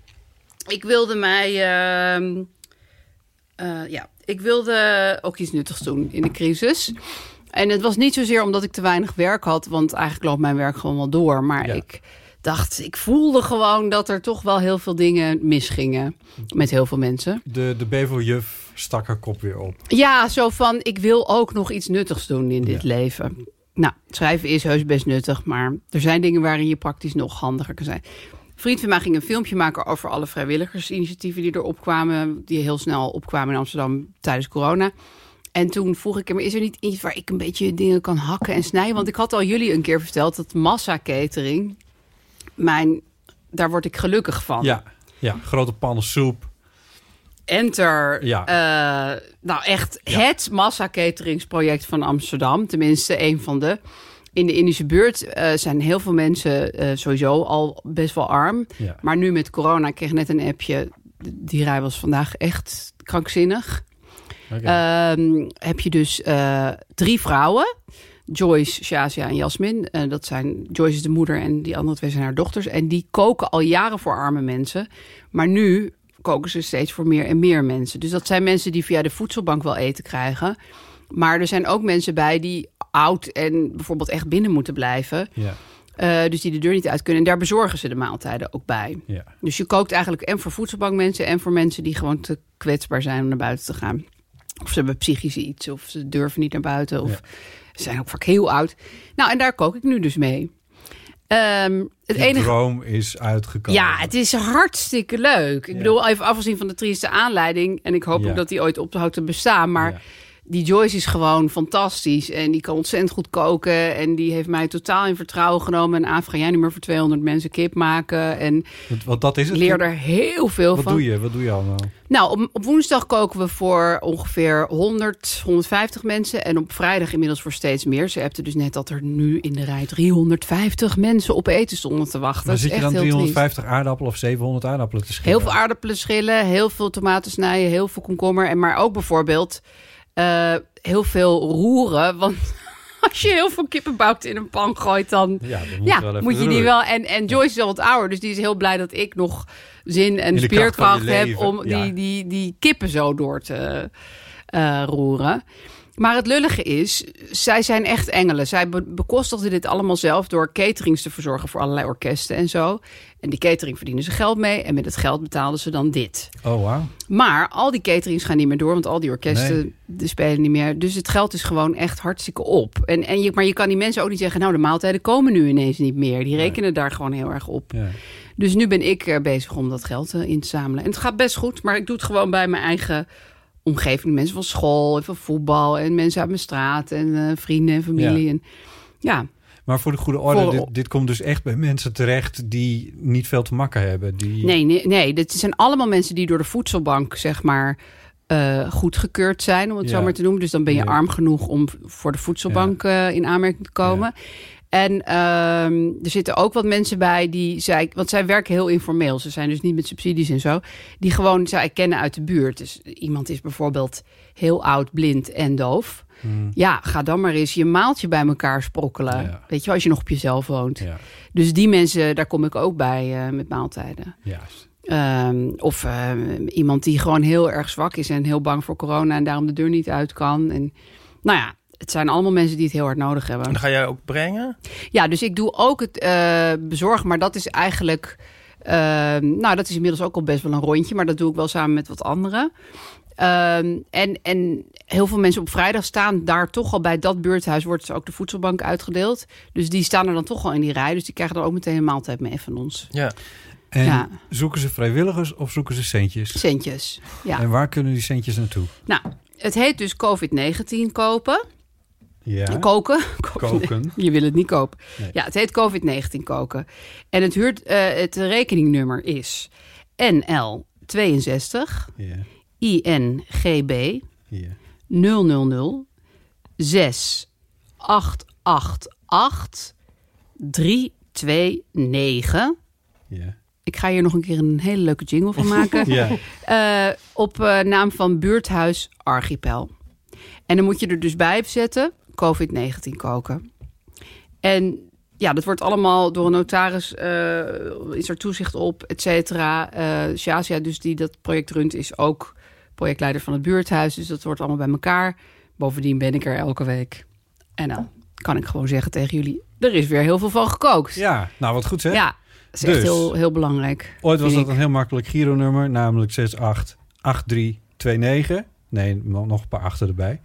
Speaker 3: Ik wilde mij... ehm, eh, ja, ik wilde ook iets nuttigs doen in de crisis. En het was niet zozeer omdat ik te weinig werk had... want eigenlijk loopt mijn werk gewoon wel door. Maar
Speaker 1: Ja.
Speaker 3: ik dacht, ik voelde gewoon dat er toch wel heel veel dingen misgingen... met heel veel mensen.
Speaker 1: De, de Bevo-juf stak haar kop weer op.
Speaker 3: Ja, zo van, ik wil ook nog iets nuttigs doen in dit leven. Nou, schrijven is heus best nuttig, maar er zijn dingen waarin je praktisch nog handiger kan zijn. Een vriend van mij ging een filmpje maken over alle vrijwilligersinitiatieven die er opkwamen, die heel snel opkwamen in Amsterdam tijdens corona. En toen vroeg ik hem, is er niet iets waar ik een beetje dingen kan hakken en snijden? Want ik had al jullie een keer verteld dat massa catering, mijn, daar word ik gelukkig van.
Speaker 1: Ja, ja. Grote pannen soep.
Speaker 3: Enter.
Speaker 1: Ja.
Speaker 3: eh, nou, echt het massacateringsproject van Amsterdam. Tenminste, een van de. In de Indische buurt eh, zijn heel veel mensen eh, sowieso al best wel arm.
Speaker 1: Ja.
Speaker 3: Maar nu met corona ik kreeg net een appje. Die rij was vandaag echt krankzinnig.
Speaker 1: Oké.
Speaker 3: Ehm, heb je dus eh, drie vrouwen. Joyce, Shazia en Jasmin. Eh, dat zijn, Joyce is de moeder en die andere twee zijn haar dochters. En die koken al jaren voor arme mensen. Maar nu koken ze steeds voor meer en meer mensen. Dus dat zijn mensen die via de voedselbank wel eten krijgen. Maar er zijn ook mensen bij die oud en bijvoorbeeld echt binnen moeten blijven.
Speaker 1: ja,
Speaker 3: Eh, dus die de deur niet uit kunnen. En daar bezorgen ze de maaltijden ook bij.
Speaker 1: ja.
Speaker 3: Dus je kookt eigenlijk en voor voedselbankmensen en voor mensen die gewoon te kwetsbaar zijn om naar buiten te gaan. Of ze hebben psychisch iets, of ze durven niet naar buiten, of
Speaker 1: Ja.
Speaker 3: ze zijn ook vaak heel oud. Nou, en daar kook ik nu dus mee. Ehm, het
Speaker 1: Die
Speaker 3: enige
Speaker 1: droom is uitgekomen.
Speaker 3: ja, het is hartstikke leuk. Ik
Speaker 1: Ja.
Speaker 3: bedoel, even afgezien van de trieste aanleiding. En ik hoop
Speaker 1: Ja.
Speaker 3: ook dat die ooit ophoudt te bestaan. Maar
Speaker 1: Ja.
Speaker 3: die Joyce is gewoon fantastisch. En die kan ontzettend goed koken. En die heeft mij totaal in vertrouwen genomen. En Aaf, ga jij nu maar voor 200 mensen kip maken? En
Speaker 1: Want, want dat is
Speaker 3: ik
Speaker 1: het.
Speaker 3: leer er heel veel
Speaker 1: Wat
Speaker 3: van.
Speaker 1: doe je? Wat doe je allemaal?
Speaker 3: Nou, op, op woensdag koken we voor ongeveer 100, 150 mensen. En op vrijdag inmiddels voor steeds meer. Ze appte dus net dat er nu in de rij 350 mensen op eten stonden te wachten.
Speaker 1: Maar
Speaker 3: Dat
Speaker 1: zit
Speaker 3: is
Speaker 1: je
Speaker 3: echt
Speaker 1: dan
Speaker 3: heel triest.
Speaker 1: 350 aardappelen of 700 aardappelen te schillen?
Speaker 3: Heel veel aardappelen schillen, heel veel tomaten snijden, heel veel komkommer. En maar ook bijvoorbeeld eh, heel veel roeren. Want [laughs] als je heel veel kippen bouwt in een pan gooit, dan
Speaker 1: Ja, dat moet,
Speaker 3: ja,
Speaker 1: wel even
Speaker 3: moet je die
Speaker 1: roeren.
Speaker 3: wel. En, en Joyce is al wat ouder, dus die is heel blij dat ik nog zin en
Speaker 1: In de kracht van je
Speaker 3: speerkracht heb
Speaker 1: leven,
Speaker 3: om
Speaker 1: ja.
Speaker 3: die, die, die kippen zo door te eh, roeren. Maar het lullige is, zij zijn echt engelen. Zij be- bekostigden dit allemaal zelf door caterings te verzorgen voor allerlei orkesten en zo. En die catering verdienen ze geld mee en met het geld betaalden ze dan dit.
Speaker 1: Oh, wauw.
Speaker 3: Maar al die caterings gaan niet meer door, want al die orkesten
Speaker 1: Nee.
Speaker 3: die spelen niet meer. Dus het geld is gewoon echt hartstikke op. En, en je, maar je kan die mensen ook niet zeggen, nou de maaltijden komen nu ineens niet meer. Die rekenen daar gewoon heel erg op.
Speaker 1: Ja.
Speaker 3: Dus nu ben ik eh, bezig om dat geld eh, in te zamelen. En het gaat best goed, maar ik doe het gewoon bij mijn eigen omgeving. Mensen van school en van voetbal en mensen uit mijn straat en eh, vrienden en familie.
Speaker 1: Ja.
Speaker 3: En, ja,
Speaker 1: Maar voor de goede orde,
Speaker 3: Voor-
Speaker 1: dit, dit komt dus echt bij mensen terecht die niet veel te makken hebben. Die...
Speaker 3: Nee, nee, nee, dit zijn allemaal mensen die door de voedselbank, zeg maar, eh goedgekeurd zijn, om het
Speaker 1: Ja.
Speaker 3: zo maar te noemen. Dus dan ben je
Speaker 1: Ja.
Speaker 3: arm genoeg om v- voor de voedselbank eh, in aanmerking te komen. En ehm, er zitten ook wat mensen bij die zij, want zij werken heel informeel. Ze zijn dus niet met subsidies en zo. Die gewoon zij kennen uit de buurt. Dus iemand is bijvoorbeeld heel oud, blind en doof.
Speaker 1: Hmm.
Speaker 3: Ja, ga dan maar eens je maaltje bij elkaar sprokkelen.
Speaker 1: Ja.
Speaker 3: Weet je, wel, als je nog op jezelf woont.
Speaker 1: Ja,
Speaker 3: Dus die mensen, daar kom ik ook bij eh, met maaltijden.
Speaker 1: juist.
Speaker 3: Ehm, of ehm, iemand die gewoon heel erg zwak is en heel bang voor corona en daarom de deur niet uit kan. En, nou ja, het zijn allemaal mensen die het heel hard nodig
Speaker 4: En
Speaker 3: hebben.
Speaker 4: dan ga jij ook brengen?
Speaker 3: Ja, dus ik doe ook het eh, bezorgen, maar dat is eigenlijk. ehm, nou, dat is inmiddels ook al best wel een rondje, maar dat doe ik wel samen met wat anderen. Ehm, en, en heel veel mensen op vrijdag staan daar toch al bij dat buurthuis. Wordt ze ook de voedselbank uitgedeeld. Dus die staan er dan toch al in die rij. Dus die krijgen dan ook meteen een maaltijd mee van ons.
Speaker 4: Ja.
Speaker 1: En
Speaker 3: Ja.
Speaker 1: zoeken ze vrijwilligers of zoeken ze centjes?
Speaker 3: Centjes. Ja.
Speaker 1: En waar kunnen die centjes naartoe?
Speaker 3: Nou, het heet dus COVID-19 kopen.
Speaker 1: Ja.
Speaker 3: Koken. [laughs]
Speaker 1: Koken.
Speaker 3: Je wil het niet kopen.
Speaker 1: Nee.
Speaker 3: Ja, het heet COVID-19 koken. En het, huurt, eh, het rekeningnummer is NL62
Speaker 1: Ja.
Speaker 3: INGB
Speaker 1: Ja.
Speaker 3: 000 6 888 329. [laughs]
Speaker 1: Ja.
Speaker 3: Ik ga hier nog een keer een hele leuke jingle
Speaker 1: [laughs]
Speaker 3: van maken.
Speaker 1: Ja.
Speaker 3: Eh, op eh, naam van Buurthuis Archipel. En dan moet je er dus bij zetten: COVID-19 koken. En ja, dat wordt allemaal door een notaris, eh, is er toezicht op, et cetera. Eh Shazia, dus die dat project runt, is ook projectleider van het buurthuis. Dus dat wordt allemaal bij elkaar. Bovendien ben ik er elke week. En dan kan ik gewoon zeggen tegen jullie, er is weer heel veel van gekookt.
Speaker 1: Ja, nou wat goed zeg.
Speaker 3: Ja, dat is echt
Speaker 1: Dus.
Speaker 3: heel, heel belangrijk.
Speaker 1: Ooit was
Speaker 3: vind
Speaker 1: dat
Speaker 3: ik.
Speaker 1: een heel makkelijk Giro-nummer, namelijk 688329. Nee, no- nog een paar achter erbij.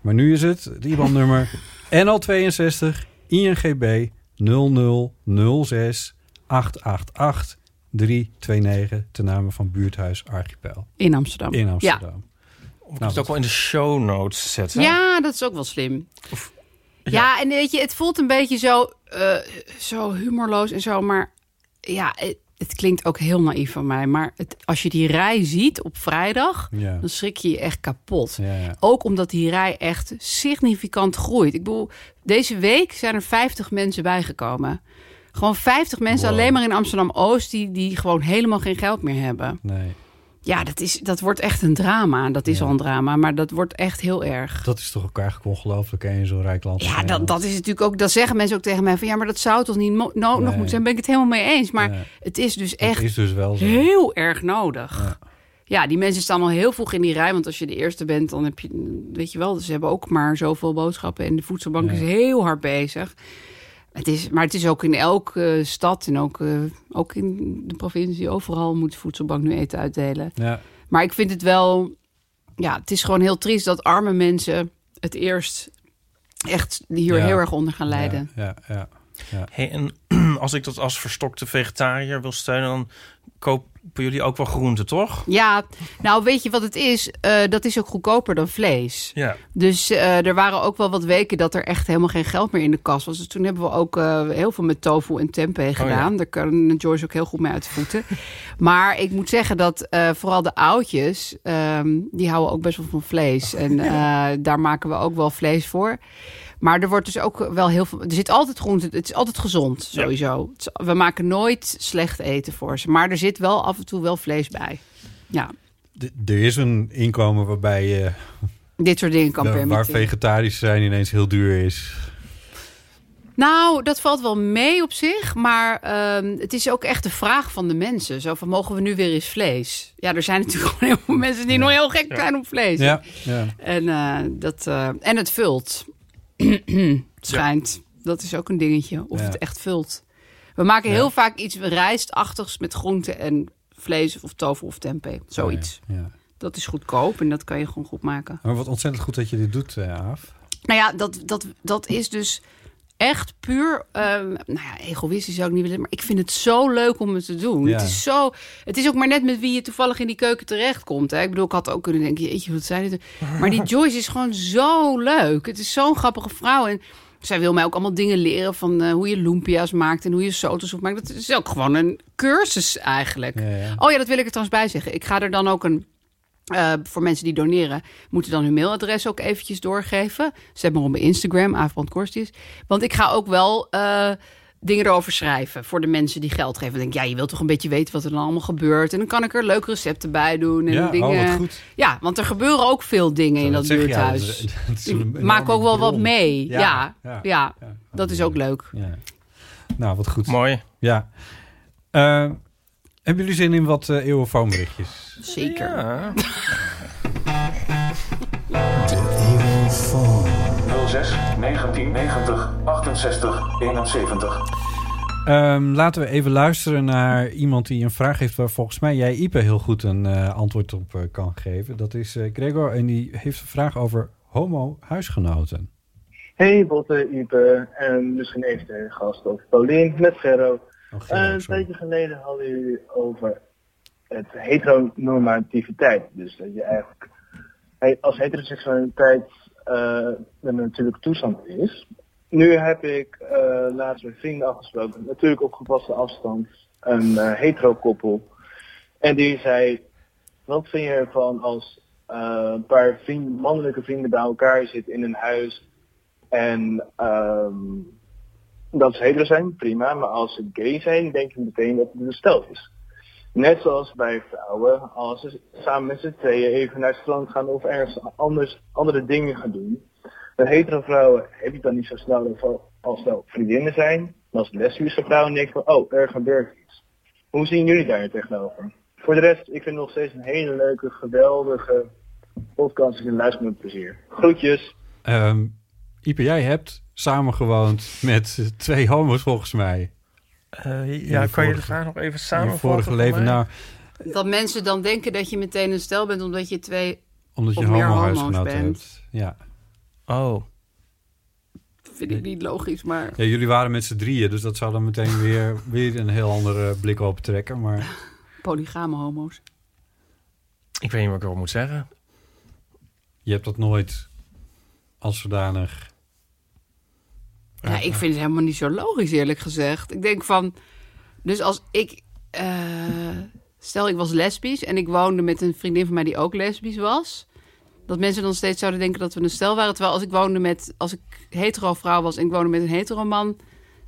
Speaker 1: Maar nu is het het IBAN-nummer
Speaker 3: [laughs]
Speaker 1: NL62 INGB 0006 888 329 ten name van Buurthuis Archipel
Speaker 3: In Amsterdam.
Speaker 1: in
Speaker 3: Ja.
Speaker 1: Amsterdam.
Speaker 4: Of ik het ook wel in de show notes zetten.
Speaker 3: Ja, dat is ook wel slim. ja. en weet je, het voelt een beetje zo, eh, zo humorloos en zo, maar ja, het, het klinkt ook heel naïef van mij. Maar het, als je die rij ziet op vrijdag,
Speaker 1: Ja.
Speaker 3: dan schrik je je echt kapot.
Speaker 1: Ja, ja.
Speaker 3: Ook omdat die rij echt significant groeit. Ik bedoel, deze week zijn er 50 mensen bijgekomen. Gewoon 50 mensen alleen maar in Amsterdam-Oost die, die gewoon helemaal geen geld meer hebben.
Speaker 1: Nee,
Speaker 3: Ja, dat, is, dat wordt echt een drama. Dat is al een drama, maar dat wordt echt heel erg.
Speaker 1: dat is toch ook eigenlijk ongelooflijk hè, in zo'n rijk land. als
Speaker 3: Ja, dat,
Speaker 1: Nederland.
Speaker 3: dat is natuurlijk ook. Dat zeggen mensen ook tegen mij van ja, maar dat zou toch niet mo- no- nog
Speaker 1: Nee.
Speaker 3: moeten zijn. Ben ik het helemaal mee eens. Maar
Speaker 1: Ja.
Speaker 3: het is dus
Speaker 1: Dat
Speaker 3: echt
Speaker 1: is dus wel zo.
Speaker 3: heel erg nodig. Ja. die mensen staan al heel vroeg in die rij. Want als je de eerste bent, dan heb je, weet je wel, ze hebben ook maar zoveel boodschappen. En de voedselbank
Speaker 1: Ja.
Speaker 3: is heel hard bezig. Het is, maar het is ook in elke stad en ook, eh, ook in de provincie, overal moet de voedselbank nu eten uitdelen.
Speaker 1: Ja,
Speaker 3: Maar ik vind het wel, ja, het is gewoon heel triest dat arme mensen het eerst echt hier
Speaker 1: Ja.
Speaker 3: heel erg onder gaan lijden.
Speaker 1: ja, ja. ja.
Speaker 4: Hey, en [clears throat] als ik dat als verstokte vegetariër wil steunen, dan kopen jullie ook wel groenten, toch?
Speaker 3: Ja, nou weet je wat het is? Eh, dat is ook goedkoper dan vlees.
Speaker 4: Ja.
Speaker 3: Dus eh, er waren ook wel wat weken dat er echt helemaal geen geld meer in de kas was. Dus toen hebben we ook eh, heel veel met tofu en tempeh gedaan. Daar kan Joyce ook heel goed mee uit de voeten. [laughs] maar ik moet zeggen dat eh, vooral de oudjes, ehm, die houden ook best wel van vlees. En eh, daar maken we ook wel vlees voor. Maar er wordt dus ook wel heel veel. Er zit altijd groente. Het is altijd gezond sowieso. Het is- We maken nooit slecht eten voor ze. Maar er zit wel af en toe wel vlees bij. Ja,
Speaker 1: D- er is een inkomen waarbij je
Speaker 3: dit soort dingen kan
Speaker 1: Waar- waar
Speaker 3: permitteren.
Speaker 1: vegetarisch zijn ineens heel duur is.
Speaker 3: Nou, dat valt wel mee op zich. Maar ehm, het is ook echt de vraag van de mensen. Zo van, mogen we nu weer eens vlees? Ja, er zijn natuurlijk gewoon heel veel mensen die nog heel gek zijn op vlees.
Speaker 1: Ja, ja.
Speaker 3: En, eh, dat, eh, en het vult. [clears throat] Schijnt. Dat is ook een dingetje. Of
Speaker 1: Ja.
Speaker 3: het echt vult. We maken heel vaak iets rijstachtigs met groenten en vlees of tofu of tempeh. Zoiets.
Speaker 1: Ja, ja.
Speaker 3: Dat is goedkoop en dat kan je gewoon goed maken.
Speaker 1: Maar wat ontzettend goed dat je dit doet, eh, Aaf.
Speaker 3: Nou ja, dat, dat, dat is dus echt puur, ehm, nou ja, egoïstisch zou ik niet willen, maar ik vind het zo leuk om het te doen.
Speaker 1: Ja.
Speaker 3: Het is zo, het is ook maar net met wie je toevallig in die keuken terechtkomt. Hè? Ik bedoel, ik had ook kunnen denken, jeetje, wat
Speaker 1: [laughs]
Speaker 3: zijn dit? Maar die Joyce is gewoon zo leuk. Het is zo'n grappige vrouw en zij wil mij ook allemaal dingen leren van eh, hoe je lumpia's maakt en hoe je sotensoep maakt. Dat is ook gewoon een cursus eigenlijk.
Speaker 1: Ja, ja.
Speaker 3: Oh ja, dat wil ik er trouwens bij zeggen. Ik ga er dan ook een. eh, voor mensen die doneren, moeten dan hun mailadres ook eventjes doorgeven. Zet maar op mijn Instagram, Aafbrand Korstjes. Want ik ga ook wel eh, dingen erover schrijven voor de mensen die geld geven. Ik denk, ja, je wilt toch een beetje weten wat er dan allemaal gebeurt. En dan kan ik er leuke recepten bij doen. En
Speaker 1: Ja, oh,
Speaker 3: dingen.
Speaker 1: wat goed.
Speaker 3: Ja, want er gebeuren ook veel dingen in dat
Speaker 1: zeg je, ja,
Speaker 3: buurthuis.
Speaker 1: dat is- [laughs] dat is een
Speaker 3: ik
Speaker 1: enorme
Speaker 3: maak ook wel wat
Speaker 1: bron.
Speaker 3: mee. Ja, ja,
Speaker 1: ja, ja.
Speaker 3: dat is ook leuk.
Speaker 1: ja. Nou, wat goed.
Speaker 4: Mooi.
Speaker 1: Ja. Eh, hebben jullie zin in wat eh eeuwenfoonberichtjes?
Speaker 3: Zeker.
Speaker 4: Ja.
Speaker 7: 06 1990 68 71.
Speaker 1: Ehm, laten we even luisteren naar iemand die een vraag heeft waar volgens mij jij, Ipe, heel goed een eh, antwoord op eh, kan geven. Dat is eh, Gregor en die heeft een vraag over homo-huisgenoten.
Speaker 5: Hey Botte, Ipe en misschien even de gast over Paulien met Gerro.
Speaker 1: Oh,
Speaker 5: Eh, een tijdje geleden hadden jullie over het heteronormativiteit. Dus dat je eigenlijk hey, als heteroseksualiteit eh, een natuurlijke toestand is. Nu heb ik eh, laatst met vrienden afgesproken, natuurlijk op gepaste afstand, een eh, hetero-koppel. En die zei, wat vind je ervan als eh, een paar vriend, mannelijke vrienden bij elkaar zitten in een huis en ehm, dat ze hetero zijn, prima. Maar als ze gay zijn, denk ik meteen dat het een stel is. Net zoals bij vrouwen, als ze samen met z'n tweeën even naar het strand gaan of ergens anders andere dingen gaan doen. Met hetero vrouwen heb je dan niet zo snel dat ze al snel vriendinnen zijn. En als lesbische vrouwen denk je van, oh, er gebeurt iets. Hoe zien jullie daar tegenover? Voor de rest, ik vind het nog steeds een hele leuke, geweldige podcast. Ik luister met plezier. Groetjes!
Speaker 1: Ehm Ipe, jij hebt samengewoond met eh, twee homo's volgens mij.
Speaker 4: Eh, ja,
Speaker 1: In
Speaker 4: kan je de
Speaker 1: vorige-
Speaker 4: vraag nog even
Speaker 1: in je
Speaker 4: samenvatten?
Speaker 1: vorige
Speaker 4: voor
Speaker 1: leven,
Speaker 4: mij?
Speaker 1: nou,
Speaker 3: Dat mensen dan denken dat je meteen een stel bent omdat je twee
Speaker 1: omdat je
Speaker 3: of
Speaker 1: een
Speaker 3: meer
Speaker 1: homo-huisgenoot
Speaker 3: homo's bent.
Speaker 1: hebt. Ja.
Speaker 4: Oh.
Speaker 3: Dat vind ik niet logisch, maar...
Speaker 1: ja, jullie waren met z'n drieën, dus dat zou dan meteen weer, [laughs] weer een heel andere blik op trekken. Maar
Speaker 3: Polygame homo's.
Speaker 4: Ik weet niet wat ik erop moet zeggen.
Speaker 1: je hebt dat nooit als zodanig.
Speaker 3: Ja, ik vind het helemaal niet zo logisch, eerlijk gezegd. Ik denk van... Dus als ik... eh, stel, ik was lesbisch en ik woonde met een vriendin van mij die ook lesbisch was. Dat mensen dan steeds zouden denken dat we een stel waren. Terwijl als ik woonde met... Als ik hetero vrouw was en ik woonde met een hetero man...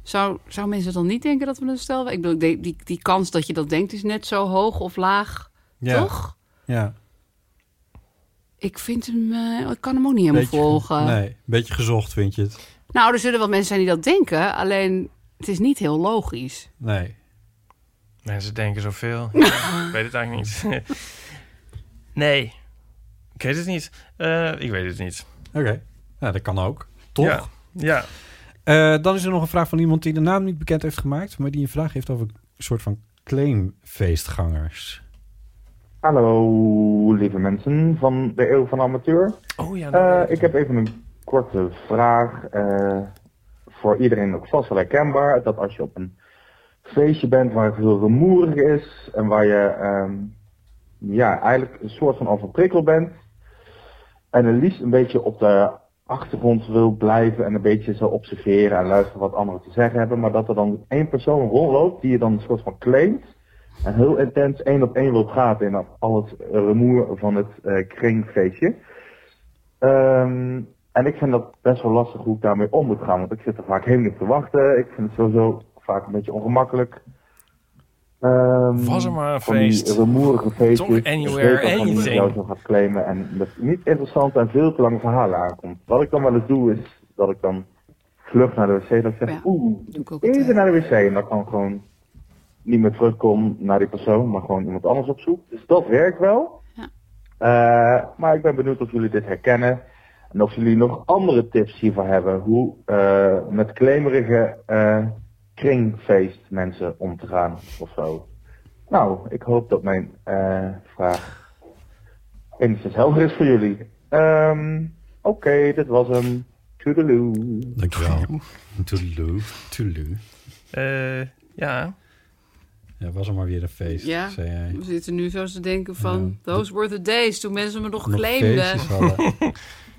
Speaker 3: Zou, zou mensen dan niet denken dat we een stel waren? Ik bedoel, ik denk, die, die kans dat je dat denkt is net zo hoog of laag.
Speaker 1: Ja.
Speaker 3: Toch?
Speaker 1: Ja.
Speaker 3: Ik vind hem... eh, ik kan hem ook niet helemaal
Speaker 1: Beetje-
Speaker 3: volgen.
Speaker 1: Nee, een beetje gezocht vind je het.
Speaker 3: Nou, er zullen wel mensen zijn die dat denken. Alleen, het is niet heel logisch.
Speaker 1: Nee.
Speaker 4: Mensen denken [laughs] zoveel. Ja, ik weet het eigenlijk niet. [laughs] nee. Ik weet het niet. Eh, ik weet het niet.
Speaker 1: Oké, nou, dat kan ook. Toch?
Speaker 4: Ja. ja.
Speaker 1: Eh, dan is er nog een vraag van iemand die de naam niet bekend heeft gemaakt, maar die een vraag heeft over een soort van claimfeestgangers.
Speaker 8: Hallo, lieve mensen van de Eeuw van de Amateur.
Speaker 4: Oh ja.
Speaker 8: Eh, ik heb even een korte vraag. eh, voor iedereen ook vast wel herkenbaar. Dat als je op een feestje bent waar veel rumoerig is. En waar je ehm, ja, eigenlijk een soort van overprikkel bent. En het liefst een beetje op de achtergrond wil blijven. En een beetje zo observeren en luisteren wat anderen te zeggen hebben. Maar dat er dan één persoon rondloopt die je dan een soort van claimt. En heel intens één op één wil praten in al het rumoer van het eh, kringfeestje. Ehm, en ik vind dat best wel lastig hoe ik daarmee om moet gaan, want ik zit er vaak helemaal niet op te wachten. Ik vind het sowieso vaak een beetje ongemakkelijk. Ehm,
Speaker 4: Was er maar een
Speaker 8: van die
Speaker 4: feest.
Speaker 8: rumoerige feestjes.
Speaker 4: Toch
Speaker 8: Ik
Speaker 4: anywhere,
Speaker 8: weet dat van iemand
Speaker 4: anything.
Speaker 8: jou zo gaat claimen en dat het niet interessant en veel te lange verhalen aankomt. Wat ik dan wel eens doe is dat ik dan vlug naar de wc dat ik zeg, oeh, even naar de wc. En dan kan ik gewoon niet meer terugkom naar die persoon, maar gewoon iemand anders opzoek. Dus dat werkt wel. Eh, maar ik ben benieuwd of jullie dit herkennen. En of jullie nog andere tips hiervoor hebben. Hoe eh, met klemerige eh kringfeest mensen om te gaan of zo. Nou, ik hoop dat mijn eh, vraag enigszins helder is voor jullie. Ehm, Oké, dit was hem. Toedeloe.
Speaker 1: Dankjewel. Toedeloe. Toedeloe.
Speaker 4: Eh, ja.
Speaker 1: Ja, was er maar weer een feest,
Speaker 3: Ja,
Speaker 1: zei jij.
Speaker 3: we zitten nu zo te denken van... Those were the days, toen mensen me nog
Speaker 1: Nog
Speaker 3: claimden.
Speaker 1: feestjes
Speaker 3: [laughs]
Speaker 1: hadden.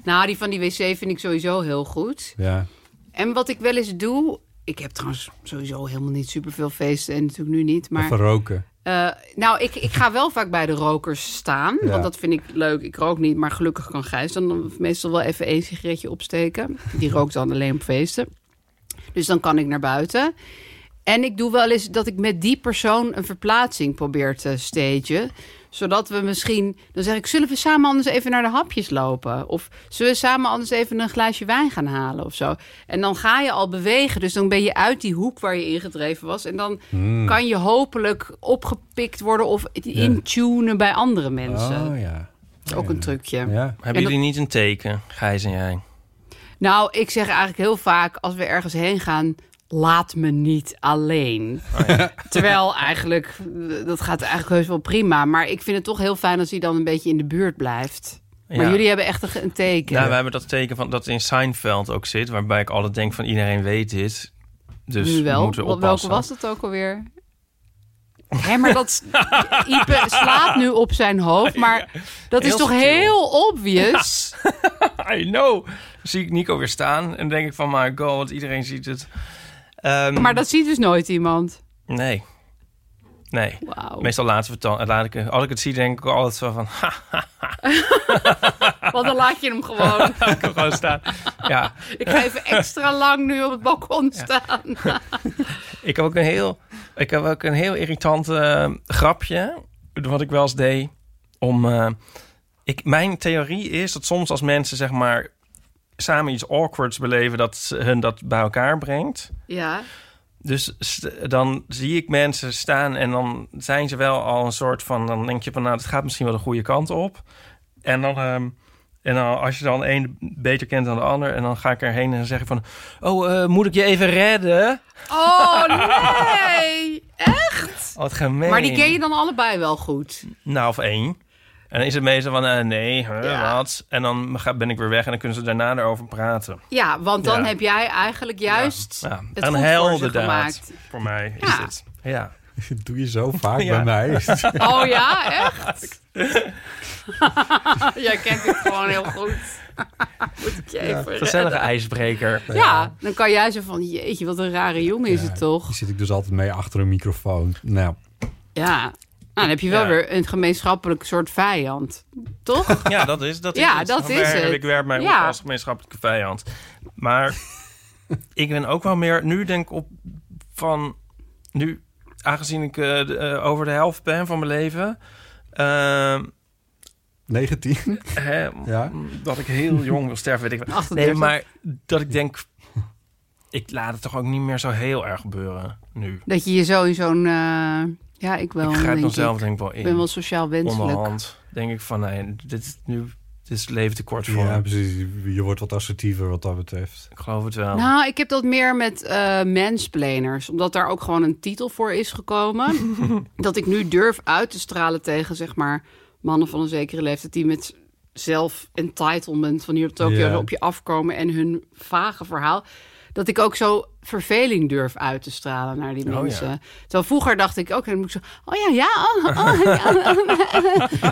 Speaker 3: nou, die van die wc vind ik sowieso heel goed.
Speaker 1: Ja.
Speaker 3: En wat ik wel eens doe... Ik heb trouwens sowieso helemaal niet superveel feesten. En natuurlijk nu niet, maar...
Speaker 1: Even roken.
Speaker 3: Eh, nou, ik, ik ga wel vaak bij de rokers staan.
Speaker 1: Ja.
Speaker 3: Want dat vind ik leuk. Ik rook niet, maar gelukkig kan Gijs dan meestal wel even één sigaretje opsteken.
Speaker 1: [laughs]
Speaker 3: Die rookt dan alleen op feesten. Dus dan kan ik naar buiten. En ik doe wel eens dat ik met die persoon een verplaatsing probeer te stagen. Zodat we misschien... Dan zeg ik, zullen we samen anders even naar de hapjes lopen? Of zullen we samen anders even een glaasje wijn gaan halen of zo? En dan ga je al bewegen. Dus dan ben je uit die hoek waar je ingedreven was. En dan
Speaker 1: Hmm.
Speaker 3: kan je hopelijk opgepikt worden of
Speaker 1: Ja.
Speaker 3: intunen bij andere mensen.
Speaker 1: Oh ja.
Speaker 3: Dat is ook een trucje. En
Speaker 4: Hebben
Speaker 3: dat-
Speaker 4: jullie niet een teken, Gijs en jij?
Speaker 3: Nou, ik zeg eigenlijk heel vaak als we ergens heen gaan... laat me niet alleen.
Speaker 1: Oh,
Speaker 3: [laughs] Terwijl eigenlijk, eh, dat gaat eigenlijk heus wel prima. Maar ik vind het toch heel fijn als hij dan een beetje in de buurt blijft. Maar
Speaker 4: Ja.
Speaker 3: jullie hebben echt een, een teken.
Speaker 4: Nou, we hebben dat teken van dat in Seinfeld ook zit, waarbij ik altijd denk van iedereen weet dit. Dus
Speaker 3: nu wel.
Speaker 4: moeten we
Speaker 3: Wel-
Speaker 4: oppassen.
Speaker 3: Welke was dat ook alweer? Hé, maar dat... Ipe slaat nu op zijn hoofd, maar dat is
Speaker 4: Heel
Speaker 3: toch
Speaker 4: subtiel.
Speaker 3: heel obvious?
Speaker 4: I know. Dan zie ik Nico weer staan en denk ik van my god, want iedereen ziet het. Ehm,
Speaker 3: Maar dat ziet dus nooit iemand.
Speaker 4: Nee. Nee.
Speaker 3: Oh.
Speaker 4: Meestal laten we het dan. Laat ik, als ik het zie, denk ik altijd zo van. [laughs] Ha,
Speaker 3: Want dan laat je hem gewoon.
Speaker 4: ik kan gewoon staan. Ja.
Speaker 3: Ik ga even extra lang nu op het balkon staan.
Speaker 4: Ik heb ook een heel, ik heb ook een heel irritant eh, grapje. Wat ik wel eens deed. Om, eh, ik, mijn theorie is dat soms als mensen zeg maar samen iets awkwards beleven, dat ze- hun dat bij elkaar brengt.
Speaker 3: Ja.
Speaker 4: Dus st- dan zie ik mensen staan en dan zijn ze wel al een soort van... Dan denk je van, nou, het gaat misschien wel de goede kant op. En dan, ehm, en dan als je dan een beter kent dan de ander... en dan ga ik erheen en dan zeg ik van... Oh, eh, moet ik je even redden?
Speaker 3: Oh nee! Echt?
Speaker 4: Wat gemeen.
Speaker 3: Maar die ken je dan allebei wel goed.
Speaker 4: Nou, of één. En dan is het meestal van, eh, nee, huh, wat? En dan ga- ben ik weer weg en dan kunnen ze daarna erover praten.
Speaker 3: Ja, want dan
Speaker 4: Ja.
Speaker 3: heb jij eigenlijk juist
Speaker 4: Ja, een
Speaker 3: het goed voor ze
Speaker 4: heldendaad
Speaker 3: gemaakt.
Speaker 4: voor mij is
Speaker 3: Ja.
Speaker 4: het. Ja.
Speaker 1: Doe je zo
Speaker 3: [laughs]
Speaker 1: vaak bij
Speaker 4: Ja.
Speaker 1: mij.
Speaker 3: Oh ja,
Speaker 4: [laughs]
Speaker 3: echt? jij kent het gewoon heel goed. Moet ik je even
Speaker 4: Gezellige
Speaker 3: redden.
Speaker 4: ijsbreker.
Speaker 3: Ja, dan kan jij zo van, jeetje, wat een rare jongen is het toch?
Speaker 1: Die zit ik dus altijd mee achter een microfoon. Nou,
Speaker 3: Ja, nou, dan heb je wel
Speaker 1: Ja.
Speaker 3: weer een gemeenschappelijk soort vijand,
Speaker 4: [laughs]
Speaker 3: toch?
Speaker 4: Ja, dat is, dat is
Speaker 3: Ja,
Speaker 4: het.
Speaker 3: dat
Speaker 4: Dan
Speaker 3: is
Speaker 4: werk-
Speaker 3: het.
Speaker 4: Ik werp mij
Speaker 3: Ja.
Speaker 4: op als gemeenschappelijke vijand.
Speaker 3: [laughs]
Speaker 4: Maar ik ben ook wel meer... Nu denk ik op van... Nu, aangezien ik eh, de- eh, over de helft ben van mijn leven... ehm,
Speaker 1: 19.
Speaker 4: hè,
Speaker 1: Ja.
Speaker 4: Dat ik heel jong wil sterven, weet ik wel.
Speaker 1: 38.
Speaker 4: Nee, maar dat ik denk... [laughs] Ik laat het toch ook niet meer zo heel erg gebeuren nu.
Speaker 3: Dat je je zo in zo'n... eh, ja, ik wel.
Speaker 4: ik ga
Speaker 3: denk
Speaker 4: het dan zelf
Speaker 3: ik.
Speaker 4: denk ik wel in.
Speaker 3: Ik ben wel sociaal wenselijk.
Speaker 4: Onderhand denk ik van... Nee, dit is nu... Dit is het leven te kort voor.
Speaker 1: ja,
Speaker 4: me.
Speaker 1: precies. Je wordt wat assertiever wat dat betreft.
Speaker 4: Ik geloof het wel.
Speaker 3: Nou, ik heb dat meer met eh mansplainers. Omdat daar ook gewoon een titel voor is gekomen.
Speaker 9: [laughs]
Speaker 3: dat ik nu durf uit te stralen tegen, zeg maar, mannen van een zekere leeftijd... die met zelf-entitlement van hier op Tokio
Speaker 9: Ja.
Speaker 3: zo op je afkomen... en hun vage verhaal... dat ik ook zo verveling durf uit te stralen naar die
Speaker 9: Oh, ja.
Speaker 3: mensen. Terwijl vroeger dacht ik ook, en dan moet ik zo... oh ja, ja, oh, oh,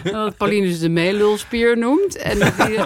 Speaker 3: ja.
Speaker 9: [laughs]
Speaker 3: Wat Pauline dus de meelulspier noemt. En, dat
Speaker 1: [laughs]
Speaker 3: die-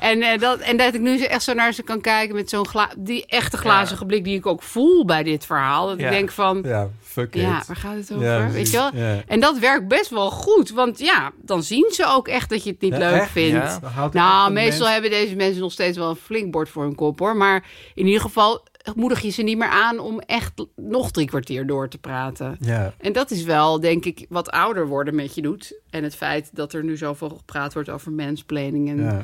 Speaker 3: en, eh, dat, en dat ik nu zo echt zo naar ze kan kijken met zo'n gla- die echte glazige blik die ik ook voel bij dit verhaal. Dat
Speaker 1: Ja.
Speaker 3: ik denk van,
Speaker 1: Ja, fuck
Speaker 3: ja,
Speaker 1: it.
Speaker 3: waar gaat het
Speaker 1: Ja,
Speaker 3: over? Weet
Speaker 1: precies.
Speaker 3: je wel?
Speaker 1: Ja.
Speaker 3: En dat werkt best wel goed, want ja, dan zien ze ook echt dat je het niet
Speaker 1: Ja,
Speaker 3: leuk
Speaker 1: echt?
Speaker 3: vindt.
Speaker 1: Ja, dan houdt het echt
Speaker 3: nou,
Speaker 1: een
Speaker 3: meestal
Speaker 1: mens-
Speaker 3: hebben deze mensen nog steeds wel een flink bord voor hun kop hoor. Maar in ieder geval moedig je ze niet meer aan om echt nog drie kwartier door te praten.
Speaker 1: Ja.
Speaker 3: En dat is wel, denk ik, wat ouder worden met je doet. En het feit dat er nu zoveel gepraat wordt over mansplaining en
Speaker 1: Ja.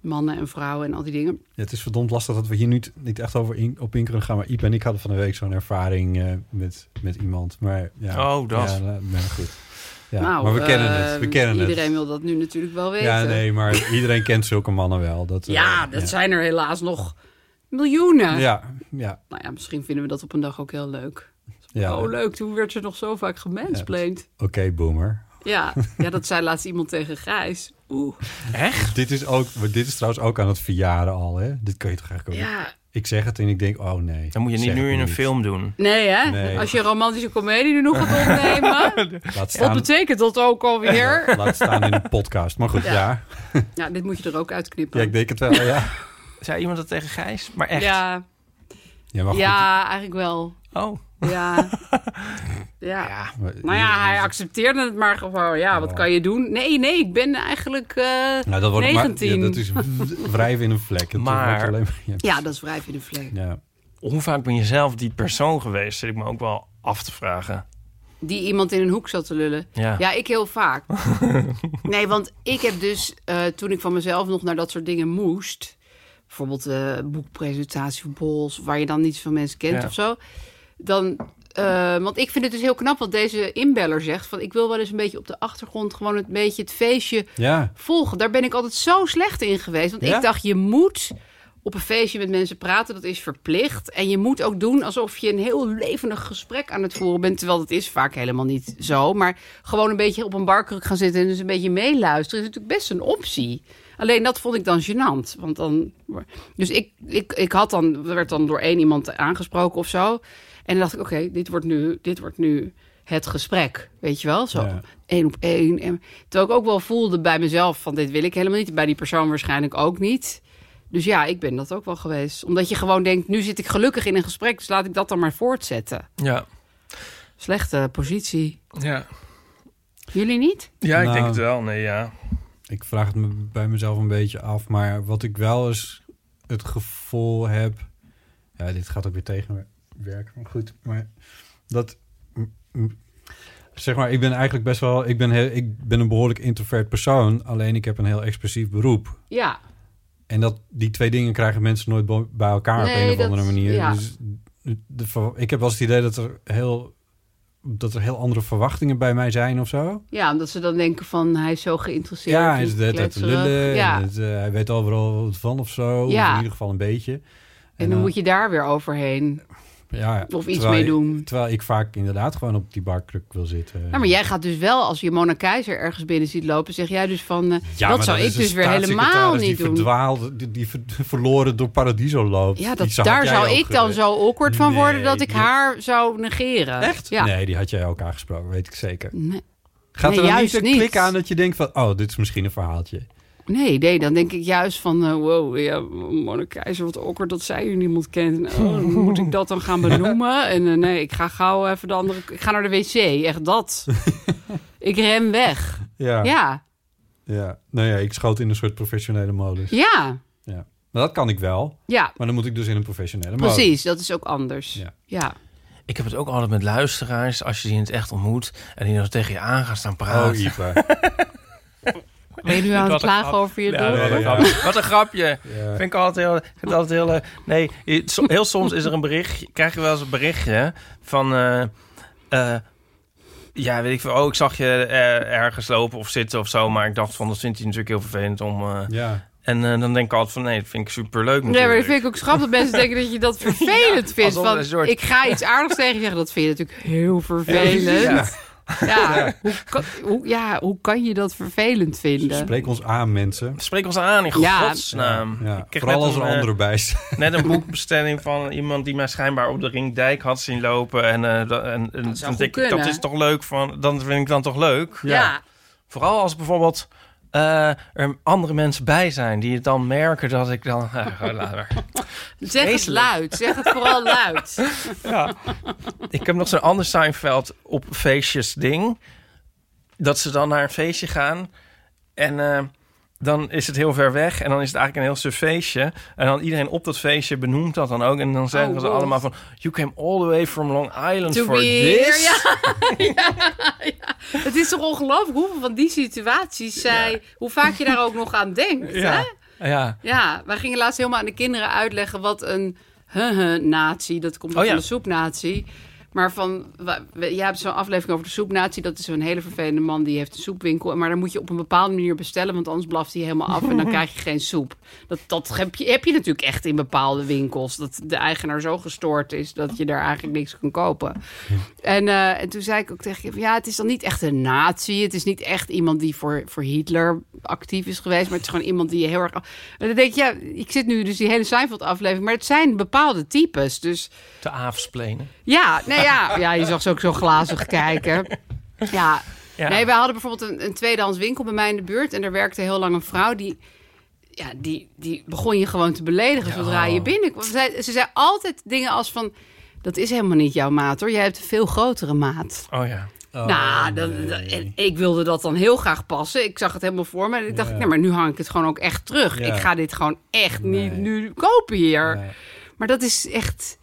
Speaker 3: mannen en vrouwen en al die dingen.
Speaker 1: Ja, het is verdomd lastig dat we hier nu t- niet echt over in, op in kunnen gaan. Maar Iep en ik hadden van de week zo'n ervaring eh, met, met iemand. Maar, ja,
Speaker 4: Oh, dat.
Speaker 1: Ja, nou, nou, goed. Ja,
Speaker 3: nou,
Speaker 1: maar we kennen
Speaker 3: eh,
Speaker 1: het. We kennen het.
Speaker 3: Iedereen wil dat nu natuurlijk wel weten.
Speaker 1: Ja, nee,
Speaker 3: [laughs]
Speaker 1: maar iedereen kent zulke mannen wel. Dat, eh,
Speaker 3: Ja, dat zijn er helaas nog miljoenen.
Speaker 1: Ja, ja.
Speaker 3: Nou ja, misschien vinden we dat op een dag ook heel leuk.
Speaker 1: Ja.
Speaker 3: oh, leuk, toen werd ze nog zo vaak gemansplained.
Speaker 1: Oké, boomer. [laughs]
Speaker 3: Ja. ja, dat zei laatst iemand tegen Gijs. Oeh.
Speaker 4: Echt?
Speaker 1: Dit is, ook, maar dit is trouwens ook aan het verjaren al, hè? Dit kun je toch eigenlijk ook...
Speaker 3: Ja.
Speaker 1: Ik zeg het en ik denk, oh nee.
Speaker 4: Dan moet je niet
Speaker 1: zeg
Speaker 4: nu
Speaker 1: het
Speaker 4: in een
Speaker 1: niet.
Speaker 4: film doen.
Speaker 3: Nee, hè?
Speaker 1: Nee.
Speaker 3: Als je een romantische komedie nu nog gaat
Speaker 1: [laughs]
Speaker 3: opnemen,
Speaker 1: Laat
Speaker 3: wat
Speaker 1: staan,
Speaker 3: betekent dat ook alweer?
Speaker 1: laat staan in een podcast. Maar goed,
Speaker 3: Ja.
Speaker 1: ja.
Speaker 3: Ja, dit moet je er ook uitknippen.
Speaker 1: Ja, ik denk het wel, ja.
Speaker 4: Zei iemand dat tegen Gijs? Maar echt?
Speaker 3: Ja,
Speaker 1: Ja, maar goed.
Speaker 3: ja eigenlijk wel.
Speaker 4: Oh.
Speaker 3: Ja.
Speaker 1: [laughs]
Speaker 3: ja. Maar ja, hij accepteerde het maar gewoon. Ja, wat kan je doen? Nee, nee, ik ben eigenlijk eh
Speaker 1: Nou, dat wordt maar-
Speaker 3: 19.
Speaker 1: ja, dat is wrijven in een vlek. Het
Speaker 4: Maar-
Speaker 1: wordt alleen ja.
Speaker 3: Ja, dat is wrijf in de vlees.
Speaker 1: Ja.
Speaker 4: Hoe vaak ben je zelf die persoon geweest? Zit ik me ook wel af te vragen.
Speaker 3: Die iemand in een hoek zat te lullen.
Speaker 4: Ja.
Speaker 3: ik heel vaak. nee, want ik heb dus, eh, toen ik van mezelf nog naar dat soort dingen moest... bijvoorbeeld eh boekpresentatie of bols... waar je dan niet zoveel mensen kent
Speaker 9: Ja.
Speaker 3: of zo... dan... eh, want ik vind het dus heel knap wat deze inbeller zegt. Van ik wil wel eens een beetje op de achtergrond gewoon een beetje het feestje
Speaker 1: Ja.
Speaker 3: volgen. Daar ben ik altijd zo slecht in geweest. Want
Speaker 1: Ja?
Speaker 3: ik dacht, je moet op een feestje met mensen praten, dat is verplicht. En je moet ook doen alsof je een heel levendig gesprek aan het voeren bent. Terwijl dat is vaak helemaal niet zo. Maar gewoon een beetje op een barkruk gaan zitten en dus een beetje meeluisteren... is natuurlijk best een optie. Alleen dat vond ik dan gênant. Want dan, dus ik, ik, ik had dan, werd dan door één iemand aangesproken of zo. En dan dacht ik, oké, dit wordt nu... Dit wordt nu het gesprek, weet je wel? Zo
Speaker 9: Ja.
Speaker 3: één op één. En, terwijl ik ook wel voelde bij mezelf van dit wil ik helemaal niet. Bij die persoon waarschijnlijk ook niet. Dus ja, ik ben dat ook wel geweest. Omdat je gewoon denkt, nu zit ik gelukkig in een gesprek... dus laat ik dat dan maar voortzetten.
Speaker 4: Ja.
Speaker 3: Slechte positie.
Speaker 4: Ja.
Speaker 3: Jullie niet?
Speaker 4: Ja, ik
Speaker 1: Nou,
Speaker 4: denk het wel. Nee, ja.
Speaker 1: Ik vraag het me bij mezelf een beetje af. Maar wat ik wel eens het gevoel heb. Ja, dit gaat ook weer tegenwerken. Maar goed, maar dat. m- m- Zeg maar, ik ben eigenlijk best wel. Ik ben, heel, ik ben een behoorlijk introvert persoon. Alleen ik heb een heel expressief beroep.
Speaker 3: Ja.
Speaker 1: En dat, die twee dingen krijgen mensen nooit bo- bij elkaar op
Speaker 3: Nee,
Speaker 1: een of
Speaker 3: dat-
Speaker 1: andere manier.
Speaker 3: ja.
Speaker 1: Dus de ver- ik heb wel eens het idee dat er heel. Dat er heel andere verwachtingen bij mij zijn of zo.
Speaker 3: Ja, omdat ze dan denken van hij is zo geïnteresseerd.
Speaker 1: Ja,
Speaker 3: en
Speaker 1: hij is de hele tijd te
Speaker 3: kletserig.
Speaker 1: lullen.
Speaker 3: Ja.
Speaker 1: En het, eh, hij weet overal wat van of zo.
Speaker 3: Ja.
Speaker 1: Of in ieder geval een beetje. En,
Speaker 3: En dan moet je daar weer overheen.
Speaker 1: ja,
Speaker 3: of iets
Speaker 1: eh, terwijl
Speaker 3: mee
Speaker 1: ik-
Speaker 3: doen.
Speaker 1: Terwijl ik vaak inderdaad gewoon op die barkruk wil zitten.
Speaker 3: Nou, maar jij gaat dus wel, als je Mona Keizer ergens binnen ziet lopen, zeg jij dus van, eh,
Speaker 1: Ja,
Speaker 3: dat
Speaker 1: maar
Speaker 3: zou
Speaker 1: is
Speaker 3: ik
Speaker 1: een
Speaker 3: dus weer helemaal
Speaker 1: staatssecretaris
Speaker 3: niet
Speaker 1: die
Speaker 3: doen.
Speaker 1: Verdwaald, die die ver- verloren door Paradiso loopt.
Speaker 3: Ja,
Speaker 1: Die
Speaker 3: dat,
Speaker 1: zag
Speaker 3: daar
Speaker 1: jij
Speaker 3: zou
Speaker 1: ook,
Speaker 3: ik dan
Speaker 1: eh,
Speaker 3: zo awkward van worden
Speaker 1: nee,
Speaker 3: dat ik
Speaker 1: die-
Speaker 3: haar zou negeren. Echt? Ja.
Speaker 1: Nee, die had jij ook aangesproken, weet ik zeker.
Speaker 3: Nee.
Speaker 1: Gaat
Speaker 3: Nee,
Speaker 1: er dan niet
Speaker 3: juist
Speaker 1: een
Speaker 3: niet.
Speaker 1: klik aan dat je denkt van... oh, dit is misschien een verhaaltje.
Speaker 3: Nee, nee, dan denk ik juist van, eh, wow, ja, Mona Keizer, wat awkward dat zij u niemand kent. En, oh,
Speaker 1: [laughs]
Speaker 3: moet ik dat dan gaan benoemen? En eh, nee, ik ga gauw even de andere, ik ga naar de wc, echt
Speaker 1: [laughs]
Speaker 3: dat. ik rem weg.
Speaker 1: Ja.
Speaker 3: Ja,
Speaker 1: Ja. Nou ja, ik schoot in een soort professionele modus.
Speaker 3: ja,
Speaker 1: Ja. Maar dat kan ik wel.
Speaker 3: Ja.
Speaker 1: Maar dan moet ik dus in een professionele modus.
Speaker 3: precies, dat is ook anders.
Speaker 1: Oh,
Speaker 3: ja.
Speaker 2: Ik heb het ook altijd met luisteraars, als je die in het echt ontmoet... en die dan tegen je aan gaan staan praten.
Speaker 1: Oh, Ipe.
Speaker 3: Ben je nu aan
Speaker 4: Wat
Speaker 3: het
Speaker 4: een
Speaker 3: klagen
Speaker 4: grap.
Speaker 3: over je
Speaker 4: Ja,
Speaker 3: doel?
Speaker 4: wat, een
Speaker 1: Ja.
Speaker 4: grapje. Wat een grapje.
Speaker 1: Ja.
Speaker 4: Vind ik altijd heel... vind ik altijd heel eh, nee, je- so- heel soms is er een bericht... Krijg je wel eens een berichtje van... eh, eh, ja, weet ik veel. Oh, ik zag je eh, ergens lopen of zitten of zo. Maar ik dacht van, dat vindt hij natuurlijk heel vervelend om... eh,
Speaker 1: Ja.
Speaker 4: En eh, dan denk ik altijd van, nee, dat vind ik superleuk
Speaker 3: Nee, maar
Speaker 4: natuurlijk.
Speaker 3: dat vind ik ook schattig. dat
Speaker 4: [laughs]
Speaker 3: Mensen denken dat je dat vervelend vindt.
Speaker 4: alsof
Speaker 3: Van,
Speaker 4: een soort-
Speaker 3: Ik ga iets aardigs tegen je zeggen. Dat vind je natuurlijk heel vervelend.
Speaker 1: Ja.
Speaker 3: Ja, Hoe, kan, hoe, ja hoe kan je dat vervelend vinden?
Speaker 1: Spreek ons aan, mensen.
Speaker 4: Spreek ons aan, in
Speaker 3: Ja.
Speaker 4: godsnaam.
Speaker 1: Ja.
Speaker 4: Ik kreeg
Speaker 1: Vooral
Speaker 4: net
Speaker 1: als er
Speaker 4: eh,
Speaker 1: anderen bij zijn.
Speaker 4: Net een boekbestelling van iemand die mij schijnbaar op de Ringdijk had zien lopen. En, eh, da- en, en
Speaker 3: zou
Speaker 4: dan
Speaker 3: goed
Speaker 4: denk ik, dat
Speaker 3: kunnen.
Speaker 4: is toch leuk van... Dan vind ik dan toch leuk?
Speaker 3: Ja. Ja.
Speaker 4: Vooral als bijvoorbeeld eh, er andere mensen bij zijn... die het dan merken dat ik dan... [laughs] eh, ga laat maar.
Speaker 3: Zeg het
Speaker 4: Vreselijk.
Speaker 3: luid. Zeg het vooral luid.
Speaker 4: [laughs] Ja. Ik heb nog zo'n ander Seinfeld op feestjes ding. Dat ze dan naar een feestje gaan. En eh, dan is het heel ver weg. En dan is het eigenlijk een heel suf feestje. En dan iedereen op dat feestje benoemt dat dan ook. En dan zeggen ze
Speaker 3: Oh, wow.
Speaker 4: allemaal van... You came all the way from Long Island
Speaker 3: To
Speaker 4: for
Speaker 3: be here,
Speaker 4: this.
Speaker 3: ja. [laughs] ja, ja. Het is toch ongelooflijk hoeveel van die situaties zij... Hoe vaak je daar ook nog aan denkt, hè?
Speaker 4: ja.
Speaker 3: Ja, wij gingen laatst helemaal aan de kinderen uitleggen wat een natie, dat komt
Speaker 4: Oh, ja.
Speaker 3: van de soepnatie. Maar van, wa- we- jij hebt zo'n aflevering over de soepnatie. Dat is zo'n hele vervelende man die heeft een soepwinkel. Maar dan moet je op een bepaalde manier bestellen, want anders blaft hij helemaal af
Speaker 4: [laughs]
Speaker 3: en dan krijg je geen soep. Dat, dat heb, je, heb je natuurlijk echt in bepaalde winkels. Dat de eigenaar zo gestoord is dat je daar eigenlijk niks kan kopen. En, eh, en toen zei ik ook tegen hem, ja, het is dan niet echt een nazi. Het is niet echt iemand die voor, voor Hitler actief is geweest. Maar het is gewoon iemand die je heel erg... En dan denk je, ja, ik zit nu dus die hele Seinfeld-aflevering. Maar het zijn bepaalde types, dus...
Speaker 4: Te afsplenen.
Speaker 3: Ja, nou ja, ja, je zag ze ook zo glazig kijken. Ja.
Speaker 4: Ja.
Speaker 3: Nee, wij hadden bijvoorbeeld een, een tweedehands winkel bij mij in de buurt. En daar werkte heel lang een vrouw die... Ja, die, die begon je gewoon te beledigen zodra je binnenkwam. Ze zei, ze zei altijd dingen als van... Dat is helemaal niet jouw maat hoor. Jij hebt een veel grotere maat.
Speaker 4: Oh ja.
Speaker 3: [laughs] nou, dan, dan- en ik wilde dat dan heel graag passen. Ik zag het helemaal voor me. En ik dacht, nee, maar nu hang ik het gewoon ook echt terug.
Speaker 4: Ja.
Speaker 3: Ik ga dit gewoon echt niet nu kopen hier. Maar dat is echt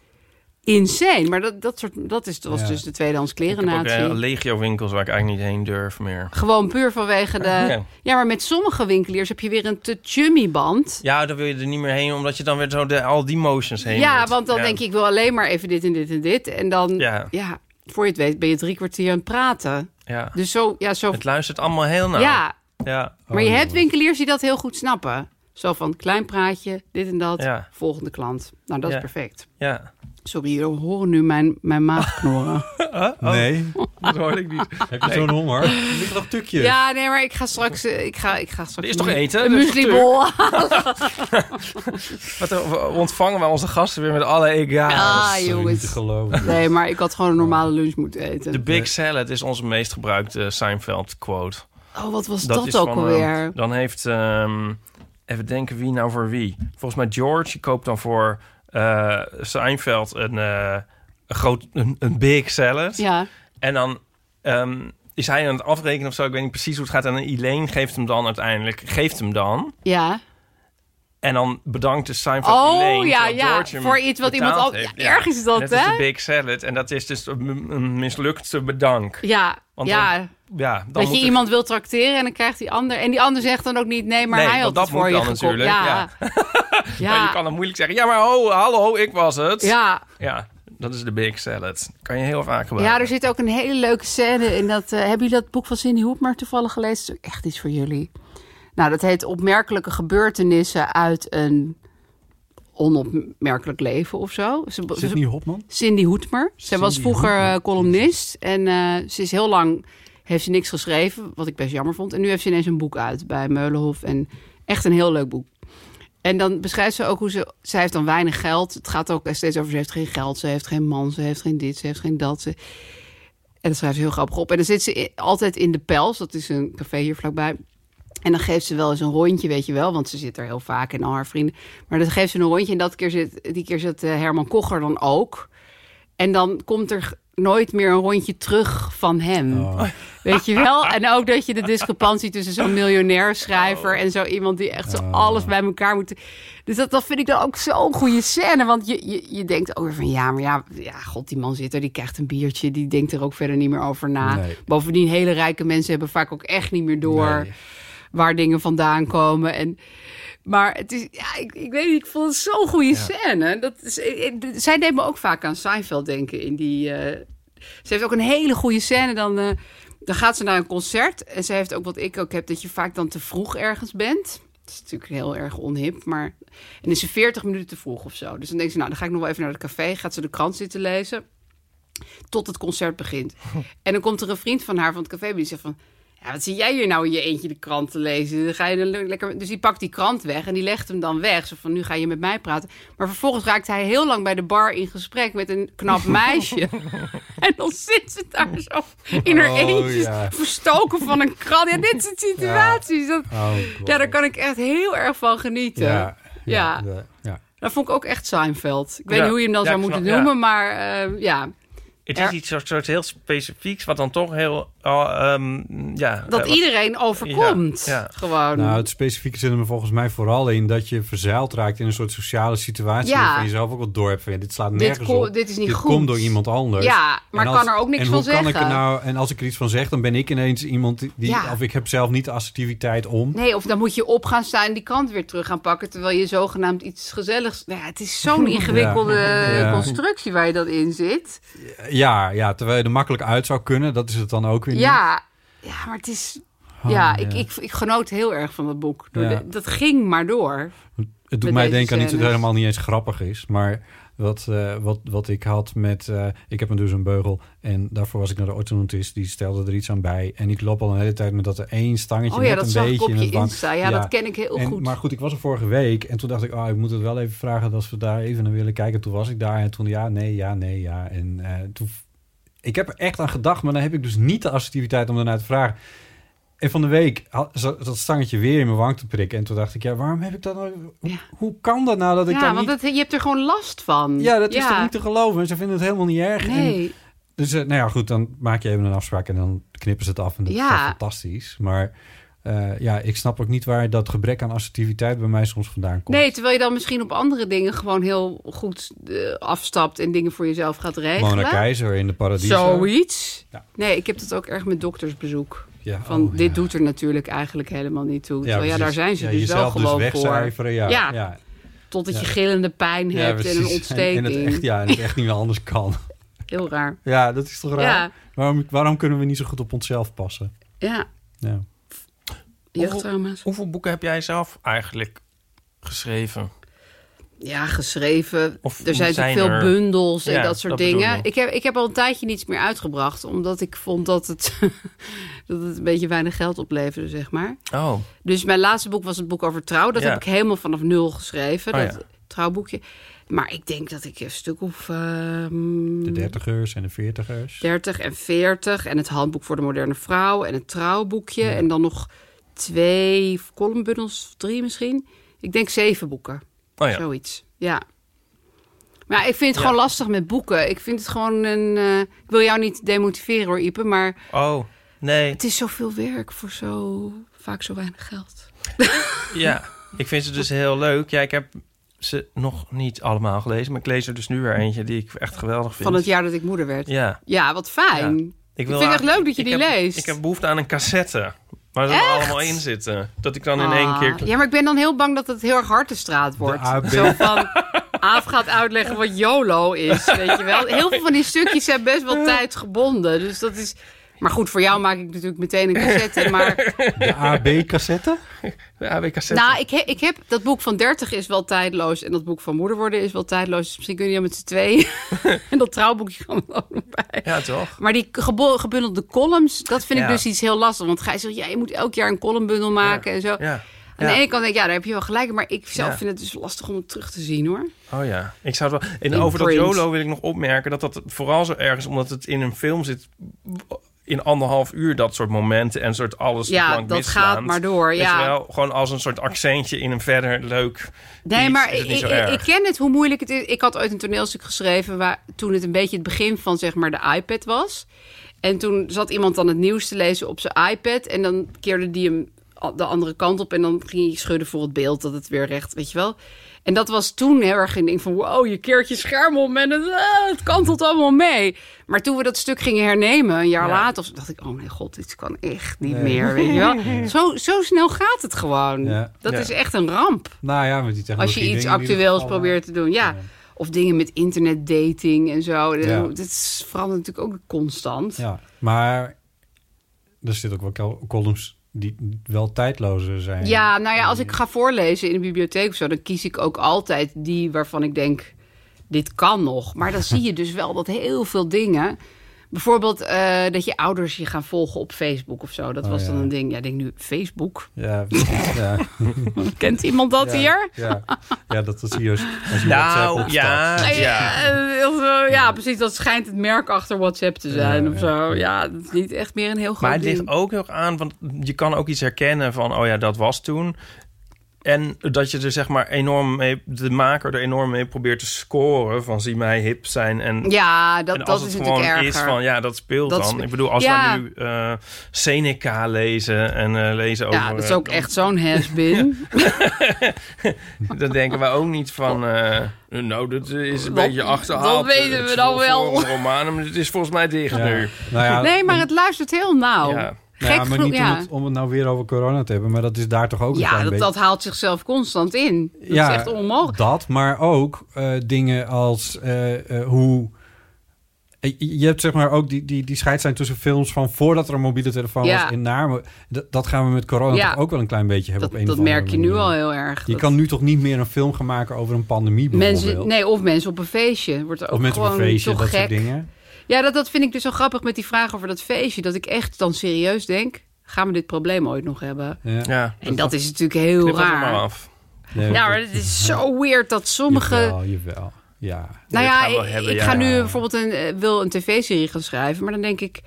Speaker 3: insane. Maar dat, dat, soort, dat is, was
Speaker 4: Ja.
Speaker 3: dus de tweedehands
Speaker 4: Ik heb ook
Speaker 3: klerennatie.
Speaker 4: eh, legio-winkels waar ik eigenlijk niet heen durf meer.
Speaker 3: Gewoon puur vanwege de...
Speaker 4: Ja.
Speaker 3: Ja. maar met sommige winkeliers heb je weer een te chummy band.
Speaker 4: Ja, dan wil je er niet meer heen, omdat je dan weer zo de, al die motions heen
Speaker 3: Ja,
Speaker 4: moet.
Speaker 3: want dan
Speaker 4: Ja.
Speaker 3: denk je, ik wil alleen maar even dit en dit en dit. En dan,
Speaker 4: Ja.
Speaker 3: ja. voor je het weet ben je drie kwartier aan het praten.
Speaker 4: Ja.
Speaker 3: Dus zo, ja, zo...
Speaker 4: Het luistert allemaal heel nauw.
Speaker 3: Ja,
Speaker 4: ja.
Speaker 3: maar je hebt winkeliers die dat heel goed snappen. Zo van klein praatje, dit en dat,
Speaker 4: Ja.
Speaker 3: volgende klant. Nou, dat
Speaker 4: Ja.
Speaker 3: is perfect.
Speaker 4: Ja.
Speaker 3: Sorry, jullie horen nu mijn, mijn maag
Speaker 4: [laughs]
Speaker 3: knorren.
Speaker 1: Oh. Nee.
Speaker 4: Dat hoorde ik niet.
Speaker 1: [laughs] Heb je zo'n honger? Er ligt nog tukjes.
Speaker 3: Ja, nee, maar ik ga straks... eh, Ik ga, ik ga straks
Speaker 4: Er is toch eten?
Speaker 3: Een
Speaker 4: Er is toch
Speaker 3: mueslibol [laughs]
Speaker 4: tuk? Wat eh, we ontvangen wij onze gasten weer met alle ega's.
Speaker 3: Ah, jongens.
Speaker 4: Niet te geloven.
Speaker 3: Nee, maar ik had gewoon een normale lunch moeten eten.
Speaker 4: De Big Salad is onze meest gebruikte Seinfeld quote.
Speaker 3: Oh, wat was dat
Speaker 4: is
Speaker 3: ook
Speaker 4: van,
Speaker 3: alweer?
Speaker 4: ehm, dan heeft, ehm, even denken wie nou voor wie. Volgens mij George, die koopt dan voor eh Seinfeld een, eh, een, groot, een, een Big Salad.
Speaker 3: Ja.
Speaker 4: En dan ehm, is hij aan het afrekenen of zo. Ik weet niet precies hoe het gaat. En Elaine geeft hem dan uiteindelijk, geeft hem dan.
Speaker 3: Ja.
Speaker 4: En dan bedankt de Seinfeld
Speaker 3: Oh,
Speaker 4: Elaine.
Speaker 3: ja,
Speaker 4: terwijl
Speaker 3: ja,
Speaker 4: George hem
Speaker 3: voor iets wat iemand
Speaker 4: betaald
Speaker 3: al-
Speaker 4: heeft.
Speaker 3: ja, erg is dat,
Speaker 4: dat
Speaker 3: hè?
Speaker 4: is de Big Salad. En dat is dus een een mislukte bedank.
Speaker 3: Ja,
Speaker 4: Want
Speaker 3: ja.
Speaker 4: dan- ja, dan
Speaker 3: dat
Speaker 4: moet
Speaker 3: je
Speaker 4: er-
Speaker 3: iemand wil trakteren en dan krijgt die ander... En die ander zegt dan ook niet, nee, maar
Speaker 4: Nee,
Speaker 3: hij had
Speaker 4: want dat
Speaker 3: het
Speaker 4: moet
Speaker 3: voor je
Speaker 4: dan
Speaker 3: gekocht.
Speaker 4: natuurlijk,
Speaker 3: Ja,
Speaker 4: Ja. [laughs] je kan dan moeilijk zeggen, ja, maar oh, hallo, ik was het.
Speaker 3: Ja.
Speaker 4: Ja, dat is de Big Salad. Kan je heel vaak gebruiken.
Speaker 3: ja, dus- er zit ook een hele leuke scène in. Dat, eh, hebben jullie dat boek van Cindy Hoepmer toevallig gelezen? Dat is echt iets voor jullie. Nou, dat heet Opmerkelijke gebeurtenissen uit een onopmerkelijk leven of zo. Ze,
Speaker 1: Sidney Hopman?
Speaker 3: Cindy Hoetmer. Zij
Speaker 1: Cindy
Speaker 3: was vroeger
Speaker 1: Hoetmer.
Speaker 3: eh, columnist en eh, ze is heel lang heeft ze niks geschreven, wat ik best jammer vond. En nu heeft ze ineens een boek uit bij Meulenhof en echt een heel leuk boek. En dan beschrijft ze ook hoe ze... Zij heeft dan weinig geld. Het gaat ook steeds over... ze heeft geen geld, ze heeft geen man, ze heeft geen dit, ze heeft geen dat. Ze, en dat schrijft ze heel grappig op. En dan zit ze i- altijd in de Pels. Dat is een café hier vlakbij. En dan geeft ze wel eens een rondje, weet je wel. Want ze zit er heel vaak en al haar vrienden. Maar dan geeft ze een rondje. En dat keer zit, die keer zit eh, Herman Kocher dan ook. En dan komt er g- nooit meer een rondje terug van hem. Weet je wel? En ook dat je de discrepantie tussen zo'n miljonair schrijver... en zo iemand die echt zo alles bij elkaar moet... Dus dat, dat vind ik dan ook zo'n goede scène. Want je, je, je denkt ook weer van... ja, maar ja, ja, god, die man zit er, die krijgt een biertje... die denkt er ook verder niet meer over na.
Speaker 9: Nee.
Speaker 3: Bovendien, hele rijke mensen hebben vaak ook echt niet meer door... waar dingen vandaan komen. En, maar het is, ja, ik, ik weet niet, ik vond het zo'n goede scène. Dat is, ik- ik- zij deed me ook vaak aan Seinfeld denken in die... eh, ze heeft ook een hele goede scène. Dan, eh, dan gaat ze naar een concert. En ze heeft ook wat ik ook heb, dat je vaak dan te vroeg ergens bent. Dat is natuurlijk heel erg onhip, maar... En is ze 40 minuten te vroeg of zo. Dus dan denkt ze, nou, dan ga ik nog wel even naar het café. Gaat ze de krant zitten lezen. Tot het concert
Speaker 4: [laughs]
Speaker 3: begint. En dan komt er een vriend van haar van het café binnen. Die zegt van, ja, wat zie jij hier nou in je eentje de krant te lezen? Dan ga je dan lekker... Dus die pakt die krant weg en die legt hem dan weg. Zo van, nu ga je met mij praten. Maar vervolgens raakt hij heel lang bij de bar in gesprek met een
Speaker 4: [laughs]
Speaker 3: knap meisje. en dan zit ze daar zo in haar
Speaker 9: Oh,
Speaker 3: eentje,
Speaker 9: ja.
Speaker 3: verstoken van een krant. Ja, dit soort situaties. Dus Dat,
Speaker 1: Oh,
Speaker 3: ja, daar kan ik echt heel erg van genieten.
Speaker 1: Ja,
Speaker 3: Ja.
Speaker 1: de- ja.
Speaker 3: Dat vond ik ook echt Seinfeld. Ik weet
Speaker 4: Ja.
Speaker 3: niet hoe je hem dan
Speaker 4: Ja,
Speaker 3: zou
Speaker 4: ik
Speaker 3: moeten
Speaker 4: snap- ja.
Speaker 3: noemen, maar eh, ja.
Speaker 4: Het
Speaker 3: Er-
Speaker 4: is iets soort, soort heel specifieks, wat dan toch heel... ah, ehm, ja,
Speaker 3: Dat
Speaker 4: eh, wat-
Speaker 3: iedereen overkomt.
Speaker 4: Ja, ja.
Speaker 3: Gewoon.
Speaker 1: Nou, het specifieke zit er volgens mij vooral in dat je verzeild raakt in een soort sociale situatie.
Speaker 3: Ja.
Speaker 1: waarvan je zelf ook wat door hebt. van, ja, Dit slaat nergens
Speaker 3: ko-
Speaker 1: op.
Speaker 3: dit is niet
Speaker 1: dit
Speaker 3: goed.
Speaker 1: komt door iemand anders.
Speaker 3: Ja, maar
Speaker 1: En
Speaker 3: kan er ook niks
Speaker 1: en
Speaker 3: van
Speaker 1: hoe kan Ik er
Speaker 3: zeggen?
Speaker 1: nou, en als ik er iets van zeg, dan ben ik ineens iemand die.
Speaker 3: Ja.
Speaker 1: Of ik heb zelf niet de assertiviteit om.
Speaker 3: Nee, of dan moet je op gaan staan en die krant weer terug gaan pakken... terwijl je zogenaamd iets gezelligs... Nou ja, het
Speaker 1: [laughs]
Speaker 3: is zo'n ingewikkelde
Speaker 1: Ja.
Speaker 3: constructie waar je dat in zit.
Speaker 1: Ja, ja, terwijl je er makkelijk uit zou kunnen. Dat is het dan ook weer niet.
Speaker 3: Ja, ja maar het is...
Speaker 1: Oh,
Speaker 3: ja, ik,
Speaker 1: ja.
Speaker 3: Ik, ik genoot heel erg van dat boek. Door
Speaker 1: Ja.
Speaker 3: de- dat ging maar door.
Speaker 1: Het
Speaker 3: Met
Speaker 1: doet mij
Speaker 3: deze
Speaker 1: denken aan iets dat
Speaker 3: scènes.
Speaker 1: helemaal niet eens grappig is. Maar wat, eh, wat, wat ik had met... eh, ik heb een dus een beugel. En daarvoor was ik naar de orthodontist. Die stelde er iets aan bij. En ik loop al een hele tijd met dat er één stangetje...
Speaker 3: Oh ja,
Speaker 1: net
Speaker 3: dat
Speaker 1: een
Speaker 3: zag ik
Speaker 1: beetje
Speaker 3: op
Speaker 1: in
Speaker 3: je
Speaker 1: het wang-
Speaker 3: Insta. Ja, dat ken ik heel
Speaker 1: En-
Speaker 3: goed.
Speaker 1: Maar goed, ik was er vorige week. En toen dacht ik, ah, ik moet het wel even vragen als we daar even naar willen kijken. Toen was ik daar. En toen ja, nee, ja, nee, ja. En eh, toen... Ik heb er echt aan gedacht. Maar dan heb ik dus niet de assertiviteit om daarnaar te vragen. En van de week had, zat dat stangetje weer in mijn wang te prikken. En toen dacht ik, ja, waarom heb ik dat nou... Hoe, hoe kan dat nou dat ik
Speaker 3: Ja,
Speaker 1: daar
Speaker 3: want
Speaker 1: niet...
Speaker 3: dat- je hebt er gewoon last van.
Speaker 1: Ja, dat is toch niet te geloven? Ze vinden het helemaal niet erg. En-
Speaker 3: Nee.
Speaker 1: dus eh, nou ja, goed, dan maak je even een afspraak en dan knippen ze het af. En dat
Speaker 3: Ja.
Speaker 1: is toch fantastisch. Maar eh, ja, ik snap ook niet waar dat gebrek aan assertiviteit bij mij soms vandaan komt.
Speaker 3: Nee, terwijl je dan misschien op andere dingen gewoon heel goed eh, afstapt en dingen voor jezelf gaat regelen.
Speaker 1: Mona Keizer in de Paradiso.
Speaker 3: Zoiets. Nee, ik heb dat ook erg met doktersbezoek.
Speaker 1: Ja,
Speaker 3: Van
Speaker 1: oh,
Speaker 3: dit doet er natuurlijk eigenlijk helemaal niet toe. Ja, ja
Speaker 1: precies.
Speaker 3: daar zijn ze
Speaker 1: Ja,
Speaker 3: dus wel
Speaker 1: jezelf dus
Speaker 3: gewoon voor.
Speaker 1: wegcijferen, ja, ja.
Speaker 3: Totdat
Speaker 1: Ja.
Speaker 3: je gillende pijn
Speaker 1: Ja,
Speaker 3: hebt en een
Speaker 1: precies. [laughs]
Speaker 3: ontsteking.
Speaker 1: En, en het echt, ja, en het echt niet meer anders kan. [laughs]
Speaker 3: Heel raar.
Speaker 1: Ja, dat is toch raar?
Speaker 3: Ja.
Speaker 1: Waarom, waarom kunnen we niet zo goed op onszelf passen?
Speaker 3: Ja,
Speaker 1: Ja.
Speaker 4: Hoeveel-
Speaker 3: jeugdtrauma's.
Speaker 4: Hoeveel boeken heb jij zelf eigenlijk geschreven?
Speaker 3: Ja, geschreven.
Speaker 4: Of
Speaker 3: er zijn,
Speaker 4: zijn
Speaker 3: natuurlijk
Speaker 4: er-
Speaker 3: veel bundels en
Speaker 4: Ja,
Speaker 3: dat soort
Speaker 4: dat bedoel
Speaker 3: dingen.
Speaker 4: ik.
Speaker 3: Ik. heb, ik heb al een tijdje niets meer uitgebracht, omdat ik vond dat het, [laughs] dat het een beetje weinig geld opleverde, zeg maar.
Speaker 4: Oh,
Speaker 3: Dus mijn laatste boek was het boek over trouw. Dat
Speaker 4: Ja.
Speaker 3: heb ik helemaal vanaf nul geschreven,
Speaker 1: Oh,
Speaker 3: dat
Speaker 1: ja.
Speaker 3: trouwboekje. Maar ik denk dat ik een stuk of ehm,
Speaker 1: De dertigers en de veertigers.
Speaker 3: 30 en 40 en het handboek voor de moderne vrouw en het trouwboekje. En dan nog twee columnbundels, drie misschien. Ik denk zeven boeken.
Speaker 4: Oh ja.
Speaker 3: Zoiets, ja. Maar ja, ik vind het
Speaker 4: Ja.
Speaker 3: gewoon lastig met boeken. Ik vind het gewoon een... eh, ik wil jou niet demotiveren hoor, Ipe, maar...
Speaker 4: oh, nee.
Speaker 3: Het is zoveel werk voor zo vaak zo weinig geld.
Speaker 4: Ja, ik vind ze dus heel leuk. Ja, ik heb ze nog niet allemaal gelezen, maar ik lees er dus nu weer eentje die ik echt geweldig vind.
Speaker 3: Van het jaar dat ik moeder werd.
Speaker 4: Ja.
Speaker 3: Ja, wat fijn.
Speaker 4: Ja. wil
Speaker 3: Ik, vind het echt
Speaker 4: eigenlijk-
Speaker 3: leuk dat je
Speaker 4: ik
Speaker 3: die
Speaker 4: heb-
Speaker 3: leest.
Speaker 4: Ik heb behoefte aan een cassette. Waar ze
Speaker 3: Echt?
Speaker 4: er allemaal in zitten. Dat ik dan in één
Speaker 3: Ah.
Speaker 4: keer...
Speaker 3: Ja, maar ik ben dan heel bang dat het heel erg hard de straat wordt.
Speaker 4: De AB.
Speaker 3: Zo van... Aaf gaat uitleggen wat YOLO is, weet je wel. Heel veel van die stukjes zijn best wel tijdgebonden. Dus dat is... Maar goed, voor jou maak ik natuurlijk meteen een cassette. Maar
Speaker 4: [laughs]
Speaker 1: De AB-cassette?
Speaker 4: De AB-cassette.
Speaker 3: nou, ik, he- ik heb dat boek van 30 is wel tijdloos. En dat boek van moeder worden is wel tijdloos. Dus misschien kun je dat met z'n
Speaker 4: [laughs]
Speaker 3: tweeën. en dat trouwboekje kan er ook nog bij.
Speaker 4: Ja, toch?
Speaker 3: Maar die gebo- gebundelde columns, dat vind ik
Speaker 4: Ja.
Speaker 3: dus iets heel lastig. Want Gij zegt, ja, je moet elk jaar een columnbundel maken en zo.
Speaker 4: Ja.
Speaker 3: Aan
Speaker 4: Ja.
Speaker 3: de ene kant denk ik, ja, daar heb je wel gelijk. in, Maar ik zelf
Speaker 4: Ja.
Speaker 3: vind het dus lastig om het terug te zien, hoor.
Speaker 4: Oh ja, ik zou het wel... En
Speaker 3: In
Speaker 4: over
Speaker 3: print.
Speaker 4: dat YOLO wil ik nog opmerken... dat dat vooral zo erg is omdat het in een film zit... in anderhalf uur dat soort momenten... en soort alles
Speaker 3: Ja,
Speaker 4: blank
Speaker 3: dat
Speaker 4: misslaand.
Speaker 3: gaat maar door,
Speaker 4: Weet je
Speaker 3: ja.
Speaker 4: wel, gewoon als een soort accentje in een verder leuk...
Speaker 3: Nee,
Speaker 4: iets is
Speaker 3: maar ik,
Speaker 4: het niet
Speaker 3: ik,
Speaker 4: zo erg.
Speaker 3: ik ken het, hoe moeilijk het is. Ik had ooit een toneelstuk geschreven... Waar, toen het een beetje het begin van zeg maar, de iPad was. En toen zat iemand dan het nieuws te lezen op zijn iPad... en dan keerde die hem a- de andere kant op... en dan ging hij schudden voor het beeld dat het weer recht... weet je wel. En dat was toen heel erg een ding van... wow, je keert je scherm om en het, ah, het kantelt allemaal mee. Maar toen we dat stuk gingen hernemen, een jaar later... of- dacht ik, oh mijn god, dit kan echt niet
Speaker 1: Nee.
Speaker 3: meer, weet je
Speaker 4: [laughs]
Speaker 3: wel. Zo, zo snel gaat het gewoon.
Speaker 1: Ja.
Speaker 3: Dat
Speaker 1: Ja.
Speaker 3: is echt een ramp.
Speaker 1: Nou ja, met die
Speaker 3: Als
Speaker 1: technologie.
Speaker 3: je iets
Speaker 1: dingen die er
Speaker 3: actueels
Speaker 1: vallen.
Speaker 3: probeert te doen, ja. Of dingen met internetdating en zo.
Speaker 1: Ja.
Speaker 3: Dat is- verandert natuurlijk ook constant.
Speaker 1: Ja, maar er zitten ook wel col- columns die wel tijdlozer zijn.
Speaker 3: Ja, nou ja, als ik ga voorlezen in de bibliotheek of zo... dan kies ik ook altijd die waarvan ik denk, dit kan nog. Maar dan zie je dus wel dat heel veel dingen... Bijvoorbeeld eh, dat je ouders je gaan volgen op Facebook of zo. Dat
Speaker 1: Oh,
Speaker 3: was dan
Speaker 1: ja.
Speaker 3: een ding. Ja, ik denk nu,
Speaker 4: [laughs]
Speaker 3: Facebook? [laughs]
Speaker 1: Ja, ja.
Speaker 3: Kent iemand dat
Speaker 1: Ja,
Speaker 3: hier?
Speaker 1: Ja. ja, dat is hier als als je WhatsApp
Speaker 4: Nou,
Speaker 1: opstart.
Speaker 4: ja,
Speaker 3: Ja,
Speaker 4: ja.
Speaker 3: Eh, ja. ja, precies. Dat schijnt het merk achter WhatsApp te zijn of zo. Ja, dat is niet echt meer een heel groot
Speaker 4: Maar het
Speaker 3: ding.
Speaker 4: ligt ook heel erg aan, want je kan ook iets herkennen van, oh ja, dat was toen. En dat je er zeg maar enorm mee, de maker er enorm mee probeert te scoren van zie mij hip zijn. En,
Speaker 3: Ja, dat-
Speaker 4: en
Speaker 3: dat
Speaker 4: als het
Speaker 3: is
Speaker 4: gewoon
Speaker 3: natuurlijk
Speaker 4: is
Speaker 3: erger.
Speaker 4: van, ja, dat speelt
Speaker 3: Dat
Speaker 4: dan.
Speaker 3: spe-
Speaker 4: Ik bedoel, als
Speaker 3: Ja.
Speaker 4: we nu eh, Seneca lezen en eh, lezen over...
Speaker 3: Ja, dat is ook
Speaker 4: eh,
Speaker 3: echt zo'n has-been.
Speaker 4: [laughs] Dan denken we ook niet van, eh, nou, dat is een
Speaker 3: Dat-
Speaker 4: beetje achterhaald. eh,
Speaker 3: dat Oh. weten
Speaker 4: Het
Speaker 3: we
Speaker 4: is
Speaker 3: dan
Speaker 4: voor-
Speaker 3: wel.
Speaker 4: voor een roman, maar het is volgens mij dicht
Speaker 1: Ja.
Speaker 4: nu.
Speaker 1: Nou ja,
Speaker 3: nee, maar het luistert heel nauw.
Speaker 1: Nou Ja.
Speaker 3: Gek
Speaker 1: ja, maar
Speaker 3: genoeg,
Speaker 1: niet
Speaker 3: ja.
Speaker 1: om, het, om het nou weer over corona te hebben, maar dat is daar toch ook een
Speaker 3: ja,
Speaker 1: klein
Speaker 3: dat,
Speaker 1: beetje.
Speaker 3: dat haalt zichzelf constant in. Dat is echt onmogelijk.
Speaker 1: Dat, maar ook eh, dingen als eh, eh, hoe. eh, Je hebt zeg maar ook die, die, die scheidslijn tussen films van voordat er een mobiele telefoon
Speaker 3: Ja.
Speaker 1: was in namen. Dat, dat gaan we met corona
Speaker 3: Ja.
Speaker 1: toch ook wel een klein beetje hebben
Speaker 3: Dat,
Speaker 1: op een
Speaker 3: dat
Speaker 1: of andere
Speaker 3: merk je nu
Speaker 1: manier.
Speaker 3: al heel erg.
Speaker 1: Je
Speaker 3: Dat
Speaker 1: kan nu toch niet meer een film gaan maken over een pandemie bijvoorbeeld.
Speaker 3: mensen, nee, of mensen op een feestje. Wordt ook
Speaker 1: of mensen op
Speaker 3: gewoon
Speaker 1: een feestje,
Speaker 3: toch
Speaker 1: dat
Speaker 3: gek.
Speaker 1: soort dingen.
Speaker 3: Ja, dat, dat vind ik dus zo grappig met die vraag over dat feestje. Dat ik echt dan serieus denk, gaan we dit probleem ooit nog hebben?
Speaker 1: Ja.
Speaker 3: En dat is natuurlijk heel
Speaker 4: Knip dat er
Speaker 3: raar.
Speaker 4: maar af.
Speaker 1: Nee,
Speaker 3: nou, maar
Speaker 1: dat-
Speaker 3: het is zo weird dat sommige...
Speaker 1: Jawel, jawel. Ja.
Speaker 3: Nou ja,
Speaker 4: gaan we
Speaker 3: ik,
Speaker 4: wel hebben,
Speaker 3: ik
Speaker 4: ja.
Speaker 3: ga nu bijvoorbeeld een, eh, wil een tv-serie gaan schrijven, maar dan denk ik.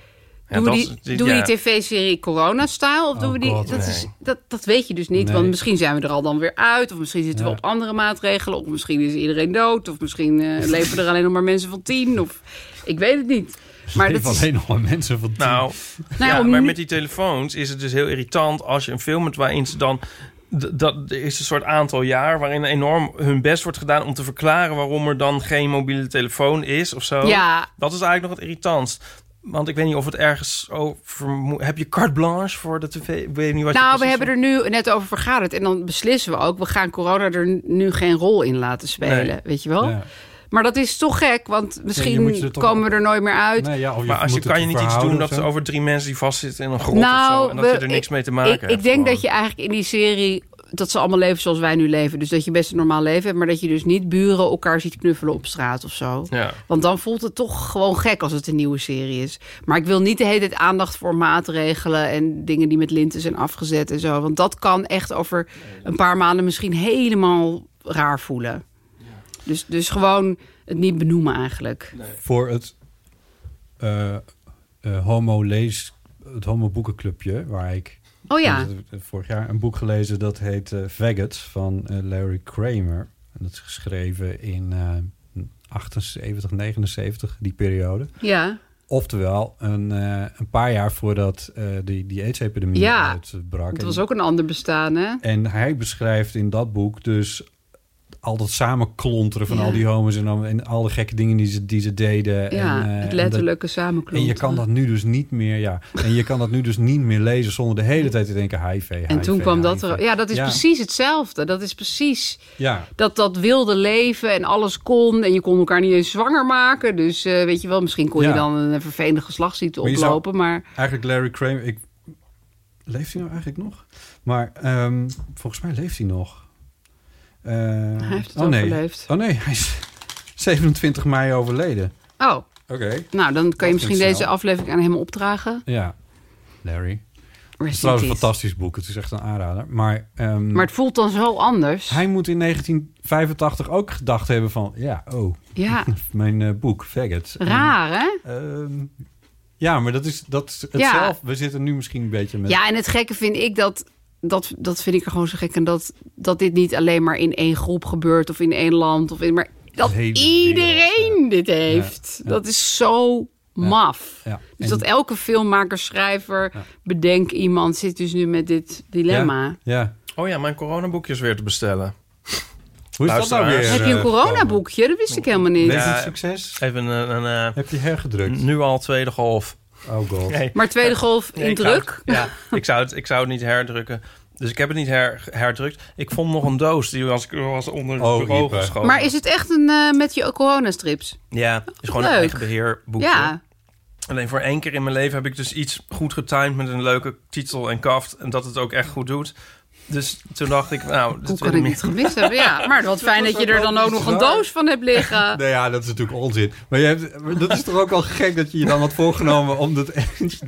Speaker 4: Ja,
Speaker 3: Doen we
Speaker 4: dat
Speaker 3: die,
Speaker 4: is- dit-
Speaker 3: doen we
Speaker 4: ja.
Speaker 3: die tv-serie Corona-style? Of doen we die.
Speaker 4: Oh God,
Speaker 3: dat,
Speaker 4: nee.
Speaker 3: is, dat, dat weet je dus niet.
Speaker 4: Nee.
Speaker 3: Want misschien zijn we er al dan weer uit. Of misschien zitten we op andere maatregelen. Of misschien is iedereen dood. Of misschien
Speaker 4: [laughs]
Speaker 3: eh, leven er alleen nog maar mensen van tien. Of ik weet het niet. Maar dat
Speaker 1: Even
Speaker 3: is,
Speaker 1: alleen nog maar mensen van tien.
Speaker 4: Nou,
Speaker 3: Nou ja,
Speaker 4: ja,
Speaker 3: om
Speaker 4: maar
Speaker 3: nu-
Speaker 4: met die telefoons is het dus heel irritant als je een film hebt waarin ze dan... d- Dat er is een soort aantal jaar waarin enorm hun best wordt gedaan om te verklaren waarom er dan geen mobiele telefoon is of zo.
Speaker 3: Ja.
Speaker 4: Dat is eigenlijk nog het irritantst. Want ik weet niet of het ergens over... moet- Heb je carte blanche voor de tv? Ik weet niet wat je
Speaker 3: nou, we
Speaker 4: precies
Speaker 3: hebben er nu net over vergaderd. En dan beslissen we ook, we gaan corona er nu geen rol in laten spelen.
Speaker 4: Nee.
Speaker 3: Weet je wel?
Speaker 4: Ja.
Speaker 3: Maar dat is toch gek, want misschien
Speaker 4: moet je er toch-
Speaker 3: komen we er nooit meer uit.
Speaker 4: maar als je
Speaker 1: moet het
Speaker 4: kan je niet iets doen
Speaker 1: verhouden
Speaker 4: dat
Speaker 1: of zo?
Speaker 4: over drie mensen die vastzitten in een grot of zo, en dat
Speaker 3: Nou, we-
Speaker 4: je er niks mee te maken
Speaker 3: ik,
Speaker 4: hebt.
Speaker 3: ik denk dat je eigenlijk in die serie dat ze allemaal leven zoals wij nu leven. Dus dat je best een normaal leven hebt, maar dat je dus niet buren elkaar ziet knuffelen op straat of zo.
Speaker 4: Ja.
Speaker 3: Want dan voelt het toch gewoon gek als het een nieuwe serie is. Maar ik wil niet de hele tijd aandacht voor maatregelen en dingen die met linten zijn afgezet en zo. Want dat kan echt over een paar maanden misschien helemaal raar voelen. Dus, dus gewoon het niet benoemen eigenlijk.
Speaker 1: Voor het eh, eh, homo lees, het homo boekenclubje, waar ik
Speaker 3: Oh ja.
Speaker 1: ik heb vorig jaar een boek gelezen dat heet eh Faggot van eh, Larry Kramer. En dat is geschreven in eh 78, 79, die periode.
Speaker 3: Ja.
Speaker 1: Oftewel, een, eh, een paar jaar voordat eh, die, die AIDS-epidemie
Speaker 3: Ja,
Speaker 1: uitbrak.
Speaker 3: Het
Speaker 1: En-
Speaker 3: was ook een ander bestaan, hè?
Speaker 1: en hij beschrijft in dat boek dus al dat samenklonteren van
Speaker 3: Ja.
Speaker 1: al die homo's en, al- en alle gekke dingen die ze, die ze deden.
Speaker 3: Ja,
Speaker 1: en, eh,
Speaker 3: het
Speaker 1: en
Speaker 3: letterlijke
Speaker 1: dat-
Speaker 3: samenklonteren.
Speaker 1: En je kan dat nu dus niet meer, ja. En je kan dat nu dus niet meer lezen zonder de hele tijd te denken HIV,
Speaker 3: En toen kwam dat er. Ja, dat is precies hetzelfde. Dat is precies
Speaker 1: Ja,
Speaker 3: dat dat wilde leven en alles kon. En je kon elkaar niet eens zwanger maken. Dus eh, weet je wel, misschien kon je
Speaker 1: Ja.
Speaker 3: dan een vervelende geslachtsziekte
Speaker 1: Maar je zou-
Speaker 3: oplopen. Maar
Speaker 1: eigenlijk Larry Kramer... Ik, leeft hij nou eigenlijk nog? Maar ehm, volgens mij leeft hij nog. Eh,
Speaker 3: heeft het
Speaker 1: oh, nee.
Speaker 3: overleefd.
Speaker 1: Oh nee, hij is [laughs] 27 mei overleden.
Speaker 3: oh,
Speaker 1: Oké.
Speaker 3: nou dan kan je misschien
Speaker 1: snel.
Speaker 3: deze aflevering aan hem opdragen.
Speaker 1: Ja, Larry.
Speaker 3: in
Speaker 1: Het is trouwens een
Speaker 3: peace.
Speaker 1: fantastisch boek. Het is echt een aanrader. Maar, ehm,
Speaker 3: Maar het voelt dan zo anders.
Speaker 1: hij moet in 1985 ook gedacht hebben van... Ja, oh, [laughs]
Speaker 3: Ja,
Speaker 1: mijn eh, boek, Faggot. En,
Speaker 3: raar hè?
Speaker 1: ehm, ja, maar dat is, dat is het
Speaker 3: Ja.
Speaker 1: zelf. We zitten nu misschien een beetje met...
Speaker 3: Ja, en het gekke vind ik dat. Dat, dat vind ik er gewoon zo gek. En dat, dat dit niet alleen maar in één groep gebeurt of in één land. Of in, maar dat
Speaker 1: De hele
Speaker 3: iedereen dit heeft.
Speaker 1: ja.
Speaker 3: Dat is zo maf.
Speaker 1: Ja.
Speaker 3: Dus dat elke filmmaker, schrijver, bedenk iemand zit dus nu met dit dilemma.
Speaker 1: Ja.
Speaker 4: Oh ja, mijn coronaboekjes weer te bestellen.
Speaker 1: Hoe
Speaker 3: is dat nou weer? Heb je een coronaboekje? Dat wist ik helemaal niet.
Speaker 1: eh, succes?
Speaker 4: Even een... een, eh,
Speaker 1: Heb je hergedrukt?
Speaker 4: Nu al tweede golf.
Speaker 1: Oh god.
Speaker 3: Maar tweede golf in
Speaker 4: ik zou het-
Speaker 3: druk?
Speaker 4: ja, ik zou, het, ik zou het niet herdrukken. Dus ik heb het niet her, herdrukt. Ik vond nog een doos. Die was, was onder het
Speaker 1: Oh,
Speaker 4: bureau
Speaker 1: Ipe.
Speaker 4: geschoven.
Speaker 3: Maar is het echt een eh, met je coronastrips?
Speaker 4: Ja, is gewoon
Speaker 3: Leuk.
Speaker 4: een eigen beheerboekje.
Speaker 3: Ja.
Speaker 4: Alleen voor één keer in mijn leven heb ik dus iets goed getimed... met een leuke titel en kaft. En dat het ook echt goed doet. Dus toen dacht ik, nou... dit
Speaker 3: Hoe
Speaker 4: wil
Speaker 3: kan ik
Speaker 4: meer.
Speaker 3: dit gemist hebben? Ja, maar wat fijn dat je er dan ook nog een doos van hebt liggen.
Speaker 1: Nou ja, dat is natuurlijk onzin. Maar, je hebt, maar dat is toch ook al gek dat je je dan had voorgenomen om dat...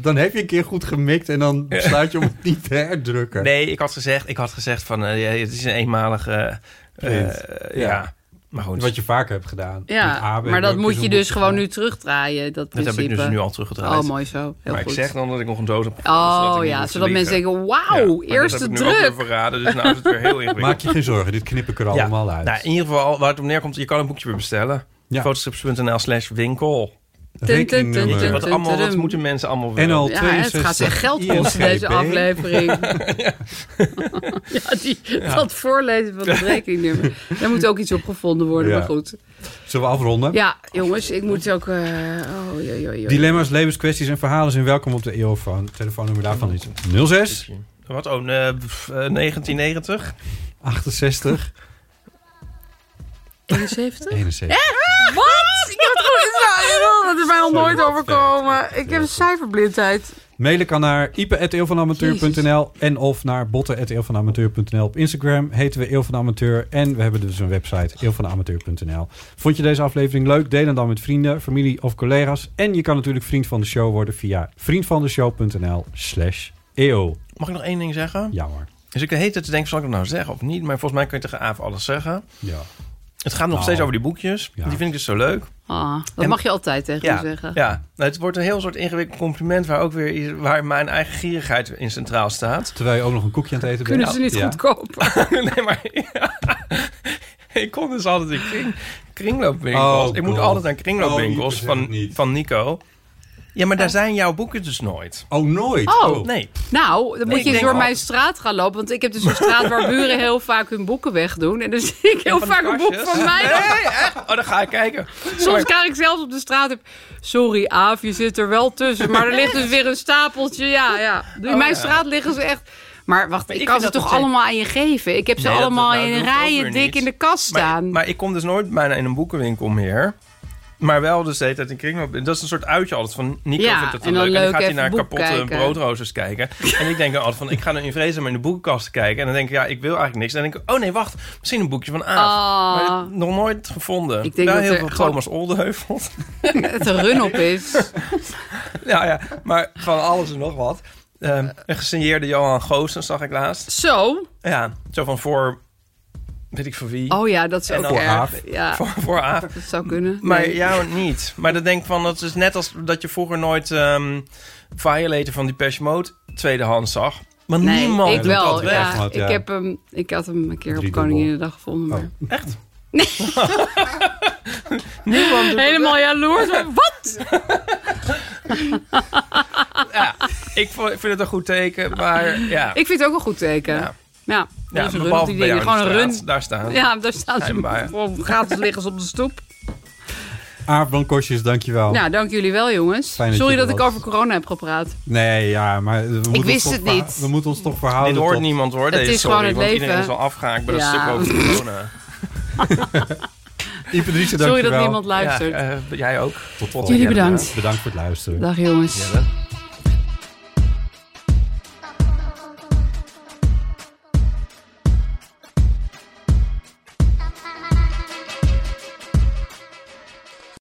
Speaker 1: Dan heb je een keer goed gemikt en dan besluit je om het niet te herdrukken.
Speaker 4: Nee, ik had gezegd, ik had gezegd van... eh, ja, het is een eenmalige... eh,
Speaker 1: Print.
Speaker 4: eh, ja.
Speaker 1: Ja.
Speaker 4: maar goed.
Speaker 1: Wat je vaker hebt gedaan. Met
Speaker 3: Ja,
Speaker 1: AB
Speaker 3: maar dat
Speaker 1: ook
Speaker 3: moet
Speaker 1: zo'n
Speaker 3: je
Speaker 1: boek
Speaker 3: dus gewoon
Speaker 1: gedaan.
Speaker 3: nu terugdraaien. Dat,
Speaker 4: Dat heb ik
Speaker 3: principe.
Speaker 4: dus nu al teruggedraaid.
Speaker 3: Oh, mooi zo. Heel
Speaker 4: maar
Speaker 3: goed.
Speaker 4: ik zeg dan dat ik nog een doos heb
Speaker 3: Oh ja, zodat mensen denken, wauw, eerste druk.
Speaker 4: verraden, dus nou is het weer heel
Speaker 3: [laughs]
Speaker 4: ingewikkeld.
Speaker 1: Maak je geen zorgen, dit knip ik er allemaal uit.
Speaker 4: Nou, in ieder geval, waar het om neerkomt, je kan een boekje weer bestellen.
Speaker 1: Ja.
Speaker 4: Fotostrips.nl slash winkel.
Speaker 1: Rekeningnummer.
Speaker 4: Weet je, wat allemaal, dat
Speaker 3: Dun-dun-dun-dun.
Speaker 4: moeten mensen allemaal
Speaker 1: En al
Speaker 4: willen.
Speaker 3: Ja, het gaat zich geld kosten, deze aflevering.
Speaker 4: [laughs]
Speaker 3: [laughs] ja, die,
Speaker 1: Ja.
Speaker 3: dat voorlezen
Speaker 4: [laughs]
Speaker 3: van het rekeningnummer. Daar moet ook iets op gevonden worden,
Speaker 1: Ja.
Speaker 3: maar goed.
Speaker 1: Zullen we afronden?
Speaker 3: Ja, jongens, ik moet ook... eh, oh, joi, joi, joi.
Speaker 1: Dilemma's, levenskwesties en verhalen zijn welkom op de EOFoon. Telefoonnummer daarvan is 06
Speaker 4: Wat, oh, eh, pff, eh, 1990?
Speaker 3: [laughs]
Speaker 1: 68
Speaker 3: 71?
Speaker 1: 71.
Speaker 3: Eh, Wat? Ik heb het
Speaker 1: [laughs]
Speaker 3: gewoon... Dat is mij al nooit overkomen. Ik heb cijferblindheid.
Speaker 1: Mailen kan naar ipe.eeuwvanamateur.nl en of naar botten.eeuwvanamateur.nl. Op Instagram heten we Eeuw van Amateur en we hebben dus een website eeuwvanamateur.nl. Vond je deze aflevering leuk? Deel hem dan met vrienden, familie of collega's. En je kan natuurlijk vriend van de show worden via vriendvandeshow.nl slash E eeuw.
Speaker 4: Mag ik nog één ding zeggen?
Speaker 1: Ja hoor.
Speaker 4: Dus ik de hele tijd te denken, zal ik dat nou zeggen of niet? Maar volgens mij kun je tegen Aaf alles zeggen.
Speaker 1: Ja.
Speaker 4: Het gaat nog
Speaker 1: Nou.
Speaker 4: steeds over die boekjes. Die vind ik dus zo leuk.
Speaker 3: Ah, dat
Speaker 4: En-
Speaker 3: mag je altijd tegen
Speaker 4: ja,
Speaker 3: me zeggen.
Speaker 4: Ja, Nou, het wordt een heel soort ingewikkeld compliment... waar ook weer i- waar mijn eigen gierigheid in centraal
Speaker 1: [laughs]
Speaker 4: staat.
Speaker 1: Terwijl je ook nog een koekje aan het eten
Speaker 3: Kunnen
Speaker 1: bent.
Speaker 3: ze niet
Speaker 1: Ja.
Speaker 3: goedkopen?
Speaker 4: [laughs] Ik kon dus altijd in kring, kringloopwinkels.
Speaker 1: Oh,
Speaker 4: ik moet
Speaker 1: God.
Speaker 4: altijd aan kringloopwinkels
Speaker 1: Oh, je
Speaker 4: van, van Nico. Ja, maar daar zijn jouw boeken dus nooit.
Speaker 1: Oh, nooit?
Speaker 3: Oh.
Speaker 4: Nee.
Speaker 3: Nou, dan
Speaker 4: Nee,
Speaker 3: moet
Speaker 4: ik
Speaker 3: je eens
Speaker 4: denk
Speaker 3: door
Speaker 4: al-
Speaker 3: mijn straat gaan lopen. Want ik heb dus een straat waar buren heel vaak hun boeken wegdoen. En dan zie ik heel vaak een boek van mij.
Speaker 4: Nee, echt? Oh, dan ga ik kijken.
Speaker 3: Soms krijg ik zelfs op de straat... heb- Sorry, Aaf, je zit er wel tussen. Maar er ligt dus weer een stapeltje. Ja, ja. Dus in
Speaker 9: Oh,
Speaker 3: mijn
Speaker 9: ja.
Speaker 3: straat liggen ze echt... Maar wacht, ik,
Speaker 9: ik
Speaker 3: kan ze
Speaker 9: vind
Speaker 3: toch
Speaker 9: dat meteen-
Speaker 3: allemaal aan je geven? Ik heb ze
Speaker 4: Nee, dat-
Speaker 3: allemaal
Speaker 4: nou,
Speaker 3: in
Speaker 4: dat hoeft ook
Speaker 3: rijen
Speaker 4: weer
Speaker 3: dik
Speaker 4: niet.
Speaker 3: in de kast staan.
Speaker 4: Maar, maar ik kom dus nooit bijna in een boekenwinkel meer. Maar wel dus de hele tijd in kringloop. En Dat is een soort uitje altijd van Nico
Speaker 3: Ja,
Speaker 4: vindt het
Speaker 3: en
Speaker 4: dan
Speaker 3: dan
Speaker 4: leuk. En dan
Speaker 3: leuk
Speaker 4: gaat hij
Speaker 3: even
Speaker 4: naar
Speaker 3: boek
Speaker 4: kapotte
Speaker 3: kijken.
Speaker 4: broodroosters kijken. En ik denk dan altijd van, ik ga nu in vrezen maar in de boekenkast kijken. En dan denk ik, ja, ik wil eigenlijk niks. En dan denk ik, oh nee, wacht, misschien een boekje van Aaf.
Speaker 3: Ah.
Speaker 4: Maar dat- nog nooit gevonden.
Speaker 3: Ik denk
Speaker 4: Wel
Speaker 3: dat
Speaker 4: heel
Speaker 3: er
Speaker 4: veel
Speaker 3: gewoon-
Speaker 4: Thomas Oldeheuvel. [laughs]
Speaker 3: het een run op is.
Speaker 4: ja, ja, maar van alles en nog wat. Ehm, een gesigneerde Johan Goossens zag ik laatst.
Speaker 3: Zo?
Speaker 4: Ja, zo van voor, weet ik voor wie.
Speaker 3: Oh ja, dat is
Speaker 4: En
Speaker 3: ook
Speaker 4: dan-
Speaker 3: erg. Ja.
Speaker 4: Voor, [laughs] voor Aaf.
Speaker 3: Dat zou kunnen.
Speaker 4: Maar
Speaker 3: Nee.
Speaker 4: jou niet. Maar dan denk ik van, dat is net als dat je vroeger nooit ehm Violator van Depeche Mode tweedehands zag. Maar
Speaker 3: Nee,
Speaker 4: niemand
Speaker 3: ik
Speaker 4: doet
Speaker 3: wel.
Speaker 4: dat weg.
Speaker 3: ja, Ik, heb hem, ik had hem een keer op Koninginnedag gevonden. Maar...
Speaker 4: Oh.
Speaker 3: [laughs]
Speaker 4: Echt?
Speaker 3: Niemand Helemaal jaloers. Wat?
Speaker 4: Ik vo- vind het een goed teken,
Speaker 3: [laughs]
Speaker 4: maar ja.
Speaker 3: Ik vind het ook een goed teken. Ja, ja,
Speaker 4: ja,
Speaker 3: dus een run op
Speaker 4: behalve
Speaker 3: die
Speaker 4: bij
Speaker 3: dingen.
Speaker 4: jou
Speaker 3: Gewoon
Speaker 4: in de
Speaker 3: een run.
Speaker 4: straat. Daar staan.
Speaker 3: Ja, daar staan ze
Speaker 4: Schijnbaar.
Speaker 3: gewoon gratis liggen ze op de stoep.
Speaker 1: Aaf Blankosjes, dankjewel.
Speaker 3: Nou, dank jullie wel, jongens.
Speaker 1: Fijn dat
Speaker 3: Sorry
Speaker 1: je er
Speaker 3: dat ik
Speaker 1: was.
Speaker 3: over corona heb gepraat.
Speaker 1: Nee, ja, maar we moeten
Speaker 3: wist
Speaker 1: ons toch
Speaker 3: het
Speaker 1: verha-
Speaker 3: niet.
Speaker 1: We moeten ons toch verhouden
Speaker 4: Dit hoort
Speaker 1: tot-
Speaker 4: niemand hoor,
Speaker 3: Het
Speaker 4: deze
Speaker 3: is
Speaker 4: sorry,
Speaker 3: gewoon het
Speaker 4: want
Speaker 3: leven.
Speaker 4: iedereen is al afgehaakt bij
Speaker 3: Ja.
Speaker 4: dat stuk over
Speaker 3: [laughs]
Speaker 4: corona.
Speaker 1: Ipadrice,
Speaker 3: Sorry dat
Speaker 1: dankjewel.
Speaker 3: niemand luistert.
Speaker 4: Ja, eh, jij ook. Tot volgende
Speaker 3: Jullie
Speaker 4: keer.
Speaker 3: bedankt.
Speaker 1: Bedankt voor het luisteren.
Speaker 3: Dag, jongens.
Speaker 4: Jelle.